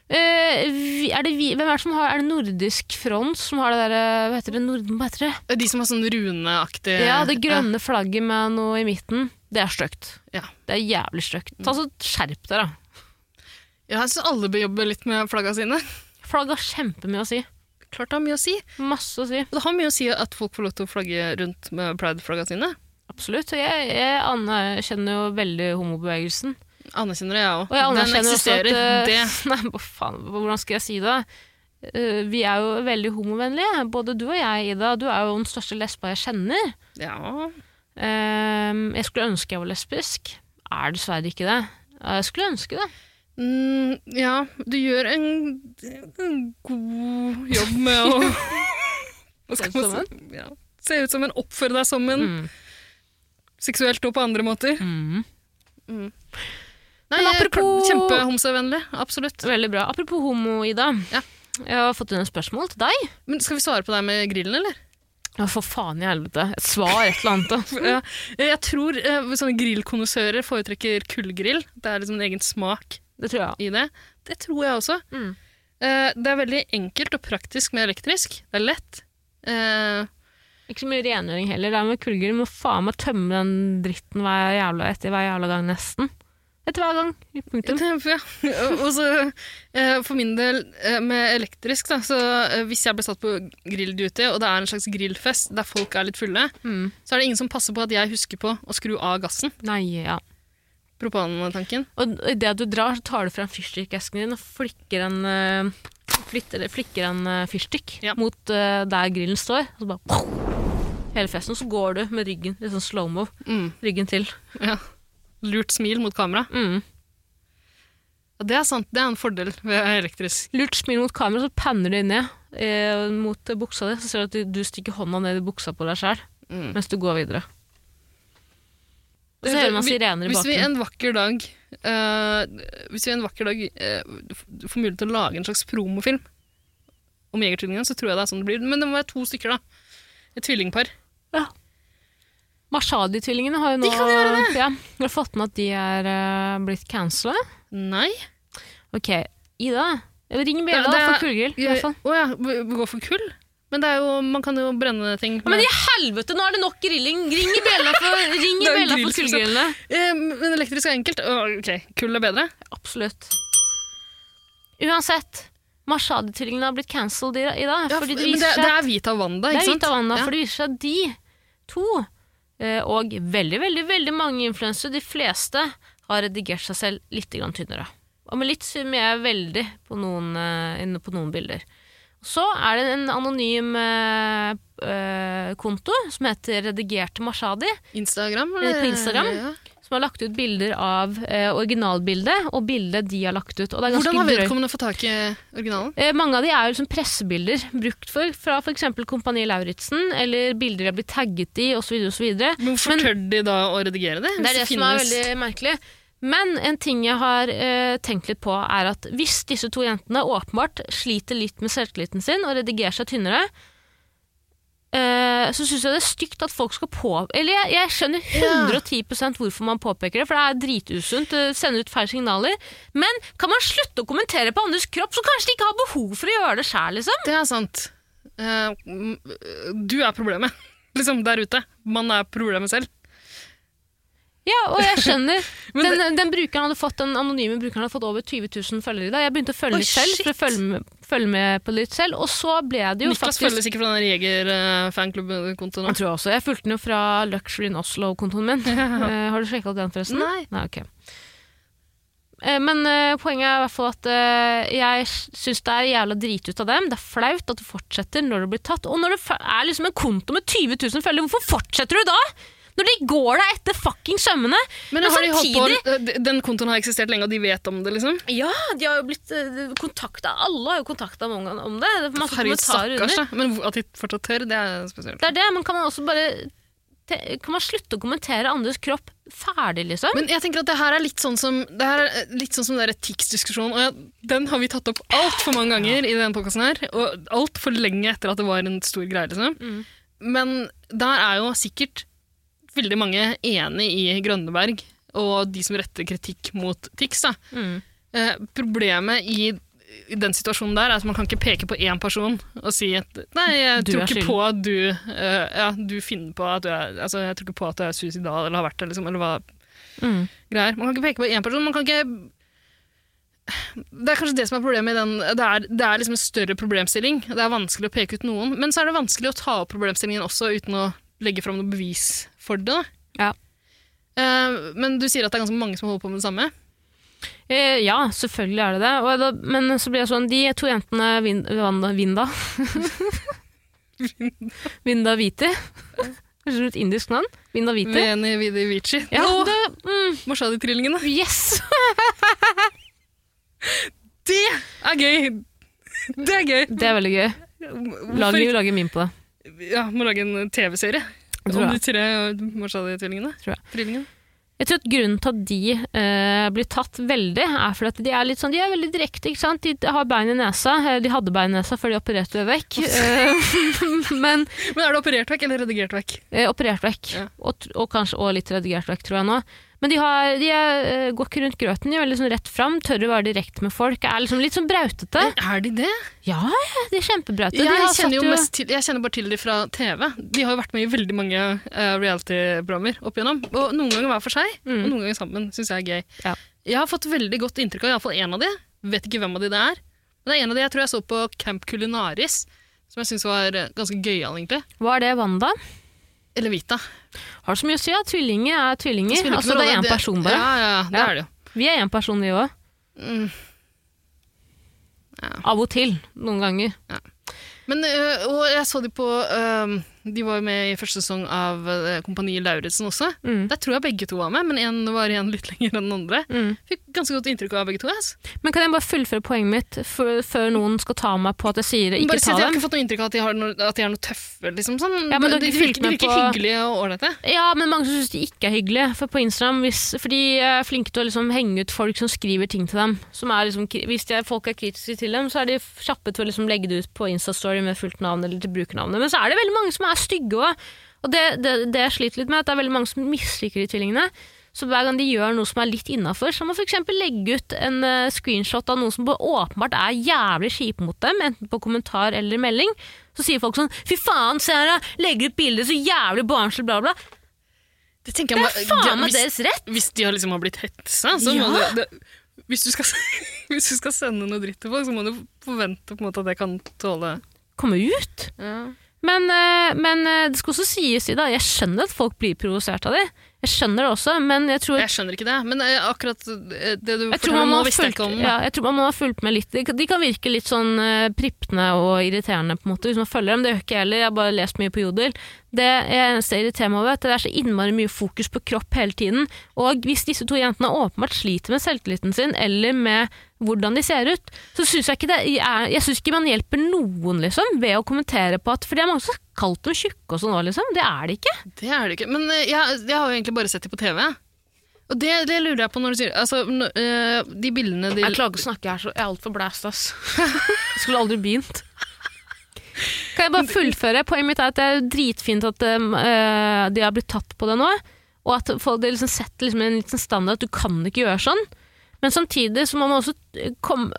Speaker 2: Eh, vi, er det vi, hvem er det som har Er det Nordisk Front som har det derre Hva heter det? Norden, hva heter det?
Speaker 3: De som har sånn runeaktig
Speaker 2: Ja, det grønne flagget med noe i midten. Det er stygt.
Speaker 3: Ja.
Speaker 2: Det er jævlig stygt. Ta så Skjerp dere, da.
Speaker 3: Ja, jeg syns alle bør jobbe litt med flagga sine.
Speaker 2: Flagg har kjempemye å si.
Speaker 3: Klart det har mye å si.
Speaker 2: Masse å si.
Speaker 3: Og det har mye å si at folk får lov til å flagge rundt med pride-flagga sine.
Speaker 2: Absolutt. Og jeg, jeg anerkjenner jo veldig homobevegelsen.
Speaker 3: Anerkjenner det, jeg òg.
Speaker 2: Og jeg
Speaker 3: Den
Speaker 2: anerkjenner også at
Speaker 3: eksisterer.
Speaker 2: eh,
Speaker 3: det.
Speaker 2: [LAUGHS] Nei, hva faen, hvordan skal jeg si det? Eh, vi er jo veldig homovennlige, både du og jeg, Ida. Du er jo den største lesba jeg kjenner.
Speaker 3: Ja.
Speaker 2: Eh, jeg skulle ønske jeg var lesbisk. Er dessverre ikke det. Eh, Jeg skulle ønske det.
Speaker 3: Mm, ja, du gjør en, en god jobb med
Speaker 2: [LAUGHS]
Speaker 3: å Hva
Speaker 2: Se ut
Speaker 3: man
Speaker 2: som
Speaker 3: si? Ja. Se ut som en, oppføre deg som en,
Speaker 2: Mm.
Speaker 3: seksuelt og på andre måter.
Speaker 2: Mm.
Speaker 3: Nei,
Speaker 2: Men apropos-
Speaker 3: Kjempehomsevennlig, absolutt.
Speaker 2: Veldig bra. Apropos homo, Ida.
Speaker 3: Ja.
Speaker 2: Jeg har fått inn et spørsmål til deg.
Speaker 3: Men skal vi svare på det her med grillen, eller?
Speaker 2: Ja, for faen i helvete. Et svar, et eller annet. da.
Speaker 3: [LAUGHS] Ja, jeg tror eh, sånne grillkondisører foretrekker kullgrill. Det er liksom en egen smak
Speaker 2: [LAUGHS] Det tror jeg.
Speaker 3: i det. Det tror jeg også.
Speaker 2: Mm.
Speaker 3: Eh, det er veldig enkelt og praktisk med elektrisk. Det er lett. Eh,
Speaker 2: Ikke så mye rengjøring heller. Det er med kullgrill. Du må faen meg tømme den dritten hver jævla, etter hver jævla gang, nesten. Etter hver gang. Punktum.
Speaker 3: det- [LAUGHS] ja. Og så eh, for min del eh, med elektrisk, da, så eh, hvis jeg blir satt på grillduty, og det er en slags grillfest der folk er litt fulle,
Speaker 2: Mm.
Speaker 3: så er det ingen som passer på at jeg husker på å skru av gassen.
Speaker 2: Nei, ja.
Speaker 3: Propantanken.
Speaker 2: Og idet du drar, så tar du frem fyrstikkesken din og flikker en, eh, flytter, flikker en eh, fyrstikk
Speaker 3: Ja.
Speaker 2: mot eh, der grillen står. Og så bare Hele festen. Så går du med ryggen, litt sånn slow-mo,
Speaker 3: Mm,
Speaker 2: ryggen til.
Speaker 3: ja. Lurt smil mot kamera.
Speaker 2: Mm.
Speaker 3: Ja, Det er sant, det er en fordel ved elektrisk.
Speaker 2: Lurt smil mot kamera, så panner du ned eh, mot eh, buksa di. Så ser du at du, du stikker hånda ned i buksa på deg sjøl
Speaker 3: Mm.
Speaker 2: mens du går videre. Og så hører man
Speaker 3: Vi-
Speaker 2: sirener i
Speaker 3: Hvis vi
Speaker 2: bakgrunnen.
Speaker 3: en vakker dag, eh, hvis vi en vakker dag eh, f- får mulighet til å lage en slags promofilm om Jegertvillingene, så tror jeg det er sånn det blir. Men det må være to stykker, da. Et tvillingpar.
Speaker 2: Mashadi-tvillingene har jo nå
Speaker 3: De kan gjøre
Speaker 2: Ja, Har du fått med at de er eh, blitt cancela?
Speaker 3: Nei.
Speaker 2: Ok, Ida. Ring
Speaker 3: Det-
Speaker 2: Bjella
Speaker 3: det er-
Speaker 2: for kullgrill. i hvert fall.
Speaker 3: Å ja, vi vi går for kull? Men det er jo, man kan jo brenne ting.
Speaker 2: Ja, Men i helvete, nå er det nok grilling! Ring i Bjella [LAUGHS] for, ring i
Speaker 3: Det er jo
Speaker 2: bjella
Speaker 3: grill,
Speaker 2: for
Speaker 3: som sagt.
Speaker 2: kullgrillene.
Speaker 3: Eh, men elektrisk er enkelt. Å, ok, kull er bedre.
Speaker 2: Absolutt. Uansett, Mashadi-tvillingene har blitt cancelled i, i dag.
Speaker 3: Ja,
Speaker 2: fordi det
Speaker 3: men det,
Speaker 2: viser
Speaker 3: det
Speaker 2: seg
Speaker 3: er Vita og Wanda,
Speaker 2: Det
Speaker 3: ikke
Speaker 2: er
Speaker 3: sant?
Speaker 2: Vita Wanda,
Speaker 3: Ja.
Speaker 2: for det viser seg at de to, eh, og veldig, veldig veldig mange influensere, de fleste, har redigert seg selv litt grann tynnere. Og med litt svimmer jeg veldig på noen, eh, inne på noen bilder. Så er det en anonym eh, eh, konto som heter Redigerte Mashadi,
Speaker 3: Instagram?
Speaker 2: Eh,
Speaker 3: eh,
Speaker 2: På Instagram.
Speaker 3: Ja.
Speaker 2: som har lagt ut bilder av eh, originalbildet og bildet de har lagt ut. Og det er ganske
Speaker 3: Hvordan har
Speaker 2: drøyt.
Speaker 3: vedkommende fått tak i originalen?
Speaker 2: Eh, mange av de er jo liksom pressebilder brukt for, fra f.eks. Kompani Lauritzen, eller bilder de har blitt tagget i, osv. osv.
Speaker 3: Men hvorfor
Speaker 2: Men-
Speaker 3: tør de da å redigere det?
Speaker 2: Det er det som er veldig merkelig. Men en ting jeg har eh, tenkt litt på, er at hvis disse to jentene åpenbart sliter litt med selvtilliten sin og redigerer seg tynnere, eh, eh, så syns jeg det er stygt at folk skal på... Eller jeg, jeg skjønner 110 hvorfor man påpeker det, for det er dritusunt. Det sender ut feil signaler. Men kan man slutte å kommentere på andres kropp, som kanskje de ikke har behov for å gjøre det sjæl, liksom?
Speaker 3: Det er sant. Eh, m- du er problemet, [LAUGHS] liksom, der ute. Man er problemet selv.
Speaker 2: Ja, og jeg skjønner.
Speaker 3: [LAUGHS] Men
Speaker 2: den, den brukeren hadde fått, den anonyme brukeren hadde fått over 20 000 følgere i dag. Jeg begynte å følge
Speaker 3: Oi,
Speaker 2: litt selv, for å
Speaker 3: shit.
Speaker 2: følge med, følge med på det litt selv. Og så ble det jo
Speaker 3: Niklas
Speaker 2: faktisk
Speaker 3: følger sikkert fra den jeger-fanklubben-kontoen.
Speaker 2: Jeg tror jeg også. Jeg fulgte den jo fra Luxury in Oslo-kontoen
Speaker 3: [LAUGHS]
Speaker 2: min. Eh, har du sjekka den, forresten?
Speaker 3: Nei.
Speaker 2: Nei, ok. Eh, Men eh, poenget er i hvert fall at eh, jeg syns det er jævla dritut av dem. Det er flaut at du fortsetter når du blir tatt. Og når det fa- er liksom en konto med 20 000 følgere, hvorfor fortsetter du da? Når de går deg etter fuckings sømmene!
Speaker 3: Men, har de holdt på, eh, den kontoen har eksistert lenge, og de vet om det, liksom?
Speaker 2: Ja, de har jo blitt kontakta. Alle har jo kontakta mange om det. Det er masse
Speaker 3: Herregud,
Speaker 2: kommentarer
Speaker 3: stakkars.
Speaker 2: under.
Speaker 3: da. Men hvor- at de fortsatt tør, det er spesielt.
Speaker 2: Det er det, men kan man også bare te- Kan man slutte å kommentere andres kropp ferdig, liksom?
Speaker 3: Men jeg tenker at det her er litt sånn som det her er litt sånn som den der etikkdiskusjonen. Og ja, den har vi tatt opp altfor mange ganger i denne podkasten her. Og altfor lenge etter at det var en stor greie, liksom.
Speaker 2: Mm.
Speaker 3: Men der er jo sikkert veldig mange enig i Grønneberg og de som retter kritikk mot TIX, da.
Speaker 2: Mm.
Speaker 3: Eh, problemet i, i den situasjonen der er at man kan ikke peke på én person og si at nei, jeg
Speaker 2: Du er
Speaker 3: tror ikke
Speaker 2: skyldig.
Speaker 3: på at du, eh, ja, du finner på at du er, altså, jeg tror ikke på at du er suicidal eller har vært det, liksom, eller hva
Speaker 2: Mm.
Speaker 3: greier. Man kan ikke peke på én person, man kan ikke [SIGHS] det er kanskje det som er problemet i den det er, det er liksom en større problemstilling. Det er vanskelig å peke ut noen, men så er det vanskelig å ta opp problemstillingen også uten å legge fram noe bevis for det. da.
Speaker 2: Ja.
Speaker 3: Eh, men du sier at det er ganske mange som holder på med det samme.
Speaker 2: Eh, ja, selvfølgelig er det det. Og da, men så blir jeg sånn De to jentene Vin, Vanda [LAUGHS] Vinda Vinda Viti. Høres ut som et indisk navn. Vinda Viti.
Speaker 3: Veni Vidi Vici.
Speaker 2: Ja,
Speaker 3: Nå-
Speaker 2: det, mm,
Speaker 3: Marshalli-trillingene.
Speaker 2: yes!
Speaker 3: Det er gøy! Det er gøy.
Speaker 2: Det er veldig gøy. Lag,
Speaker 3: Hvorfor-
Speaker 2: lage meme på det.
Speaker 3: Ja, må lage en eh, TV-serie
Speaker 2: Jeg
Speaker 3: om
Speaker 2: tror
Speaker 3: de
Speaker 2: det.
Speaker 3: tre Marshalli-tvillingene.
Speaker 2: Tror jeg.
Speaker 3: Trillingene.
Speaker 2: Jeg tror at grunnen til at de eh, blir tatt veldig, er fordi at de er litt sånn, de er veldig direkte, ikke sant? De har bein i nesa, Eh, de hadde bein i nesa før de opererte det vekk, Eh, [LAUGHS] men
Speaker 3: Men er det operert vekk eller redigert vekk?
Speaker 2: eh, operert vekk,
Speaker 3: Ja.
Speaker 2: og, tr- og kanskje også litt redigert vekk, tror jeg nå. Men de, har, de er, eh, går ikke rundt grøten, de er veldig sånn rett frem, tør å være direkte med folk, er liksom litt sånn brautete.
Speaker 3: Er de det?
Speaker 2: Ja, ja, de er kjempebrautete. de
Speaker 3: Jeg
Speaker 2: har satt
Speaker 3: kjenner, jo mest til, jeg kjenner bare til de fra TV. De har jo vært med i veldig mange eh, reality-programmer opp igjennom. Og noen ganger hver for seg,
Speaker 2: Mm.
Speaker 3: og noen ganger sammen. Syns jeg er gøy.
Speaker 2: Ja.
Speaker 3: Jeg har fått veldig godt inntrykk av iallfall én av de. Vet ikke hvem av de det er. Men det er en av de jeg tror jeg så på Camp Culinaris, som jeg syns var eh, ganske gøyal, egentlig.
Speaker 2: Hva er det, Wanda?
Speaker 3: Eller Vita.
Speaker 2: Har så mye å si, ja. Tvillinger er tvillinger.
Speaker 3: spiller ikke
Speaker 2: Altså,
Speaker 3: noe
Speaker 2: det er
Speaker 3: rolle.
Speaker 2: en person bare.
Speaker 3: Ja, ja, ja, det
Speaker 2: Ja.
Speaker 3: er det jo.
Speaker 2: Vi er en person, vi òg.
Speaker 3: Mm.
Speaker 2: Av og til. Noen ganger.
Speaker 3: Men, øh, og jeg så de på øh, De var jo med i første sesong av øh, Kompani Lauritzen også.
Speaker 2: Mm.
Speaker 3: Der tror jeg begge to var med, men én var igjen litt [LAUGHS] lenger enn den andre.
Speaker 2: Mm.
Speaker 3: Fikk ganske godt inntrykk av begge to. ass.
Speaker 2: Men kan jeg bare fullføre poenget mitt før, før noen skal ta meg på at jeg sier det? Ikke
Speaker 3: Bare
Speaker 2: ta
Speaker 3: si at Jeg har
Speaker 2: dem.
Speaker 3: ikke fått noe inntrykk av at de, har noe, at de er noe tøffe. liksom sånn.
Speaker 2: Ja, men
Speaker 3: de,
Speaker 2: dere
Speaker 3: de
Speaker 2: fulgte
Speaker 3: virker,
Speaker 2: med
Speaker 3: virker
Speaker 2: på-
Speaker 3: hyggelige og ålreite.
Speaker 2: Ja, men mange syns de ikke er hyggelige for på Instagram. Hvis, for de er flinke til å liksom henge ut folk som skriver ting til dem. Som er liksom, kri- hvis de er, folk er kritiske til dem, så er de kjappe til å liksom legge det ut på Instastory med fullt navn eller til brukernavnet. Men så er det veldig mange som er stygge òg. Og det, det, det jeg sliter litt med, er at det er veldig mange som misliker de tvillingene. Så hver gang de gjør noe som er litt innafor, så må f.eks. legge ut en eh, screenshot av noen som bare åpenbart er jævlig kjipe mot dem, enten på kommentar eller melding. Så sier folk sånn 'fy faen, se her, da, legger ut bilder så jævlig barnslig', bla, bla.
Speaker 3: Det tenker jeg
Speaker 2: Det er
Speaker 3: må-
Speaker 2: faen meg
Speaker 3: hvis,
Speaker 2: deres rett!
Speaker 3: hvis de har liksom har blitt hetsa, så må
Speaker 2: Ja.
Speaker 3: det, det hvis du, skal, [LAUGHS] hvis du skal sende noe dritt til folk, så må du forvente på en måte at det kan tåle
Speaker 2: Komme ut! Men, eh, men eh, det skal også sies i dag, jeg skjønner at folk blir provosert av det. Jeg skjønner det også, men jeg tror
Speaker 3: Jeg skjønner ikke det, men eh, akkurat eh, det du
Speaker 2: jeg tror, man
Speaker 3: forteller
Speaker 2: må
Speaker 3: nå,
Speaker 2: ha
Speaker 3: visste jeg
Speaker 2: fulgt,
Speaker 3: ikke om.
Speaker 2: ja, jeg tror man må ha fulgt med litt. De kan, de kan virke litt sånn eh, prippende og irriterende på en måte, hvis man følger dem. Det gjør ikke jeg heller, jeg har bare lest mye på Jodel. Det eneste jeg irriterer meg over, er at det er så innmari mye fokus på kropp hele tiden. Og hvis disse to jentene åpenbart sliter med selvtilliten sin, eller med hvordan de ser ut, så syns jeg ikke det er, Jeg synes ikke man hjelper noen, liksom, ved å kommentere på at For det er mange som har kalt dem tjukke og sånn nå, liksom. Det er de ikke.
Speaker 3: Det er det ikke. Men eh, jeg, jeg har jo egentlig bare sett dem på TV. Og det, det lurer jeg på når du sier Altså, n- eh, de bildene de
Speaker 2: [LAUGHS] Jeg klager på å snakke her, så jeg er altfor blæst, ass. Jeg skulle aldri begynt. Kan jeg bare fullføre? Poenget mitt er at det er dritfint at um, eh, de har blitt tatt på det nå. Og at folk det liksom setter liksom en liten standard at du kan ikke gjøre sånn. Men samtidig så må man også eh, komme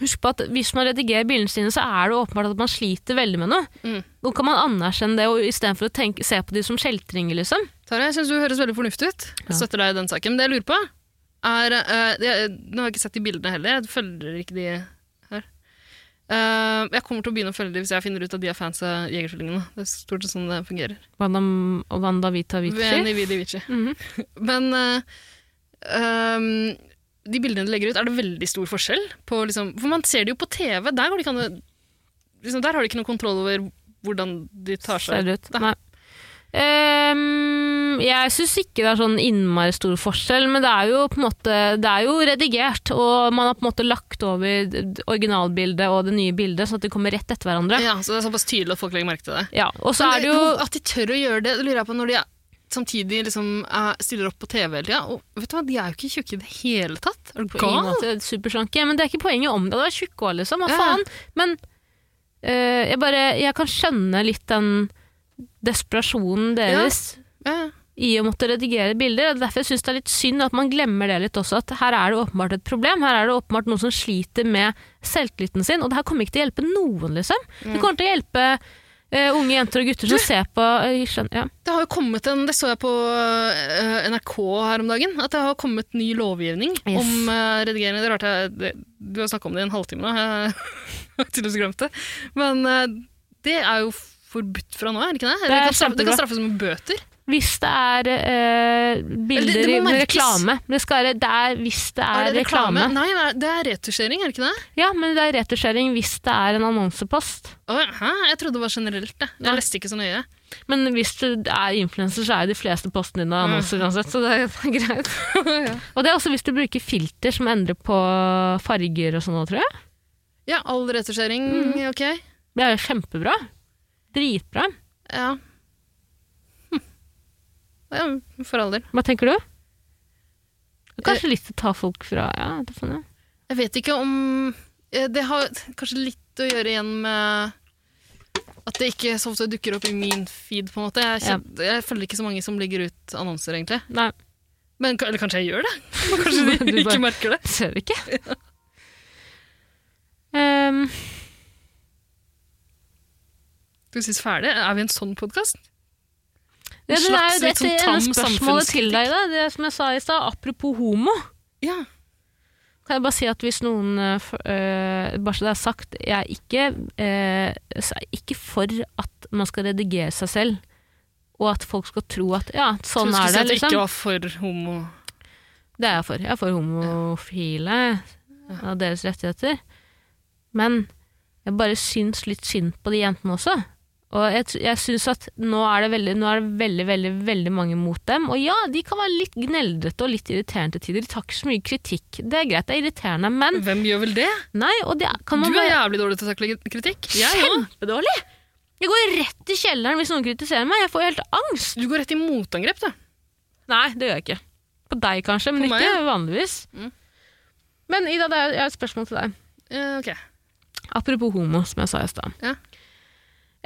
Speaker 2: Husk på at hvis man redigerer bildene sine, så er det åpenbart at man sliter veldig med noe.
Speaker 3: Mm.
Speaker 2: Nå kan man anerkjenne det, og istedenfor å tenke, se på de som kjeltringer, liksom.
Speaker 3: Tara, jeg syns du høres veldig fornuftig ut. Jeg støtter deg i den saken. Men det jeg lurer på, er eh, jeg, Nå har jeg ikke sett de bildene heller. Jeg følger ikke de her. Eh, jeg kommer til å begynne å følge de hvis jeg finner ut at de er fans av Jegertvillingene. Det er stort sett sånn det fungerer.
Speaker 2: Wanda, Wanda Vita Vici.
Speaker 3: Veni, vidi, vici.
Speaker 2: Mhm.
Speaker 3: [LAUGHS] Men eh, ehm, de bildene du legger ut, er det veldig stor forskjell på liksom, For man ser det jo på TV. Der, går det ikke an å- liksom, der har de ikke noe kontroll over hvordan de tar seg
Speaker 2: Ser det ut.
Speaker 3: Nei.
Speaker 2: Nei. Ehm, jeg syns ikke det er sånn innmari stor forskjell, men det er jo på en måte Det er jo redigert, og man har på en måte lagt over d- d- originalbildet og det nye bildet, sånn at de kommer rett etter hverandre. Ja,
Speaker 3: Ja, så det er såpass tydelig at folk legger merke til det.
Speaker 2: Og så er det jo
Speaker 3: At de tør å gjøre det, det lurer jeg på når de er, samtidig liksom, er, stiller opp på TV hele tida. Og vet du hva, de er jo ikke tjukke i det hele tatt. Er du
Speaker 2: på ingen
Speaker 3: gal?
Speaker 2: måte superslanke, men det er ikke poenget om det. Det var tjukke år, liksom. Hva
Speaker 3: Ja.
Speaker 2: faen? Men eh, jeg bare Jeg kan skjønne litt den desperasjonen deres.
Speaker 3: Ja.
Speaker 2: i å måtte redigere bilder. og det er Derfor jeg synes det er litt synd at man glemmer det litt også, at her er det åpenbart et problem. Her er det åpenbart noen som sliter med selvtilliten sin, og det her kommer ikke til å hjelpe noen, liksom.
Speaker 3: Mm.
Speaker 2: Det kommer til å hjelpe eh, unge jenter og gutter som ser på eh, skjønner, ja.
Speaker 3: Det har jo kommet en, det så jeg på eh, NRK her om dagen, at det har kommet ny lovgivning
Speaker 2: Yes.
Speaker 3: om eh, redigering. Det er rart, jeg, det, du har snakket om det i en halvtime nå, jeg har [LAUGHS] tydeligvis glemt det. Men eh, det er jo forbudt fra nå, er det ikke det? Eller
Speaker 2: er
Speaker 3: Det kan, straff, det
Speaker 2: kjempebra.
Speaker 3: kan straffes med bøter.
Speaker 2: Hvis det er eh, bilder
Speaker 3: det må
Speaker 2: i- med
Speaker 3: merkes.
Speaker 2: reklame det, skal, være- det er hvis det er, reklame.
Speaker 3: Nei, nei, det er retusjering, er det ikke det?
Speaker 2: Ja, men det er retusjering hvis det er en annonsepost.
Speaker 3: Å, hæ? Jeg trodde det var generelt, det.
Speaker 2: Nei.
Speaker 3: Jeg leste ikke så nøye.
Speaker 2: Men hvis du er influenser, så er jo de fleste postene dine
Speaker 3: Mm.
Speaker 2: annonser uansett, så det er det er [LAUGHS] greit. Og det er også hvis du bruker filter som endrer på farger og sånn òg, tror jeg.
Speaker 3: Ja, all retusjering,
Speaker 2: Mhm.
Speaker 3: ok.
Speaker 2: Det er jo kjempebra. Dritbra.
Speaker 3: Ja. Hm. ja, for all del.
Speaker 2: Hva tenker du? Det er Kanskje litt å ta folk fra Ja, det er sånn, ja.
Speaker 3: Jeg vet ikke om eh, Det har kanskje litt å gjøre igjen med at det ikke så ofte dukker opp i min feed, på en måte. Jeg, kjen- jeg følger ikke så mange som legger ut annonser, egentlig.
Speaker 2: Nei,
Speaker 3: Men, ka- eller kanskje jeg gjør det?
Speaker 2: [LAUGHS]
Speaker 3: Kanskje de
Speaker 2: Du bare-
Speaker 3: [LAUGHS] ikke merker det?
Speaker 2: ser du ikke?
Speaker 3: [LAUGHS]
Speaker 2: Ehm,
Speaker 3: Skal vi synes ferdig? Er vi en sånn podkast?
Speaker 2: ja, det er jo
Speaker 3: slags
Speaker 2: det
Speaker 3: litt sånn
Speaker 2: det ene
Speaker 3: tam
Speaker 2: spørsmålet til
Speaker 3: samfunnskritikk.
Speaker 2: deg, da. Det som jeg sa i stad, apropos homo.
Speaker 3: Ja.
Speaker 2: Kan jeg bare si at hvis noen eh, f- eh, Bare så det er sagt, jeg er ikke, eh, så er jeg ikke for at man skal redigere seg selv. Og at folk skal tro at ja, sånn
Speaker 3: Skulle
Speaker 2: er det.
Speaker 3: si at jeg
Speaker 2: Liksom.
Speaker 3: ikke var for homo.
Speaker 2: Det er jeg for. Jeg er for homofile og deres rettigheter. Men jeg bare syns litt synd på de jentene også. Og jeg, t- jeg syns at nå er, det veldig, nå er det veldig, veldig veldig mange mot dem. Og ja, de kan være litt gneldrete og litt irriterende til tider. De tar ikke så mye kritikk. Det er greit, det er irriterende, men
Speaker 3: Hvem gjør vel det?
Speaker 2: Nei, og Sånn det kan
Speaker 3: Du
Speaker 2: man
Speaker 3: er
Speaker 2: bare
Speaker 3: jævlig dårlig til å takle kritikk. Jeg òg.
Speaker 2: Kjempedårlig! Jeg går rett i kjelleren hvis noen kritiserer meg. Jeg får helt angst.
Speaker 3: Du går rett i motangrep, du.
Speaker 2: Nei, det gjør jeg ikke. På deg kanskje, men
Speaker 3: På meg,
Speaker 2: ikke
Speaker 3: ja.
Speaker 2: vanligvis.
Speaker 3: Mm.
Speaker 2: Men Ida, det er, jeg har et spørsmål til deg.
Speaker 3: Eh, ok.
Speaker 2: Apropos homo, som jeg sa i stad.
Speaker 3: Ja.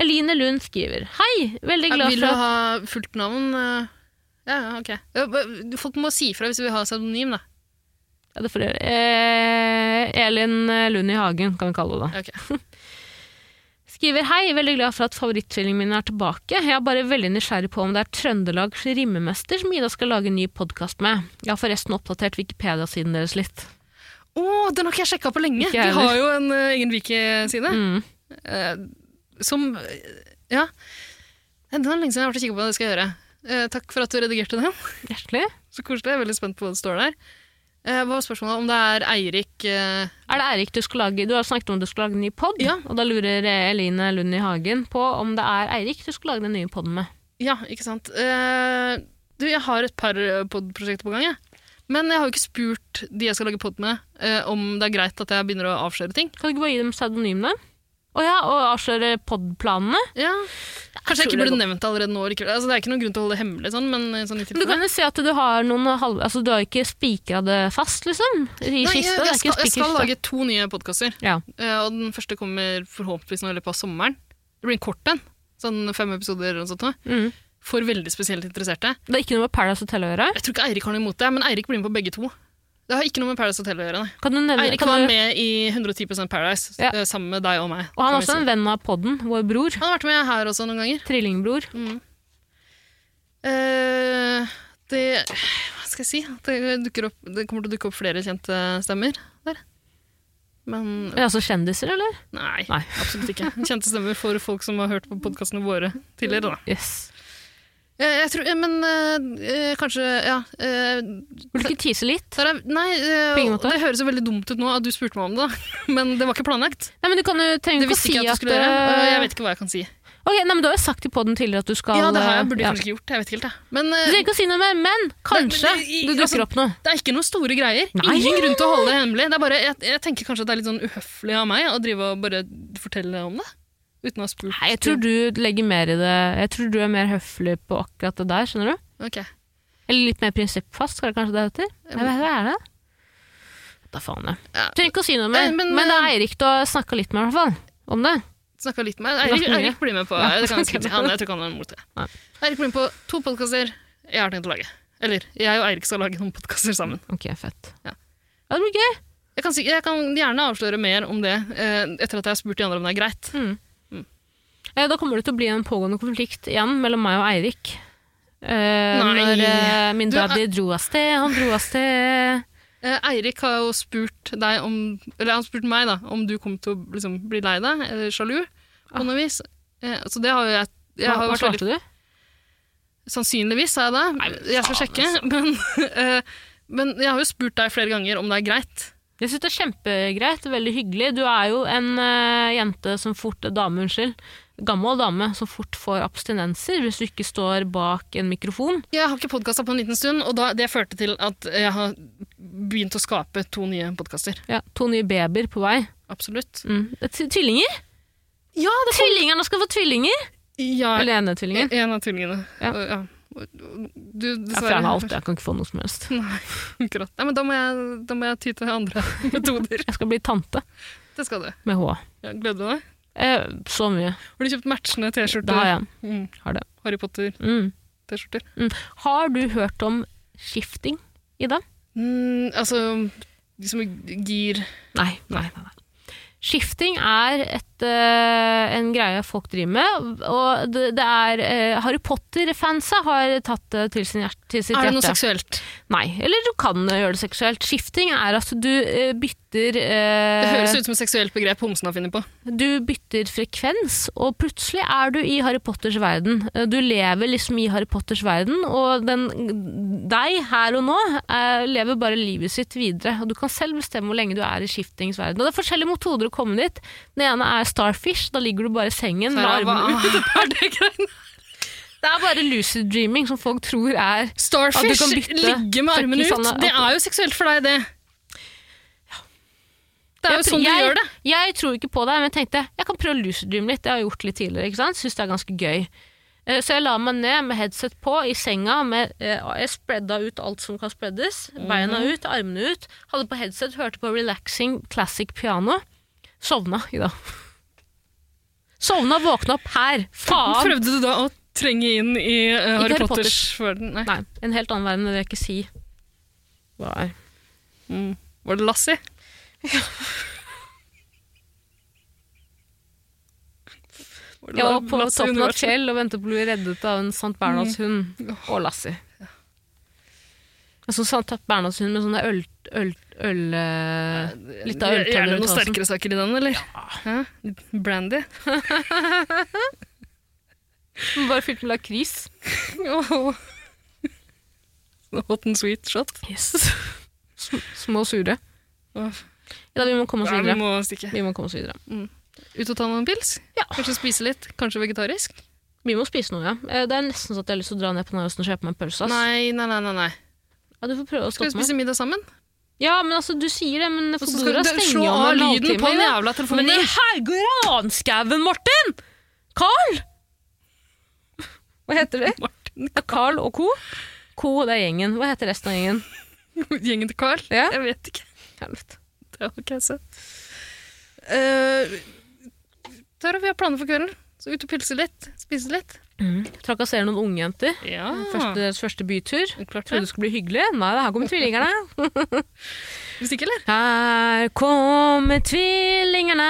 Speaker 2: Eline Lund skriver Hei! Veldig
Speaker 3: Jeg
Speaker 2: glad
Speaker 3: vil
Speaker 2: for
Speaker 3: jo
Speaker 2: at
Speaker 3: ha fullt navn. eh, Ja, ja, ok. Ja, men Folk må si fra hvis de vil ha pseudonym, da.
Speaker 2: ja, det får dere. eh, Elin Lund i Hagen, kan vi kalle henne da.
Speaker 3: Ok.
Speaker 2: Skriver hei, veldig glad for at favoritttvillingen min er tilbake. Jeg er bare veldig nysgjerrig på om det er Trøndelags rimmemester som Ida skal lage en ny podkast med. Jeg har forresten oppdatert Wikipedia-siden deres litt.
Speaker 3: Å, den har ikke jeg sjekka på lenge!
Speaker 2: Ikke jeg
Speaker 3: De har jo en eh, egen Viki-side.
Speaker 2: Mm.
Speaker 3: eh, som eh, Ja. Nei, Den er lenge siden jeg har vært og kikket på. Det skal jeg gjøre. Eh, takk for at du redigerte den. [LAUGHS]
Speaker 2: Hjertelig.
Speaker 3: Så koselig. Jeg er veldig spent på hva det står der. Eh, hva var spørsmålet? Om det er Eirik eh,
Speaker 2: Er det Eirik du skal lage Du har snakket om du skal lage en ny pod,
Speaker 3: Ja.
Speaker 2: og da lurer Eline Lund i Hagen på om det er Eirik du skal lage den nye poden med.
Speaker 3: Ja, ikke sant. Eh, du, jeg har et par podprosjekter på gang, jeg. Men jeg har jo ikke spurt de jeg skal lage pod med, eh, om det er greit at jeg begynner å avsløre ting.
Speaker 2: Kan du ikke bare gi dem pseudonymene? Å ja, og avsløre podplanene?
Speaker 3: Ja. Kanskje
Speaker 2: tror
Speaker 3: jeg, ikke
Speaker 2: det
Speaker 3: burde nevnt det allerede nå. likevel. Altså, det er ikke noen grunn til å holde det hemmelig, sånn, men eh, sånn i
Speaker 2: Du
Speaker 3: tilfelle.
Speaker 2: kan jo se at du har noen halv... Altså, du har ikke spikra det fast, liksom? I
Speaker 3: Nei, jeg,
Speaker 2: kista? Det
Speaker 3: jeg,
Speaker 2: er ikke
Speaker 3: skal, jeg
Speaker 2: spiker i
Speaker 3: skal
Speaker 2: kista.
Speaker 3: lage to nye podkaster.
Speaker 2: Ja.
Speaker 3: Eh, Og den første kommer forhåpentligvis nå i løpet av sommeren. Det blir en kort en. Sånn fem episoder eller noe sånt. nå,
Speaker 2: Mm.
Speaker 3: For veldig spesielt interesserte.
Speaker 2: Det er ikke noe med Paradise Hotel å gjøre.
Speaker 3: Jeg tror ikke Eirik har noe imot det, men Eirik blir med på begge to. Det har ikke noe med Paradise Hotel å gjøre. nei.
Speaker 2: Kan du nevne,
Speaker 3: Eirik
Speaker 2: kan
Speaker 3: var
Speaker 2: du,
Speaker 3: med i 110 Paradise
Speaker 2: Ja.
Speaker 3: eh, sammen med deg og meg.
Speaker 2: og han er
Speaker 3: kan vi
Speaker 2: også
Speaker 3: si.
Speaker 2: en venn av podden, vår bror.
Speaker 3: han har vært med her også noen ganger.
Speaker 2: Trillingbror.
Speaker 3: Mm. Eh, det Hva skal jeg si? Det, dukker opp, det kommer til å dukke opp flere kjente stemmer der. Men
Speaker 2: Er det altså kjendiser, eller?
Speaker 3: Nei,
Speaker 2: Nei.
Speaker 3: absolutt ikke. Kjente stemmer for folk som har hørt på podkastene våre tidligere. Da.
Speaker 2: Yes.
Speaker 3: Eh, Jeg tror, eh, men eh, eh, kanskje ja. eh,
Speaker 2: Vil du ikke tise litt?
Speaker 3: Tara, nei, eh,
Speaker 2: På ingen måte.
Speaker 3: det høres jo veldig dumt ut nå at du spurte meg om det, da. [LAUGHS] men det var ikke planlagt.
Speaker 2: Nei, men Du kan jo trenger ikke å
Speaker 3: Det visste
Speaker 2: si øh,
Speaker 3: ikke jeg at du skulle gjøre. Eh, Jeg vet ikke hva jeg kan si.
Speaker 2: Ok, nei, men Du har jo sagt i podden tidligere at du skal
Speaker 3: Ja, det har
Speaker 2: eh,
Speaker 3: jeg burde
Speaker 2: ja.
Speaker 3: kanskje ikke gjort. Jeg vet ikke helt, jeg. Men
Speaker 2: Du
Speaker 3: eh,
Speaker 2: trenger ikke å si noe mer, men kanskje
Speaker 3: men det- i-
Speaker 2: det dukker
Speaker 3: altså-
Speaker 2: opp noe.
Speaker 3: det er ikke noen store greier.
Speaker 2: Nei.
Speaker 3: Ingen grunn til å holde det hemmelig. Det er bare, jeg, jeg tenker kanskje at det er litt sånn uhøflig av meg å drive og bare fortelle om det. Uten å ha spurt.
Speaker 2: Nei, jeg tror du legger mer i det Jeg tror du er mer høflig på akkurat det der, skjønner du?
Speaker 3: Ok.
Speaker 2: Eller litt mer prinsippfast, skal det kanskje det heter?
Speaker 3: Ja,
Speaker 2: Jeg vet, hva er det? Da faen jeg.
Speaker 3: Ja.
Speaker 2: Trenger ikke å si noe mer,
Speaker 3: Eh, men,
Speaker 2: men, det er Eirik du har snakka litt med, i hvert fall. Om det.
Speaker 3: Snakka litt med Eirik.
Speaker 2: Snakket mye.
Speaker 3: Eirik blir med
Speaker 2: [LAUGHS]
Speaker 3: på
Speaker 2: Ja,
Speaker 3: det kan jeg,
Speaker 2: snakket
Speaker 3: skrive. han, jeg tror ikke han er imot det.
Speaker 2: Nei.
Speaker 3: Eirik blir med på to podkaster jeg har tenkt å lage. Eller jeg og Eirik skal lage noen podkaster sammen.
Speaker 2: Ok, fett.
Speaker 3: Ja.
Speaker 2: Ja, det blir gøy.
Speaker 3: Jeg kan, si- jeg kan gjerne avsløre mer om det eh, etter at jeg har spurt de andre om det er greit.
Speaker 2: Eh, Da kommer det til å bli en pågående konflikt igjen mellom meg og Eirik. Eh,
Speaker 3: Nei.
Speaker 2: når eh, min
Speaker 3: Du er-
Speaker 2: daddy dro av sted, han dro av sted
Speaker 3: Eh, Eirik har jo spurt deg om Eller han har spurt meg, da, om du kom til å liksom, bli lei deg eller sjalu på noe vis. Eh, så det har jo jeg jeg
Speaker 2: Ah. Hva,
Speaker 3: har
Speaker 2: hva
Speaker 3: vært veldig
Speaker 2: svarte du?
Speaker 3: Sannsynligvis er jeg det.
Speaker 2: men
Speaker 3: jeg skal sjekke.
Speaker 2: faen, altså.
Speaker 3: Men, [LAUGHS] eh, men jeg har jo spurt deg flere ganger om det er greit.
Speaker 2: Jeg synes det er kjempegreit, veldig hyggelig. Du er jo en eh, jente som fort, dame, unnskyld, gammel dame som fort får abstinenser hvis du ikke står bak en mikrofon.
Speaker 3: Jeg har ikke podkasta på en liten stund, og da, det førte til at jeg har begynt å skape to nye podkaster.
Speaker 2: Ja, to nye babyer på vei.
Speaker 3: Absolutt.
Speaker 2: Mm. Det er tv- Tvillinger!
Speaker 3: Ja,
Speaker 2: Tvillingene skal få tvillinger!
Speaker 3: ja,
Speaker 2: Eller ene tvillingen.
Speaker 3: en av tvillingene.
Speaker 2: Ja.
Speaker 3: Og- ja. Og- og- Du,
Speaker 2: Jeg
Speaker 3: dessverre.
Speaker 2: fjerna alt, jeg kan ikke få noe som helst.
Speaker 3: Nei, [LAUGHS] akkurat. Nei, men da må, jeg, da må jeg ty til andre [LAUGHS] metoder.
Speaker 2: Jeg skal bli tante
Speaker 3: Det skal du.
Speaker 2: med H.
Speaker 3: Ja, gleder du deg?
Speaker 2: Eh, så mye.
Speaker 3: Har du kjøpt matchende T-skjorter?
Speaker 2: Det har jeg.
Speaker 3: Mm.
Speaker 2: Har det.
Speaker 3: Harry Potter-T-skjorter?
Speaker 2: Mm. Har du hørt om skifting, Ida?
Speaker 3: Mm, altså, de som gir
Speaker 2: Nei, nei, nei. nei. Shifting er et, øh, en greie folk driver med, og det, det er øh, Harry Potter-fansa har tatt det til, sin hjerte, til sitt
Speaker 3: Er det noe
Speaker 2: hjerte.
Speaker 3: seksuelt?
Speaker 2: Nei, eller du kan eh, gjøre det seksuelt. Shifting er at du øh, bytter øh,
Speaker 3: Det høres ut som et seksuelt begrep homsen har funnet på.
Speaker 2: Du bytter frekvens, og plutselig er du i Harry Potters verden. Eh, Du lever liksom i Harry Potters verden, og den, deg her og nå eh, lever bare livet sitt videre. Og du kan selv bestemme hvor lenge du er i skiftings verden. Og det er forskjellige metoder å komme dit. Den ene er Starfish, da ligger du bare i sengen med
Speaker 3: Tara,
Speaker 2: armene ut.
Speaker 3: hva er [LAUGHS] det
Speaker 2: [LAUGHS]
Speaker 3: greiene?
Speaker 2: Det er bare lucid dreaming som folk tror er At du
Speaker 3: Starfish
Speaker 2: kan bytte
Speaker 3: ligge med armene ut.
Speaker 2: fuckings Anna-
Speaker 3: Det er jo seksuelt for deg, det. Det er jo
Speaker 2: Jeg-
Speaker 3: sånn du
Speaker 2: jeg-
Speaker 3: gjør det.
Speaker 2: Jeg tror ikke på det, men jeg tenkte jeg kan prøve å lucid dream litt. Jeg har gjort det litt tidligere, ikke sant? Syns det er ganske gøy. Eh, Så jeg la meg ned med headset på i senga. Med, eh, jeg spredda ut alt som kan spreddes. Beina
Speaker 3: Mhm.
Speaker 2: ut, armene ut. Hadde på headset, hørte på relaxing classic piano. Sovna i dag. Sovna, våkna opp her. Faen!
Speaker 3: Prøvde du da å trenge inn i eh, Harry
Speaker 2: Harry
Speaker 3: Potters verden? Nei.
Speaker 2: Nei, en helt annen verden, det vil jeg ikke si. Hva er
Speaker 3: Mm. Var det Lassie? Var det
Speaker 2: Jeg var
Speaker 3: da
Speaker 2: på
Speaker 3: Lassie
Speaker 2: toppen av et
Speaker 3: universet? Mm.
Speaker 2: fjell og ventet på å bli reddet av en St. Bernhards hund og Lassie. En sånn St. Bernhards hund med sånne øl... øl, øl eh, litt av
Speaker 3: Er- Er det
Speaker 2: øltønner
Speaker 3: noen sterkere saker i den, eller? Ja. Brandy?
Speaker 2: Bare fylt med lakris.
Speaker 3: Åh. [LAUGHS] Hot and sweet shot.
Speaker 2: Yes. Små sure.
Speaker 3: Åh.
Speaker 2: Ja, vi må komme oss
Speaker 3: Nei, vi
Speaker 2: videre.
Speaker 3: må stikke.
Speaker 2: Vi må komme oss videre.
Speaker 3: Ut og ta noen pils?
Speaker 2: Ja.
Speaker 3: Kanskje spise litt? Kanskje vegetarisk?
Speaker 2: Vi må spise noe, ja. Eh, Det er nesten så at jeg har lyst til å dra ned på Narvesen og kjøpe meg en pølse. ass.
Speaker 3: Nei, nei, nei, nei, nei.
Speaker 2: Ja, du får prøve å
Speaker 3: Skal vi
Speaker 2: stoppe meg.
Speaker 3: spise middag sammen?
Speaker 2: Ja, men altså, du sier det, men
Speaker 3: Og så skal
Speaker 2: Fodora
Speaker 3: du
Speaker 2: stenger
Speaker 3: slå
Speaker 2: jo om
Speaker 3: av
Speaker 2: en
Speaker 3: lyden på
Speaker 2: halvtime.
Speaker 3: den
Speaker 2: ja.
Speaker 3: jævla
Speaker 2: Men i
Speaker 3: telefonen.
Speaker 2: Haugeranskauen, Morten! Carl! Hva heter det?
Speaker 3: Martin,
Speaker 2: Ja, Carl og co. Co, det er gjengen. Hva heter resten av gjengen?
Speaker 3: [LAUGHS] gjengen til Carl?
Speaker 2: Ja.
Speaker 3: Jeg vet ikke.
Speaker 2: Helvete.
Speaker 3: Det er ok, så. Eh, Tara, vi har planer for kvelden. Så ut og pilse litt, spise litt.
Speaker 2: Mm. Trakassere noen ungjenter.
Speaker 3: Ja,
Speaker 2: Første, deres første bytur.
Speaker 3: eh, klart
Speaker 2: Trodde
Speaker 3: det.
Speaker 2: det skulle bli hyggelig. Nei, her kommer tvillingerne.
Speaker 3: Musikk, eller?
Speaker 2: [LAUGHS] Her kommer tvillingerne,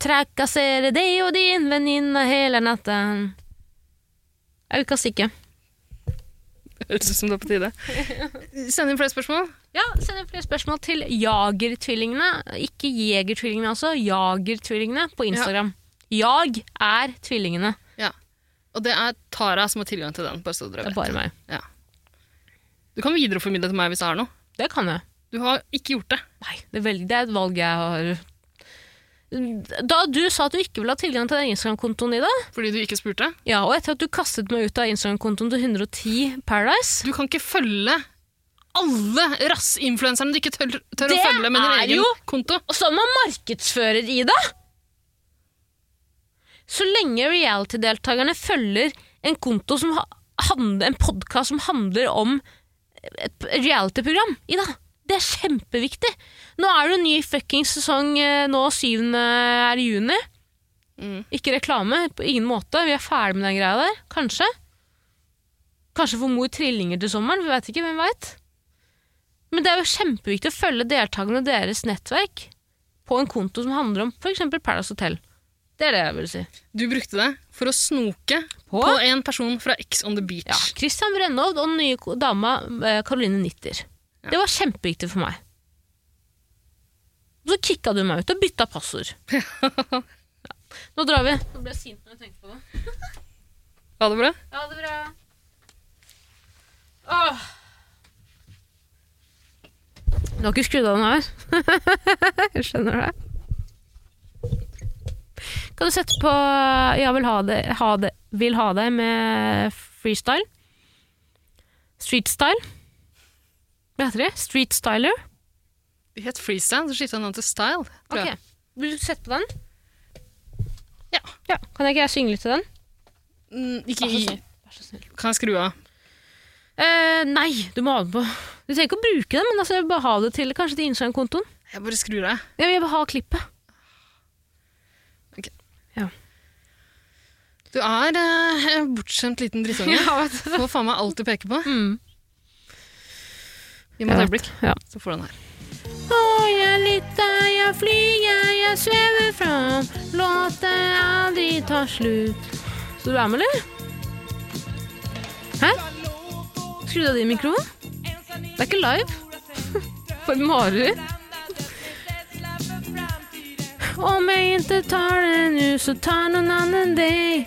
Speaker 2: trakasserer deg og din venninne hele natten. Jeg ukas ikke.
Speaker 3: [LAUGHS] Høres ut som det er på tide. [LAUGHS] Send inn flere spørsmål.
Speaker 2: Ja, send inn flere spørsmål til Jagertvillingene. Ikke Jegertvillingene, altså. Jagertvillingene på Instagram. Jag er tvillingene.
Speaker 3: Ja. Og det er Tara som har tilgang til den. bare så dere
Speaker 2: Det er
Speaker 3: vet.
Speaker 2: bare meg.
Speaker 3: Du kan videreformidle til meg hvis det er noe.
Speaker 2: Det kan jeg.
Speaker 3: Du har ikke gjort det.
Speaker 2: Nei, det er, veldig, det er et valg jeg har Da du sa at du ikke ville ha tilgang til den Instagram-kontoen i det,
Speaker 3: Fordi du ikke spurte.
Speaker 2: ja, og etter at du kastet meg ut av Instagram-kontoen til 110 Paradise
Speaker 3: Du kan ikke følge alle rassinfluenserne du ikke tør, tør å
Speaker 2: Det
Speaker 3: følge med din
Speaker 2: er
Speaker 3: egen
Speaker 2: jo-
Speaker 3: konto.
Speaker 2: Og som man markedsfører i det! Så lenge reality-deltakerne følger en konto som ha- handler, en podkast som handler om et reality-program i det. Det er kjempeviktig! Nå er det jo en ny fucking sesong eh, nå 7. er i juni.
Speaker 3: Mm.
Speaker 2: Ikke reklame, på ingen måte. Vi er ferdig med den greia der. Kanskje. Kanskje får mor trillinger til sommeren, vi veit ikke. Hvem veit? Men det er jo kjempeviktig å følge deltakerne og deres nettverk på en konto som handler om f.eks. Paradise Hotel. Det er det jeg vil si.
Speaker 3: Du brukte det for å snoke
Speaker 2: På?
Speaker 3: på en person fra X on the Beach.
Speaker 2: Ja, Christian Brennovd og den nye ko- dama eh, Caroline Nitter. Det var kjempeviktig for meg. Og så kicka du meg ut og bytta passord. ja. Nå drar vi. Nå ble jeg sint når jeg tenker på det.
Speaker 3: Ha det bra.
Speaker 2: Ja, det er bra. Åh. Du har ikke skrudd av den her? [LAUGHS] jeg skjønner det. Kan du sette på Ja, vil ha det, ha det, vil ha det med freestyle? Streetstyle? Hva heter det? Streetstyler?
Speaker 3: De het Freestyle, så skifta han navn til Style. tror
Speaker 2: Ok.
Speaker 3: jeg.
Speaker 2: Vil du sette på den?
Speaker 3: Ja.
Speaker 2: ja. Kan jeg ikke jeg synge litt til den?
Speaker 3: Mm, ikke
Speaker 2: Vær
Speaker 3: i
Speaker 2: så snill. Vær så snill.
Speaker 3: Kan jeg skru av?
Speaker 2: Eh, nei, du må ha den på. Du trenger ikke å bruke den, men altså, jeg vil bare ha det til kanskje til Instagram-kontoen.
Speaker 3: Jeg bare skrur av.
Speaker 2: Jeg vil bare ha klippet.
Speaker 3: Du er eh, en bortskjemt
Speaker 2: [LAUGHS]
Speaker 3: liten drittunge. Får faen meg alt du peker på.
Speaker 2: Mm.
Speaker 3: Gi meg et øyeblikk,
Speaker 2: Ja.
Speaker 3: så får du den her.
Speaker 2: Å, jeg lytter, jeg flyger, jeg svever fram. Låter aldri tar slutt. Så du er med, eller? Hæ? Skrudde av din mikrofon? Det er ikke live. [LAUGHS] For et mareritt. Om jeg ikke tar det nå, så tar noen annen deg